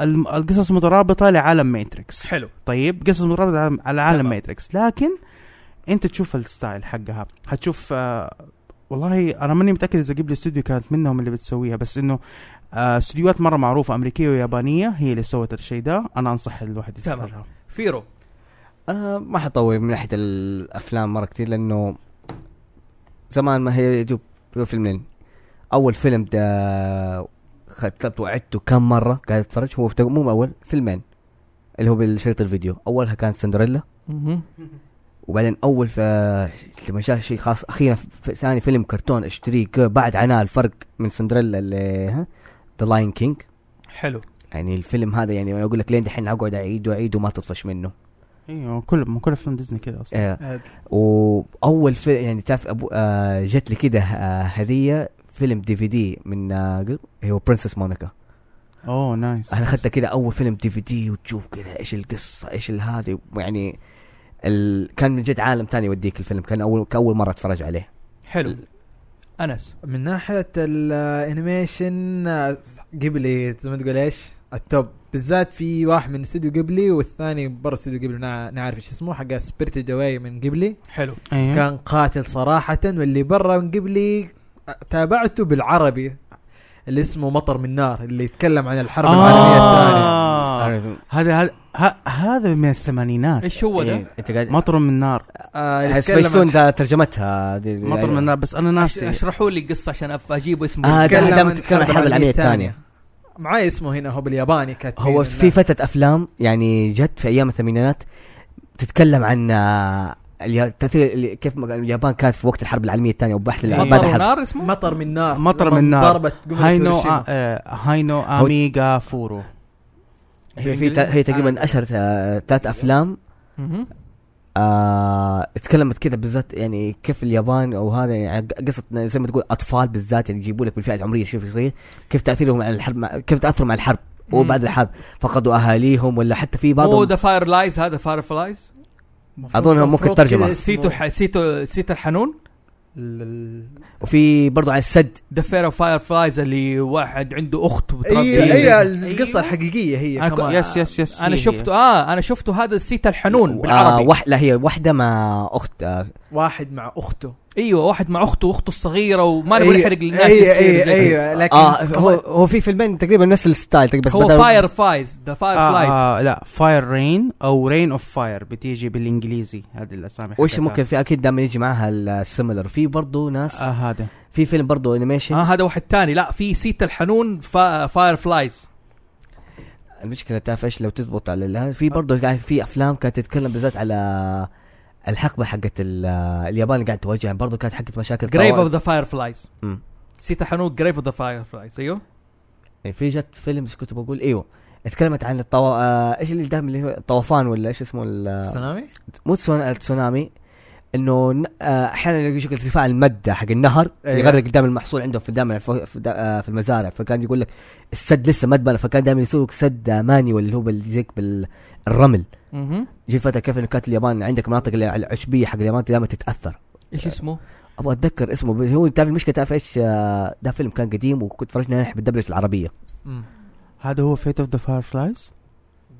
Speaker 2: الم- القصص مترابطه لعالم ماتريكس
Speaker 1: حلو
Speaker 2: طيب قصص مترابطه على- على عالم
Speaker 1: تمام.
Speaker 2: ماتريكس لكن انت تشوف الستايل حقها هتشوف آه والله انا ماني متاكد اذا قبل استوديو كانت منهم اللي بتسويها بس انه آه، استديوهات مره معروفه امريكيه ويابانيه هي اللي سوت الشيء ده انا انصح الواحد
Speaker 1: تمام.
Speaker 2: يتفرجها
Speaker 1: فيرو
Speaker 3: آه ما حطول من ناحيه الافلام مره كثير لانه زمان ما هي يدوب فيلمين اول فيلم ده خطبت وعدته كم مره قاعد اتفرج هو بت- مو اول فيلمين اللي هو بالشريط الفيديو اولها كان سندريلا وبعدين اول ف لما شاف شيء خاص اخيرا في ثاني فيلم كرتون اشتريه ك- بعد عناه الفرق من سندريلا اللي ذا لاين كينج
Speaker 1: حلو
Speaker 3: يعني الفيلم هذا يعني أنا اقول لك لين دحين اقعد اعيد واعيد وما تطفش منه
Speaker 2: ايوه كل كل افلام ديزني كده
Speaker 1: إيه.
Speaker 2: اصلا
Speaker 3: آه واول فيلم يعني تعرف ابو آه جت لي كده آه هديه فيلم دي في دي من آه قبل- هو برنسس مونيكا
Speaker 2: اوه نايس
Speaker 3: انا اخذتها كده اول فيلم دي في دي وتشوف كده ايش القصه ايش الهذي يعني ال... كان من جد عالم تاني يوديك الفيلم كان اول كاول مره اتفرج عليه
Speaker 1: حلو انس
Speaker 4: من ناحيه الانيميشن آه، قبلي زي ما تقول ايش التوب بالذات في واحد من استوديو قبلي والثاني برا استوديو قبلي نا- نعرف ايش اسمه حق سبيرتد اواي من قبلي
Speaker 1: حلو
Speaker 2: أيوة.
Speaker 4: كان قاتل صراحه واللي برا من قبلي تابعته بالعربي اللي اسمه مطر من نار اللي يتكلم عن الحرب
Speaker 3: آه.
Speaker 4: العالميه الثانيه
Speaker 2: آه هذا هذا ه- هذا من الثمانينات
Speaker 1: ايش هو
Speaker 3: إيه،
Speaker 1: ده؟
Speaker 3: انت قاعد
Speaker 2: مطر من نار
Speaker 4: آه،
Speaker 3: آه،
Speaker 4: يتكلم
Speaker 3: سبيستون
Speaker 4: عن-
Speaker 3: ده ترجمتها دي يعني
Speaker 2: مطر
Speaker 1: أيوة.
Speaker 2: من نار بس
Speaker 1: أش-
Speaker 2: انا
Speaker 3: إيه.
Speaker 2: ناسي
Speaker 1: اشرحوا لي القصه عشان أف- اجيب اسمه
Speaker 3: آه، ده-
Speaker 4: يتكلم
Speaker 3: ده
Speaker 4: عن
Speaker 3: بتتكلم عن الحرب العالمية الثانية.
Speaker 4: معاي اسمه هنا هو بالياباني كاتبين
Speaker 3: هو في
Speaker 4: الناس.
Speaker 3: فتره افلام يعني جت في ايام الثمانينات تتكلم عن آه، اليا- تاثير ال- كيف ما قال اليابان كانت في وقت الحرب العالميه الثانيه وبعد
Speaker 2: إيه.
Speaker 3: بعد
Speaker 1: مطر
Speaker 3: الحرب
Speaker 1: نار اسمه؟
Speaker 4: مطر من نار
Speaker 2: مطر من
Speaker 4: لما
Speaker 2: نار.
Speaker 4: ضربت قنبلة
Speaker 2: هاينو
Speaker 4: هيروشيما.
Speaker 2: آه، هاينو اميغا فورو
Speaker 3: هي في تا- هي آه، تقريبا اشهر ثلاث افلام
Speaker 1: مهم.
Speaker 3: آه اتكلمت كذا بالذات يعني كيف اليابان او هذا يعني قصه زي ما تقول اطفال بالذات يعني يجيبوا لك بالفئه العمريه شوف صغير كيف تاثيرهم على الحرب مع كيف تاثروا مع الحرب وبعد الحرب فقدوا اهاليهم ولا حتى في
Speaker 1: مو
Speaker 3: بعضهم
Speaker 1: ذا فاير لايز هذا فاير فلايز
Speaker 3: أظنها ممكن
Speaker 4: مفروض
Speaker 3: ترجمة.
Speaker 4: كذا اسمه-
Speaker 1: سيتو ح... سيتو سيت الحنون
Speaker 4: ال- ال-
Speaker 3: وفي برضو على السد
Speaker 1: ذا فير فاير فلايز اللي واحد عنده اخت وتربي
Speaker 4: اي
Speaker 1: أيوة.
Speaker 4: اي القصه الحقيقيه هي
Speaker 1: أنا كو-
Speaker 4: كمان
Speaker 2: يس يس يس
Speaker 1: انا
Speaker 2: هي-
Speaker 1: شفته اه انا شفته هذا سيت الحنون
Speaker 3: إيه، آه
Speaker 1: بالعربي
Speaker 3: وح... لا هي واحده مع اخت آه
Speaker 4: واحد مع اخته
Speaker 1: ايوه واحد مع اخته واخته الصغيره وما نبغى
Speaker 4: إيه،
Speaker 1: نحرق للناس
Speaker 4: اي
Speaker 1: يصير زي
Speaker 4: اي
Speaker 1: كده.
Speaker 4: اي لكن
Speaker 3: اه هو هو في فيلمين تقريبا نفس الستايل تقريبا بس
Speaker 1: هو
Speaker 3: بدل-
Speaker 1: فاير فلايز ذا فاير فلايز
Speaker 2: آه آه لا فاير رين او رين اوف فاير بتيجي بالانجليزي هذه الاسامي
Speaker 3: وش
Speaker 2: حقتها.
Speaker 3: ممكن في اكيد دائما يجي معاها السيميلر في برضو ناس
Speaker 2: آه هذا
Speaker 3: في فيلم برضو
Speaker 2: آه.
Speaker 3: انيميشن
Speaker 1: اه هذا واحد تاني لا في سيت الحنون آه، فا... فاير فلايز
Speaker 3: المشكله تعرف ايش لو تضبط على ال- في برضه قاعد في افلام كانت تتكلم بالذات على الحقبه حقت ال- اليابان اللي قاعد تواجهها برضه كانت حقت مشاكل
Speaker 1: جريف اوف
Speaker 3: طوارئ.
Speaker 1: ذا فاير فلايز
Speaker 3: مم.
Speaker 1: سيت الحنون جريف اوف ذا فاير فلايز ايوه
Speaker 3: يعني في جت فيلم كنت بقول ايوه اتكلمت عن الطو... آه، ايش اللي دام اللي هو الطوفان ولا ايش اسمه ال-
Speaker 4: سنامي
Speaker 3: مو السون- التسونامي انه ن- آه، احيانا يجيك ارتفاع المده حق النهر
Speaker 2: إيه.
Speaker 4: أيوة.
Speaker 3: يغرق دائما المحصول عندهم في دائما في في- آه، في المزارع فكان يقول لك السد لسه ما اتبنى فكان دائما يسوق سد آه، مانيوال اللي هو بالجيك بالرمل
Speaker 1: مهم.
Speaker 3: جي فتره كيف انه كانت اليابان عندك مناطق اللي- العشبيه حق اليابان دائما تتاثر
Speaker 2: آه.
Speaker 1: ايش اسمه؟
Speaker 3: ابغى اتذكر اسمه بس هو تعرف المشكله تعرف ايش آه، ده فيلم كان قديم وكنت فرجنا نحن بالدبلجه العربيه
Speaker 2: هذا هو فيت اوف ذا فاير فلايز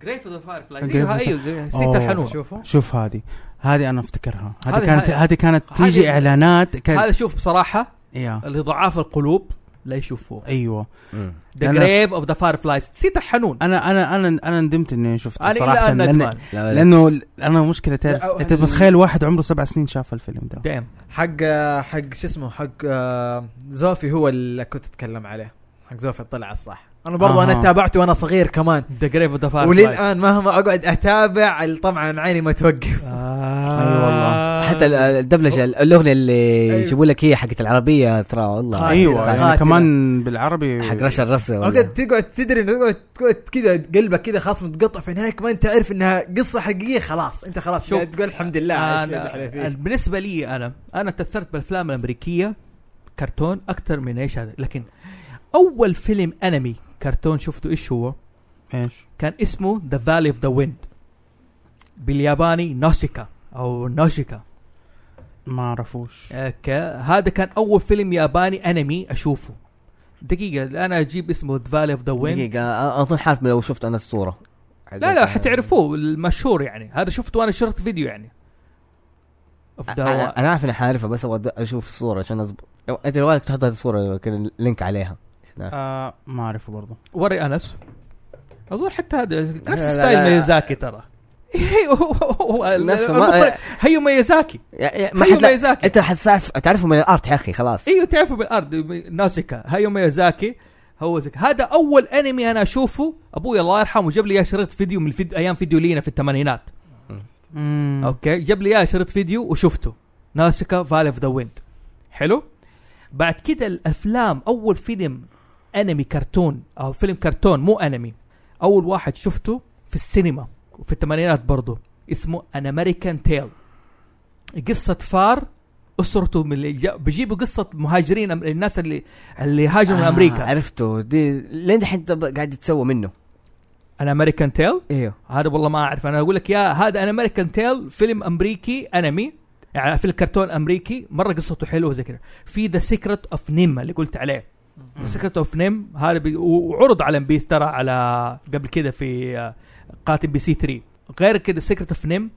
Speaker 1: جريف ذا فاير فلاي
Speaker 2: Grave
Speaker 1: زيها
Speaker 2: of the-
Speaker 1: ايوه
Speaker 2: أوه.
Speaker 1: نسيت الحنوه
Speaker 5: شوفه
Speaker 2: شوف هذه هذه انا افتكرها
Speaker 1: هذه-
Speaker 2: هذه كانت
Speaker 1: هذه-
Speaker 2: هذه كانت
Speaker 1: هذه-
Speaker 2: تيجي اعلانات
Speaker 1: هذا
Speaker 2: كانت
Speaker 1: شوف بصراحه
Speaker 2: يا
Speaker 1: اللي ضعاف القلوب لا يشوفوه
Speaker 2: ايوه
Speaker 1: ذا
Speaker 2: أنا-
Speaker 1: جريف اوف ذا فاير فلايز نسيت الحنون
Speaker 2: انا انا انا انا ندمت اني شفته
Speaker 1: انا
Speaker 2: صراحه
Speaker 1: الان
Speaker 2: لأن
Speaker 1: ندمان
Speaker 3: لا لا
Speaker 2: لانه انا مشكله تعرف
Speaker 5: لا، أو-
Speaker 2: انت متخيل واحد عمره سبع سنين شاف الفيلم ده
Speaker 1: دايم
Speaker 5: حق
Speaker 4: حق شو اسمه حق آه، زوفي هو اللي كنت اتكلم عليه حق زوفي طلع الصح انا برضو
Speaker 2: أها.
Speaker 3: آه.
Speaker 4: انا تابعته وانا صغير كمان
Speaker 1: ذا جريف اوف ذا فاير
Speaker 4: وللان مهما اقعد اتابع طبعا عيني ما توقف
Speaker 1: آه.
Speaker 2: أي والله.
Speaker 3: حتى ال- الدبلجه ال- الاغنيه اللي
Speaker 4: أيوة.
Speaker 3: يجيبوا لك هي حقت العربيه ترى والله
Speaker 4: قاتلة،
Speaker 2: ايوه
Speaker 4: قاتلة.
Speaker 2: أيوه. يعني كمان بالعربي
Speaker 3: حق رشا الرسا والله.
Speaker 4: اقعد تقعد تدري انه تقعد تقعد كذا قلبك كذا خلاص متقطع في النهايه كمان تعرف انها قصه حقيقيه خلاص انت خلاص
Speaker 1: شوف، آه،
Speaker 4: شوف تقول الحمد لله على الشيء اللي احنا
Speaker 1: أنا
Speaker 4: فيه
Speaker 1: بالنسبه لي انا انا تاثرت بالافلام الامريكيه كرتون اكثر من ايش هذا لكن اول فيلم انمي كرتون شفته ايش هو؟
Speaker 2: ايش
Speaker 1: كان اسمه ذا فالي اوف ذا ويند بالياباني نوسيكا او نوشيكا
Speaker 2: ما عرفوش
Speaker 1: آه، ك- هذا كان اول فيلم ياباني انمي اشوفه دقيقه انا اجيب اسمه ذا فالي اوف ذا ويند
Speaker 3: دقيقه أ- اظن حارف لو شفت انا الصوره
Speaker 1: لا لا حتعرفوه المشهور يعني هذا شفته وانا شرط فيديو يعني
Speaker 3: أ-
Speaker 1: Of the-
Speaker 3: انا أنا عارف اني حارفها بس ابغى أد- اشوف الصوره عشان اظبط لو- انت لو بالك تحط هذه الصوره كان لينك عليها
Speaker 2: آه ما اعرفه برضه
Speaker 1: وري انس اظن حتى هذا نفس
Speaker 3: لا، لا،
Speaker 1: ستايل
Speaker 3: لا.
Speaker 1: ميازاكي ترى إيه، هو-
Speaker 3: نفسه
Speaker 1: المخرج-
Speaker 3: ما-
Speaker 1: هيو ميازاكي
Speaker 3: يا- يا- ما
Speaker 1: هيو
Speaker 3: حد لا-
Speaker 1: ميازاكي
Speaker 3: انت حتعرف تعرفه من الارت يا اخي خلاص
Speaker 1: ايوه تعرفوا بالارض ناسيكا هايو ميازاكي هو زك. هذا اول انمي انا اشوفه ابوي الله يرحمه جاب لي اياه شريط فيديو من الفيديو ايام فيديو لينا في الثمانينات اوكي جاب لي اياه شريط فيديو وشفته ناسيكا فالي اوف ذا ويند حلو بعد كده الافلام اول فيلم انمي كرتون او فيلم كرتون مو انمي اول واحد شفته في السينما وفي الثمانينات برضه اسمه ان امريكان تيل قصه فار اسرته من اللي جا- بيجيبوا قصه مهاجرين أم- الناس اللي اللي هاجروا من
Speaker 3: آه،
Speaker 1: امريكا
Speaker 3: عرفته دي لين دحين طب- قاعد يتسوى منه
Speaker 1: ان امريكان تيل
Speaker 3: ايوه
Speaker 1: هذا والله ما اعرف انا اقول لك يا هذا ان امريكان تيل فيلم امريكي انمي يعني فيلم كرتون امريكي مره قصته حلوه زي كذا في ذا سيكرت اوف نيم اللي قلت عليه سيكرت اوف نيم هذا بي- و- وعرض على ام بي ترى على قبل كذا في آه، قناه بي سي 3 غير كذا سيكرت اوف نيم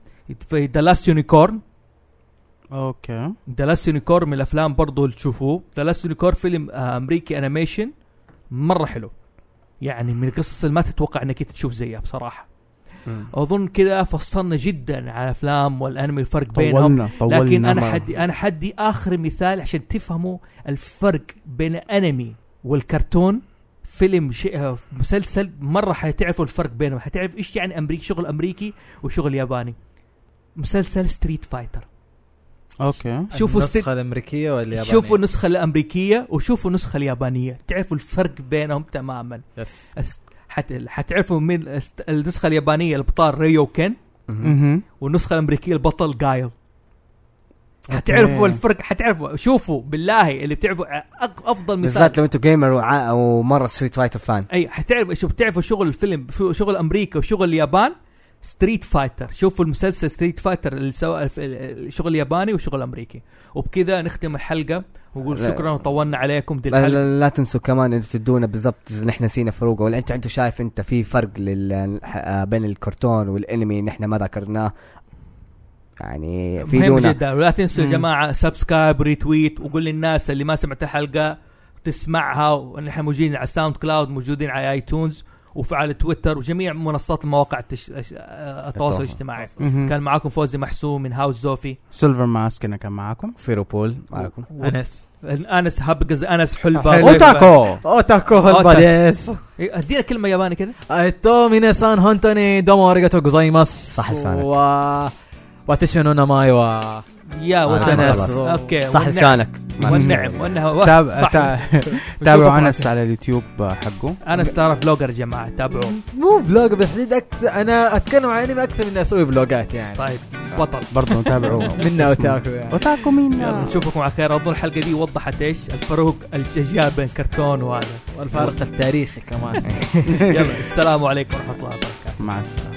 Speaker 1: في ذا لاست يونيكورن
Speaker 2: اوكي
Speaker 1: ذا لاست يونيكور من الافلام برضو اللي تشوفوه ذا لاست يونيكور فيلم آه، امريكي انيميشن مره حلو يعني من القصص اللي ما تتوقع انك أنت تشوف زيها بصراحه اظن كذا فصلنا جدا على الافلام والانمي الفرق بينهم
Speaker 2: طولنا طولنا
Speaker 1: لكن انا
Speaker 2: مرة.
Speaker 1: حدي انا حدي اخر مثال عشان تفهموا الفرق بين الانمي والكرتون فيلم شيء آه، مسلسل مره حتعرفوا الفرق بينهم حتعرف ايش يعني امريكي شغل امريكي وشغل ياباني مسلسل ستريت فايتر
Speaker 2: اوكي
Speaker 1: شوفوا ست-
Speaker 4: النسخه الامريكيه واليابانيه
Speaker 1: شوفوا النسخة الأمريكية وشوفوا النسخة اليابانية تعرفوا الفرق بينهم تماما
Speaker 4: يس
Speaker 1: أس... حت... حتعرفوا من الس- النسخة اليابانية البطل ريوكن
Speaker 2: مهم.
Speaker 1: والنسخة الأمريكية البطل جايل
Speaker 2: أوكي.
Speaker 1: حتعرفوا الفرق حتعرفوا شوفوا بالله اللي بتعرفوا أق... أفضل مثال
Speaker 3: بالذات لو انتم جيمر وع- ومره ستريت فايتر فان
Speaker 1: اي حتعرف شوف بتعرفوا شغل الفيلم شو- شغل امريكا وشغل اليابان ستريت فايتر شوفوا المسلسل ستريت فايتر اللي سوى الشغل الياباني والشغل الامريكي وبكذا نختم الحلقه ونقول
Speaker 3: لا.
Speaker 1: شكرا وطولنا عليكم دي
Speaker 3: لا,
Speaker 1: الحلقه
Speaker 3: لا, لا تنسوا كمان ان تدونا بالضبط إذا نحن نسينا فروقه ولا انت انت شايف انت في فرق لل... الح- آه، بين الكرتون والانمي نحن ما ذكرناه يعني في
Speaker 1: مهم
Speaker 3: دونا
Speaker 1: جدا ولا تنسوا يا
Speaker 2: مم.
Speaker 1: جماعه سبسكرايب ريتويت وقول للناس اللي ما سمعت الحلقه تسمعها ونحن موجودين على ساوند كلاود موجودين على ايتونز وعلى تويتر وجميع منصات مواقع التش... الش- التواصل الاجتماعي
Speaker 2: مهم.
Speaker 1: كان معاكم فوزي محسوم من هاوس زوفي
Speaker 2: سيلفر ماسك انا كان معاكم
Speaker 3: فيروبول معكم
Speaker 4: انس
Speaker 1: انس هب قصدي انس حلبه
Speaker 4: حلبة.
Speaker 2: اوتاكو
Speaker 4: او تاكو
Speaker 1: هالبال.
Speaker 4: يس
Speaker 1: إيه، ادينا كلمه ياباني كده
Speaker 4: تو مينا سان هونتوني دومو اريغاتو غوزايماس
Speaker 3: صح لسانك.
Speaker 4: و واتشي نو ناماي و
Speaker 1: يا
Speaker 3: آه،
Speaker 1: وتنس
Speaker 4: خلاص.
Speaker 1: اوكي
Speaker 3: صح
Speaker 1: والنعم-
Speaker 3: لسانك
Speaker 1: والنعم والنعم
Speaker 2: تاب-
Speaker 1: صح.
Speaker 2: تا-
Speaker 1: نشوفكم
Speaker 2: تابعوا انس على اليوتيوب حقه
Speaker 1: انس ترى فلوجر يا جماعه تابعوه
Speaker 4: مو فلوج بالتحديد اكثر انا اتكلم عن انمي اكثر من إني اسوي فلوجات يعني
Speaker 1: طيب بطل
Speaker 2: برضه تابعوه
Speaker 4: منا وتاكو يعني
Speaker 2: اوتاكو
Speaker 1: يلا
Speaker 2: مين
Speaker 1: نشوفكم على خير اظن الحلقه دي وضحت ايش الفروق الجيال بين كرتون وهذا
Speaker 4: والفارق التاريخي كمان
Speaker 1: يلا السلام عليكم ورحمه الله وبركاته
Speaker 2: مع السلامه